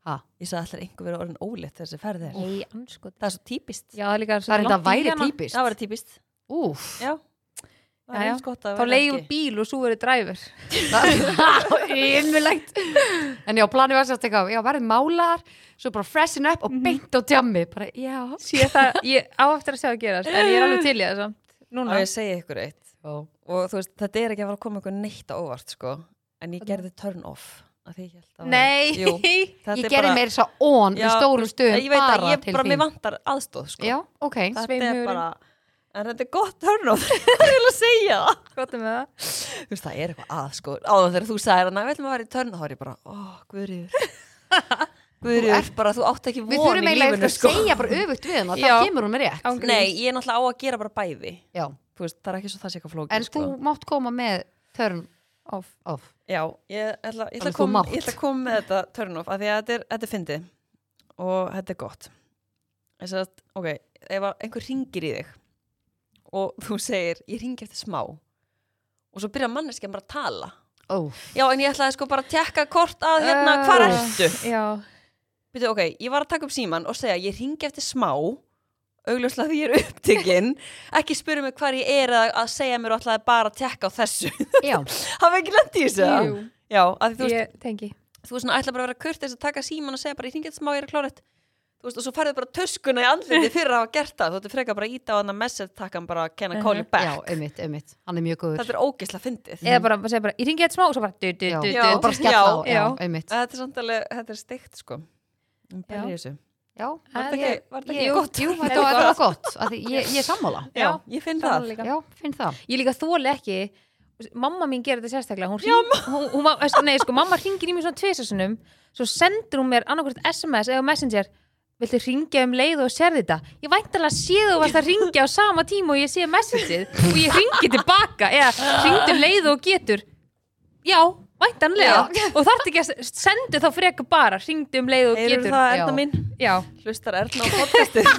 Speaker 1: ha,
Speaker 2: Ég sagði allir einhver verið orðin ólétt þegar þessi ferð er.
Speaker 3: Nei, anskot
Speaker 2: Það er svo típist.
Speaker 3: Já, það er líka
Speaker 1: það er
Speaker 3: langt
Speaker 1: þetta
Speaker 3: í
Speaker 1: væri
Speaker 3: hana.
Speaker 1: típist.
Speaker 2: Það var típist.
Speaker 1: Úf,
Speaker 2: Já. Það
Speaker 3: Já,
Speaker 2: er
Speaker 3: já.
Speaker 2: eins gott að
Speaker 3: Þá leiðum við bíl og svo verður dræfur
Speaker 1: innulegt En já, planið var sérst eitthvað Já, verðið málar, svo bara freshen up og
Speaker 2: Mhm.
Speaker 1: beint á djammi bara, Já,
Speaker 3: Ég, það, ég á eftir að sjá að gerast en ég er alveg til í það samt
Speaker 2: Núna.
Speaker 3: Núna
Speaker 2: ég segja ykkur eitt. Og þú veist, þetta er ekki að fara að koma ykkur neitt á óvart, sko. En ég gerði turn off. Af því ég held að...
Speaker 3: Nei
Speaker 2: Jú. Þetta
Speaker 1: Ég
Speaker 2: er
Speaker 1: gerði
Speaker 2: bara-
Speaker 1: meira svo on í
Speaker 2: Já,
Speaker 1: stórum
Speaker 2: Ég
Speaker 1: stöðum
Speaker 2: veit að
Speaker 1: bara
Speaker 2: ég
Speaker 1: til
Speaker 2: bara,
Speaker 1: þín
Speaker 2: mér vantar aðstóð, sko.
Speaker 1: Já, ok
Speaker 2: Þetta er
Speaker 3: sveimhugurinn.
Speaker 2: bara... En þetta er gott turn off. Hvað er ég að segja það?
Speaker 3: Hvað er með um það?
Speaker 2: Þú veist, það er eitthvað að, sko. Áðan þegar þú sagðir hana, við ætlum að vera í turn off, þá er ég bara, ó, guðriður. Guðriður, bara, þú átt ekki
Speaker 1: Við
Speaker 2: von
Speaker 1: þurfum
Speaker 2: í
Speaker 1: eiginlega
Speaker 2: lífinu,
Speaker 1: að
Speaker 2: sko.
Speaker 1: segja um bara öfugt við hann
Speaker 3: Já.
Speaker 1: Það kemur hún með rétt
Speaker 3: Án gríns.
Speaker 2: Nei, ég er náttúrulega á að gera bara bæði
Speaker 1: Já,
Speaker 2: Þú veist, það er ekki svo það sé eitthvað flókið
Speaker 1: en þú
Speaker 2: sko.
Speaker 1: mátt koma með turn
Speaker 3: Off.
Speaker 1: off
Speaker 2: Já, ég ætla, ég ætla,
Speaker 1: Þannig
Speaker 2: að
Speaker 1: þú
Speaker 2: koma,
Speaker 1: mátt.
Speaker 2: ég ætla að koma með þetta turn off af því að þetta er, þetta er fyndið og þetta er gott Þess að, ok, ef að einhver ringir í þig og þú segir ég ringi eftir smá og svo byrja manneskja bara að tala
Speaker 1: Ó,
Speaker 2: Já, en ég ætlaði sko bara að tekka kort að hérna,
Speaker 3: Ö,
Speaker 2: hvar ertu?
Speaker 3: Ah. Já,
Speaker 2: Býtu, ok, ég var að taka upp síman og segja ég ringi eftir smá augljóslega því ég er upptekinn ekki spyrja mig hvar ég er að, að segja mér og ætlaði bara að tekka á þessu
Speaker 1: já,
Speaker 2: hafa ekki lent í þessu
Speaker 3: Jú.
Speaker 2: já, að því, þú veist,
Speaker 3: ég tengi
Speaker 2: þú veist, svona, ætla bara að vera kurtis að taka síman og segja bara ég ringi eftir smá, ég er að klára þetta þú veist, og svo færðu bara töskuna í andliti fyrir að hafa gert það þú veist, frekar bara að íta á hann að message takkan bara can I call you
Speaker 1: já,
Speaker 2: back
Speaker 1: einmitt, einmitt Hann er mjög góður
Speaker 2: þetta er ógeðslega fyndið
Speaker 3: Eða bara, segja bara, ég ringi eitt smá og svo bara du, du,
Speaker 1: Já, og
Speaker 3: du, du,
Speaker 2: já.
Speaker 1: bara skella á,
Speaker 3: Já,
Speaker 1: já,
Speaker 3: já.
Speaker 1: einmitt
Speaker 2: þetta er samtalið, þetta er steikt sko Ég pæli í þessu.
Speaker 1: Já,
Speaker 2: Var þetta
Speaker 3: Ég-
Speaker 2: ekki- var þetta
Speaker 1: jú,
Speaker 2: ekki gott?
Speaker 1: jú, þetta
Speaker 3: Þetta
Speaker 1: var
Speaker 3: var
Speaker 1: þetta var gott af því Ég ég er sammála
Speaker 2: Já, ég finn það
Speaker 3: Sannlega.
Speaker 1: Já, finn það
Speaker 3: Ég líka þóli ekki Mamma mín gerir þetta sérstaklega Hún hring, hún, hún, var- veist, Nei, sko, mamma hringir í mér svona tvisasunum Svo sendur hún mér annarkvært SMS eða messenger Viltu hringja um leið og sér þetta? Ég væntalega sé þú varst að hringja á sama tíma og ég sé messageið og ég hringi tilbaka eða hringdu um leið og getur Já, væntanlega og þarf ekki að sendu þá frekar bara hringdu um leið og
Speaker 2: Eirur
Speaker 3: getur
Speaker 2: það
Speaker 1: já.
Speaker 2: Erna mín?
Speaker 3: Já,
Speaker 2: Hlustar Erna á podcastið?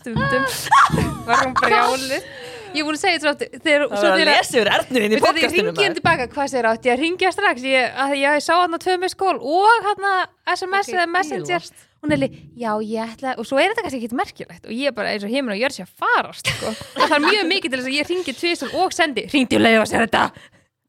Speaker 3: stundum var hún brjálið Ég er búin að segja þetta svo oft, þegar
Speaker 2: Það
Speaker 3: svo
Speaker 2: var að
Speaker 3: þegar-
Speaker 2: lesa yfir Ernu inn í
Speaker 3: Við þarfum að
Speaker 2: podcastinu
Speaker 3: ringja henni tilbaka, hvað sér átt ég að ringja strax ég, að ég sá hann á tvö með skól og hann SMS
Speaker 1: Ok,
Speaker 3: eða Messenger hún er líka, já ég ætla og svo er þetta kannski ekkit merkilegt og ég er bara eins og heimur og jörg sér að fara sko. og það er mjög mikið til þess að ég ringi tvisum og sendi ringdi og leiði og sér þetta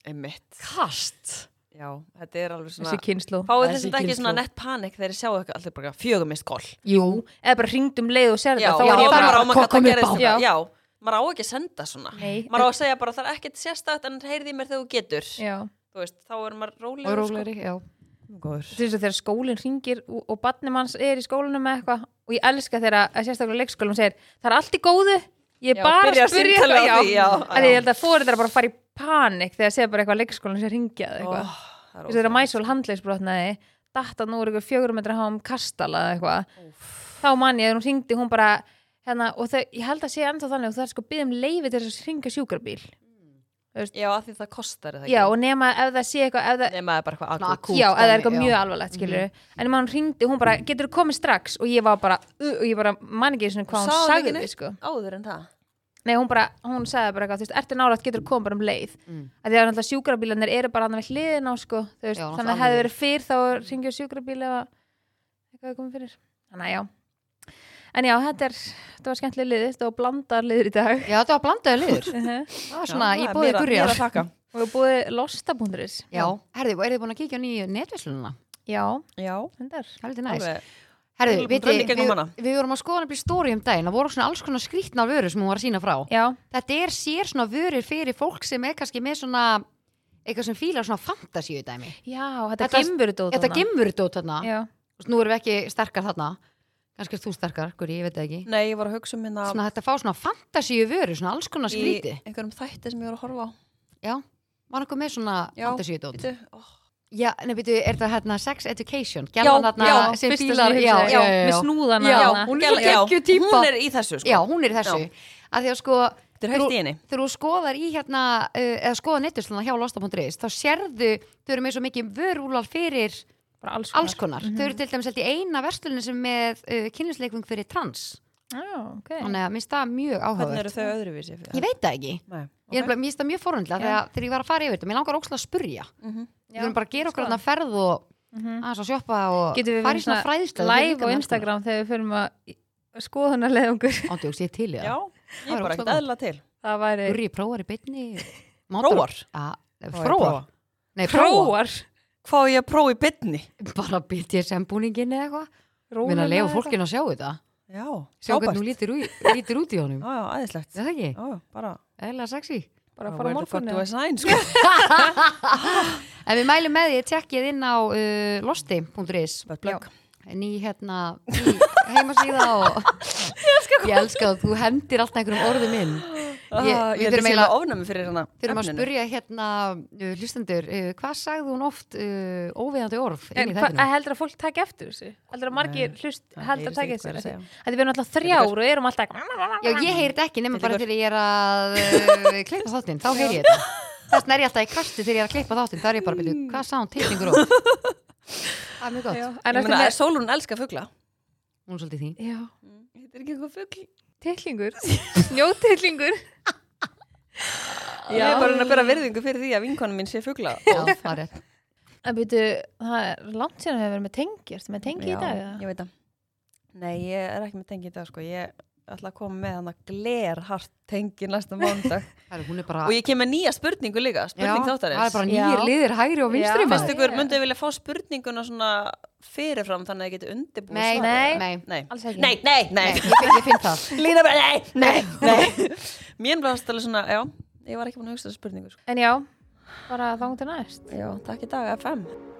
Speaker 2: Einmitt.
Speaker 1: Kast
Speaker 2: Já, þetta er alveg svona
Speaker 3: þessi kynslu
Speaker 2: Fáið
Speaker 1: Þessi
Speaker 2: þess að ekki
Speaker 1: kynslóð.
Speaker 2: svona nett panik þegar þið sjáu eitthvað allir bara fjögumist koll
Speaker 1: Jú,
Speaker 3: eða bara ringdi um leið og sér
Speaker 2: Já,
Speaker 3: þetta
Speaker 2: já,
Speaker 3: þá er
Speaker 1: bara-
Speaker 3: ég bara
Speaker 1: bara-
Speaker 2: oh my god,
Speaker 1: kom
Speaker 2: það
Speaker 1: upp
Speaker 2: gerðist
Speaker 1: á.
Speaker 2: svona. Já, maður á ekki að senda svona
Speaker 3: Nei,
Speaker 2: Maður á að segja bara það er ekkert sérstakt en heyrði í mér þegar þú getur
Speaker 3: já.
Speaker 2: Þú veist, þá er maður
Speaker 1: og
Speaker 2: rólegur
Speaker 1: rólegri, já
Speaker 2: sko. Góður.
Speaker 3: Þú veist að þegar skólinn ringir og, og barnum hans er í skólanum með eitthvað og ég elska þegar að sérstaklega leikskólum segir það er allt í góðu, ég er
Speaker 2: Já,
Speaker 3: bara
Speaker 2: byrja
Speaker 3: að
Speaker 2: að
Speaker 3: spyrja
Speaker 2: símtala á því, já,
Speaker 3: að
Speaker 2: já.
Speaker 3: ég held að fóreldrar bara fara í panik þegar segir bara eitthvað leikskólinn sem ringja eða
Speaker 2: Ó,
Speaker 3: eitthvað
Speaker 2: það
Speaker 3: Þú
Speaker 2: er
Speaker 3: veist þegar
Speaker 2: óþægilegt.
Speaker 3: mæsól handleisbrotnaði datt að nú er eitthvað fjögur metra háum kastala eða eitthvað þá man ég að hún ringdi hún bara hérna, og þau, ég held að sé ennþá þannig að þú þarf sko að biðja um leifi til þess að ringa sjúkrabíl
Speaker 2: Já, af því það kostar er það
Speaker 3: já og nema ef það sé eitthvað ef það,
Speaker 2: Nei, maður er bara eitthvað
Speaker 1: Svona
Speaker 2: akut
Speaker 1: akút
Speaker 3: já, eða það
Speaker 1: dæmi,
Speaker 3: er eitthvað
Speaker 1: já. Mhm.
Speaker 3: mjög alvarlegt skilur en ef hann ringdi, hún bara, getur þú komið strax og ég var bara, uh, og ég bara man ekki svona hvað hún
Speaker 2: Sá hún ekki
Speaker 3: sagði
Speaker 2: neitt?
Speaker 3: sko.
Speaker 2: Áður en það
Speaker 3: Nei, hún bara, hún sagði bara eitthvað, þú veist, ertu nálægt getur kom bara um leið. Mm. Því að náttúrulega sjúkrabílanir eru bara hann við hliðin á, sko, þú veist,
Speaker 1: Já,
Speaker 3: þannig
Speaker 1: náttúrulega
Speaker 3: að hefði
Speaker 1: alveg.
Speaker 3: verið fyrr þá ringið sjúkrabíl eða eitthvað komið fyrir. Þannig að já. En já, þetta er, þetta var skemmtileg liðið, þetta var blandar liður í dag.
Speaker 1: Já, þetta var blandaði liður. Það var svona, ég búið
Speaker 2: mér
Speaker 1: gurjar.
Speaker 2: að þakka
Speaker 3: Og við búið losta.is.
Speaker 1: Já, herðu, og eru þið búin að kíkja á nýju netverslunina?
Speaker 3: Já,
Speaker 2: Já,
Speaker 3: hundar.
Speaker 1: Það er litið næst.
Speaker 2: alveg
Speaker 1: Herðu,
Speaker 2: Alveg búin að
Speaker 1: viti,
Speaker 2: renna í
Speaker 1: við,
Speaker 2: gegnum hana.
Speaker 1: við vorum að skoða nefnilega stóri um daginn, það voru svona alls konar skrýtna vörur sem hún var að sína frá.
Speaker 3: Já,
Speaker 1: Þetta er sér svona vörur fyrir fólk sem er kannski með svona, eitthvað sem fílar svona fantasíu dæmi.
Speaker 3: já, þetta,
Speaker 1: Þetta-
Speaker 3: þetta gimmur dót
Speaker 1: Þetta gemur þetta út þarna,
Speaker 3: Já,
Speaker 1: Þú veist, nú erum við ekki sterkar þarna, kannski er þú sterkar, Guri, ég veit það ekki.
Speaker 2: Nei, ég var að hugsa um hérna
Speaker 1: Svona þetta fá svona fantasíu vörur, svona alls konar
Speaker 2: í
Speaker 1: skrýti.
Speaker 2: einhverjum þætti sem ég var að horfa á
Speaker 1: Já, var einhver með svona
Speaker 2: Já,
Speaker 1: fantasíu dót.
Speaker 2: Bíddu, ó.
Speaker 1: Já, nefnir, er það hérna sex education? Gjallan
Speaker 2: Já,
Speaker 1: þarna
Speaker 2: já,
Speaker 1: sem
Speaker 3: fyrsta
Speaker 1: fílar,
Speaker 3: sem ég
Speaker 1: já,
Speaker 3: hugsaði,
Speaker 1: já, já,
Speaker 3: með
Speaker 1: já.
Speaker 3: snúðana.
Speaker 1: Já,
Speaker 3: hana.
Speaker 1: hún er
Speaker 2: gæla-
Speaker 1: svo geggjuð típa.
Speaker 2: Hún er í þessu sko
Speaker 1: Já, hún er í þessu. Að því að sko,
Speaker 2: Þetta er hægt í henni
Speaker 1: þegar þú skoðar í hérna, uh, eða skoðar nettusluna hjá losta.is, þá sérðu, þau eru með svo mikið vörúlar fyrir
Speaker 3: Bara alls
Speaker 1: alls konar. Þau eru til dæmis held í eina verslunni sem er með uh, kynlisleikving fyrir trans.
Speaker 3: Já, ok.
Speaker 1: Þannig að mér finnst það mjög
Speaker 2: Hvernig
Speaker 1: áhugavert.
Speaker 2: eru þau öðruvísi?
Speaker 1: Ég veit það ekki. Ég
Speaker 2: Nei,
Speaker 1: er
Speaker 2: ok.
Speaker 1: nefnilega- Mér finnst það mjög forundlega þegar, þegar ég var að fara yfir þetta. Mér langar ókslega að spurja.
Speaker 2: Mhm.
Speaker 1: Við erum bara að gera okkur
Speaker 3: skoðum.
Speaker 1: þarna ferð og aðeins að sjoppa og
Speaker 3: getum við
Speaker 1: fara í
Speaker 3: verið
Speaker 1: svona
Speaker 3: svona
Speaker 1: fræðslu.
Speaker 3: Mhm. live á Instagram þegar við förum að skoðunarlega okkur
Speaker 1: Ándjóks, sko. ég er til í
Speaker 2: Já,
Speaker 1: það. er
Speaker 2: ég er bara
Speaker 1: ógeðslega
Speaker 2: ekkert eðla til
Speaker 3: það væri
Speaker 1: Gurri, prófar í beinni.
Speaker 2: Prófar?
Speaker 1: Já,
Speaker 2: Prófa,
Speaker 1: Fróar?
Speaker 2: prófa.
Speaker 1: Nei, prófar.
Speaker 3: próar
Speaker 2: Hvað á ég að prófa í bytni?
Speaker 1: Bara BDSM búningin eða eitthvað. Við erum
Speaker 3: Rólegra
Speaker 1: að lefa
Speaker 3: eitthvað.
Speaker 1: fólkinu að sjá þetta.
Speaker 2: Já,
Speaker 1: Sjá
Speaker 2: frábært.
Speaker 1: hvernig hún lítir, úr- lítir út í honum.
Speaker 2: Já, já, æðislegt
Speaker 1: Er Það ekki?
Speaker 2: Já, já, bara
Speaker 1: Eðla sexy.
Speaker 3: bara að fara á morgunni
Speaker 2: Where the fuck do I sign, sko
Speaker 1: En við mælum með því, tjekkið inn á uh, losti.is.
Speaker 2: Bara plugg.
Speaker 1: Ný hérna, ný heimasíða og... Ég elska það, þú hendir alltaf einhverjum orðum inn.
Speaker 2: Ah,
Speaker 1: Ég- við
Speaker 2: Ég held
Speaker 1: þurfum
Speaker 2: að sé
Speaker 1: eiginlega-
Speaker 2: með ofnæmi fyrir hana
Speaker 1: Þurfum að
Speaker 2: efninu.
Speaker 1: spurja hérna uh, hlustendur, uh, hvað sagði hún oft uh, óveðandi orð inn
Speaker 3: en
Speaker 1: í
Speaker 3: hva-
Speaker 1: þættinu?
Speaker 3: heldur að fólk takki eftir þessu heldur að margir hlust
Speaker 2: það
Speaker 3: heldur
Speaker 2: heyrist
Speaker 3: að takki
Speaker 2: ekki hvað
Speaker 3: eftir
Speaker 2: er að
Speaker 3: þessu
Speaker 2: segja.
Speaker 3: Þetta við erum alltaf þrjár og um erum alltaf
Speaker 1: Já, ég heyri þetta ekki nema
Speaker 2: Þetta
Speaker 1: bara
Speaker 2: er
Speaker 1: þegar ég er að uh, klippa þáttinn, þá heyri ég þetta. Þess vegna er ég alltaf í kastu þegar ég er að klippa þáttinn, þá er ég bara að byrja, hvað sá hún teikningur og? Það er mjög gott,
Speaker 3: Já,
Speaker 2: Ég
Speaker 3: en
Speaker 2: meina,
Speaker 3: eftir með
Speaker 2: Sólun elskar fugla
Speaker 1: hún er svolítið þín.
Speaker 3: já,
Speaker 2: Þetta er Mm. ekki eitthvað fugl
Speaker 3: tillingur, snjótillingur
Speaker 2: Ég er bara að reyna að bera virðingu fyrir því að vinkonum minn sé fugla
Speaker 1: Já, það er rétt.
Speaker 3: en byrju, það er langt síðan við hefur verið með tengi erstu með tengi í
Speaker 2: Já,
Speaker 3: dag? eða?
Speaker 2: Ég veit það Nei, ég er ekki með tengi í dag sko Ég ætla að koma með hann að glerhart tengi næsta mándag
Speaker 1: Það er, hún er bara,
Speaker 2: Og ég kem með nýja spurningu líka Spurning
Speaker 1: já, það er
Speaker 2: þáttarins
Speaker 1: bara
Speaker 3: Já.
Speaker 1: nýjir liðir hægri og vinstri
Speaker 3: Já.
Speaker 1: maður.
Speaker 2: Fyrst ykkur,
Speaker 3: Ég-
Speaker 2: myndu vilja fá spurninguna svona fyrirfram þannig að þið geti undirbúið
Speaker 1: Nei, nei,
Speaker 2: svarið?
Speaker 3: Nei.
Speaker 1: nei,
Speaker 2: Nei,
Speaker 3: Alls ekki.
Speaker 2: nei, nei,
Speaker 1: nei,
Speaker 2: nei.
Speaker 1: ég, finn- ég finn það.
Speaker 2: Lína bara, nei, nei, nei. Mér bláðast alveg svona, já, ég var ekki búin að hugsa þessu spurningu. Sko.
Speaker 3: en já, bara þangt til næst
Speaker 2: Já, takk í dag, FM.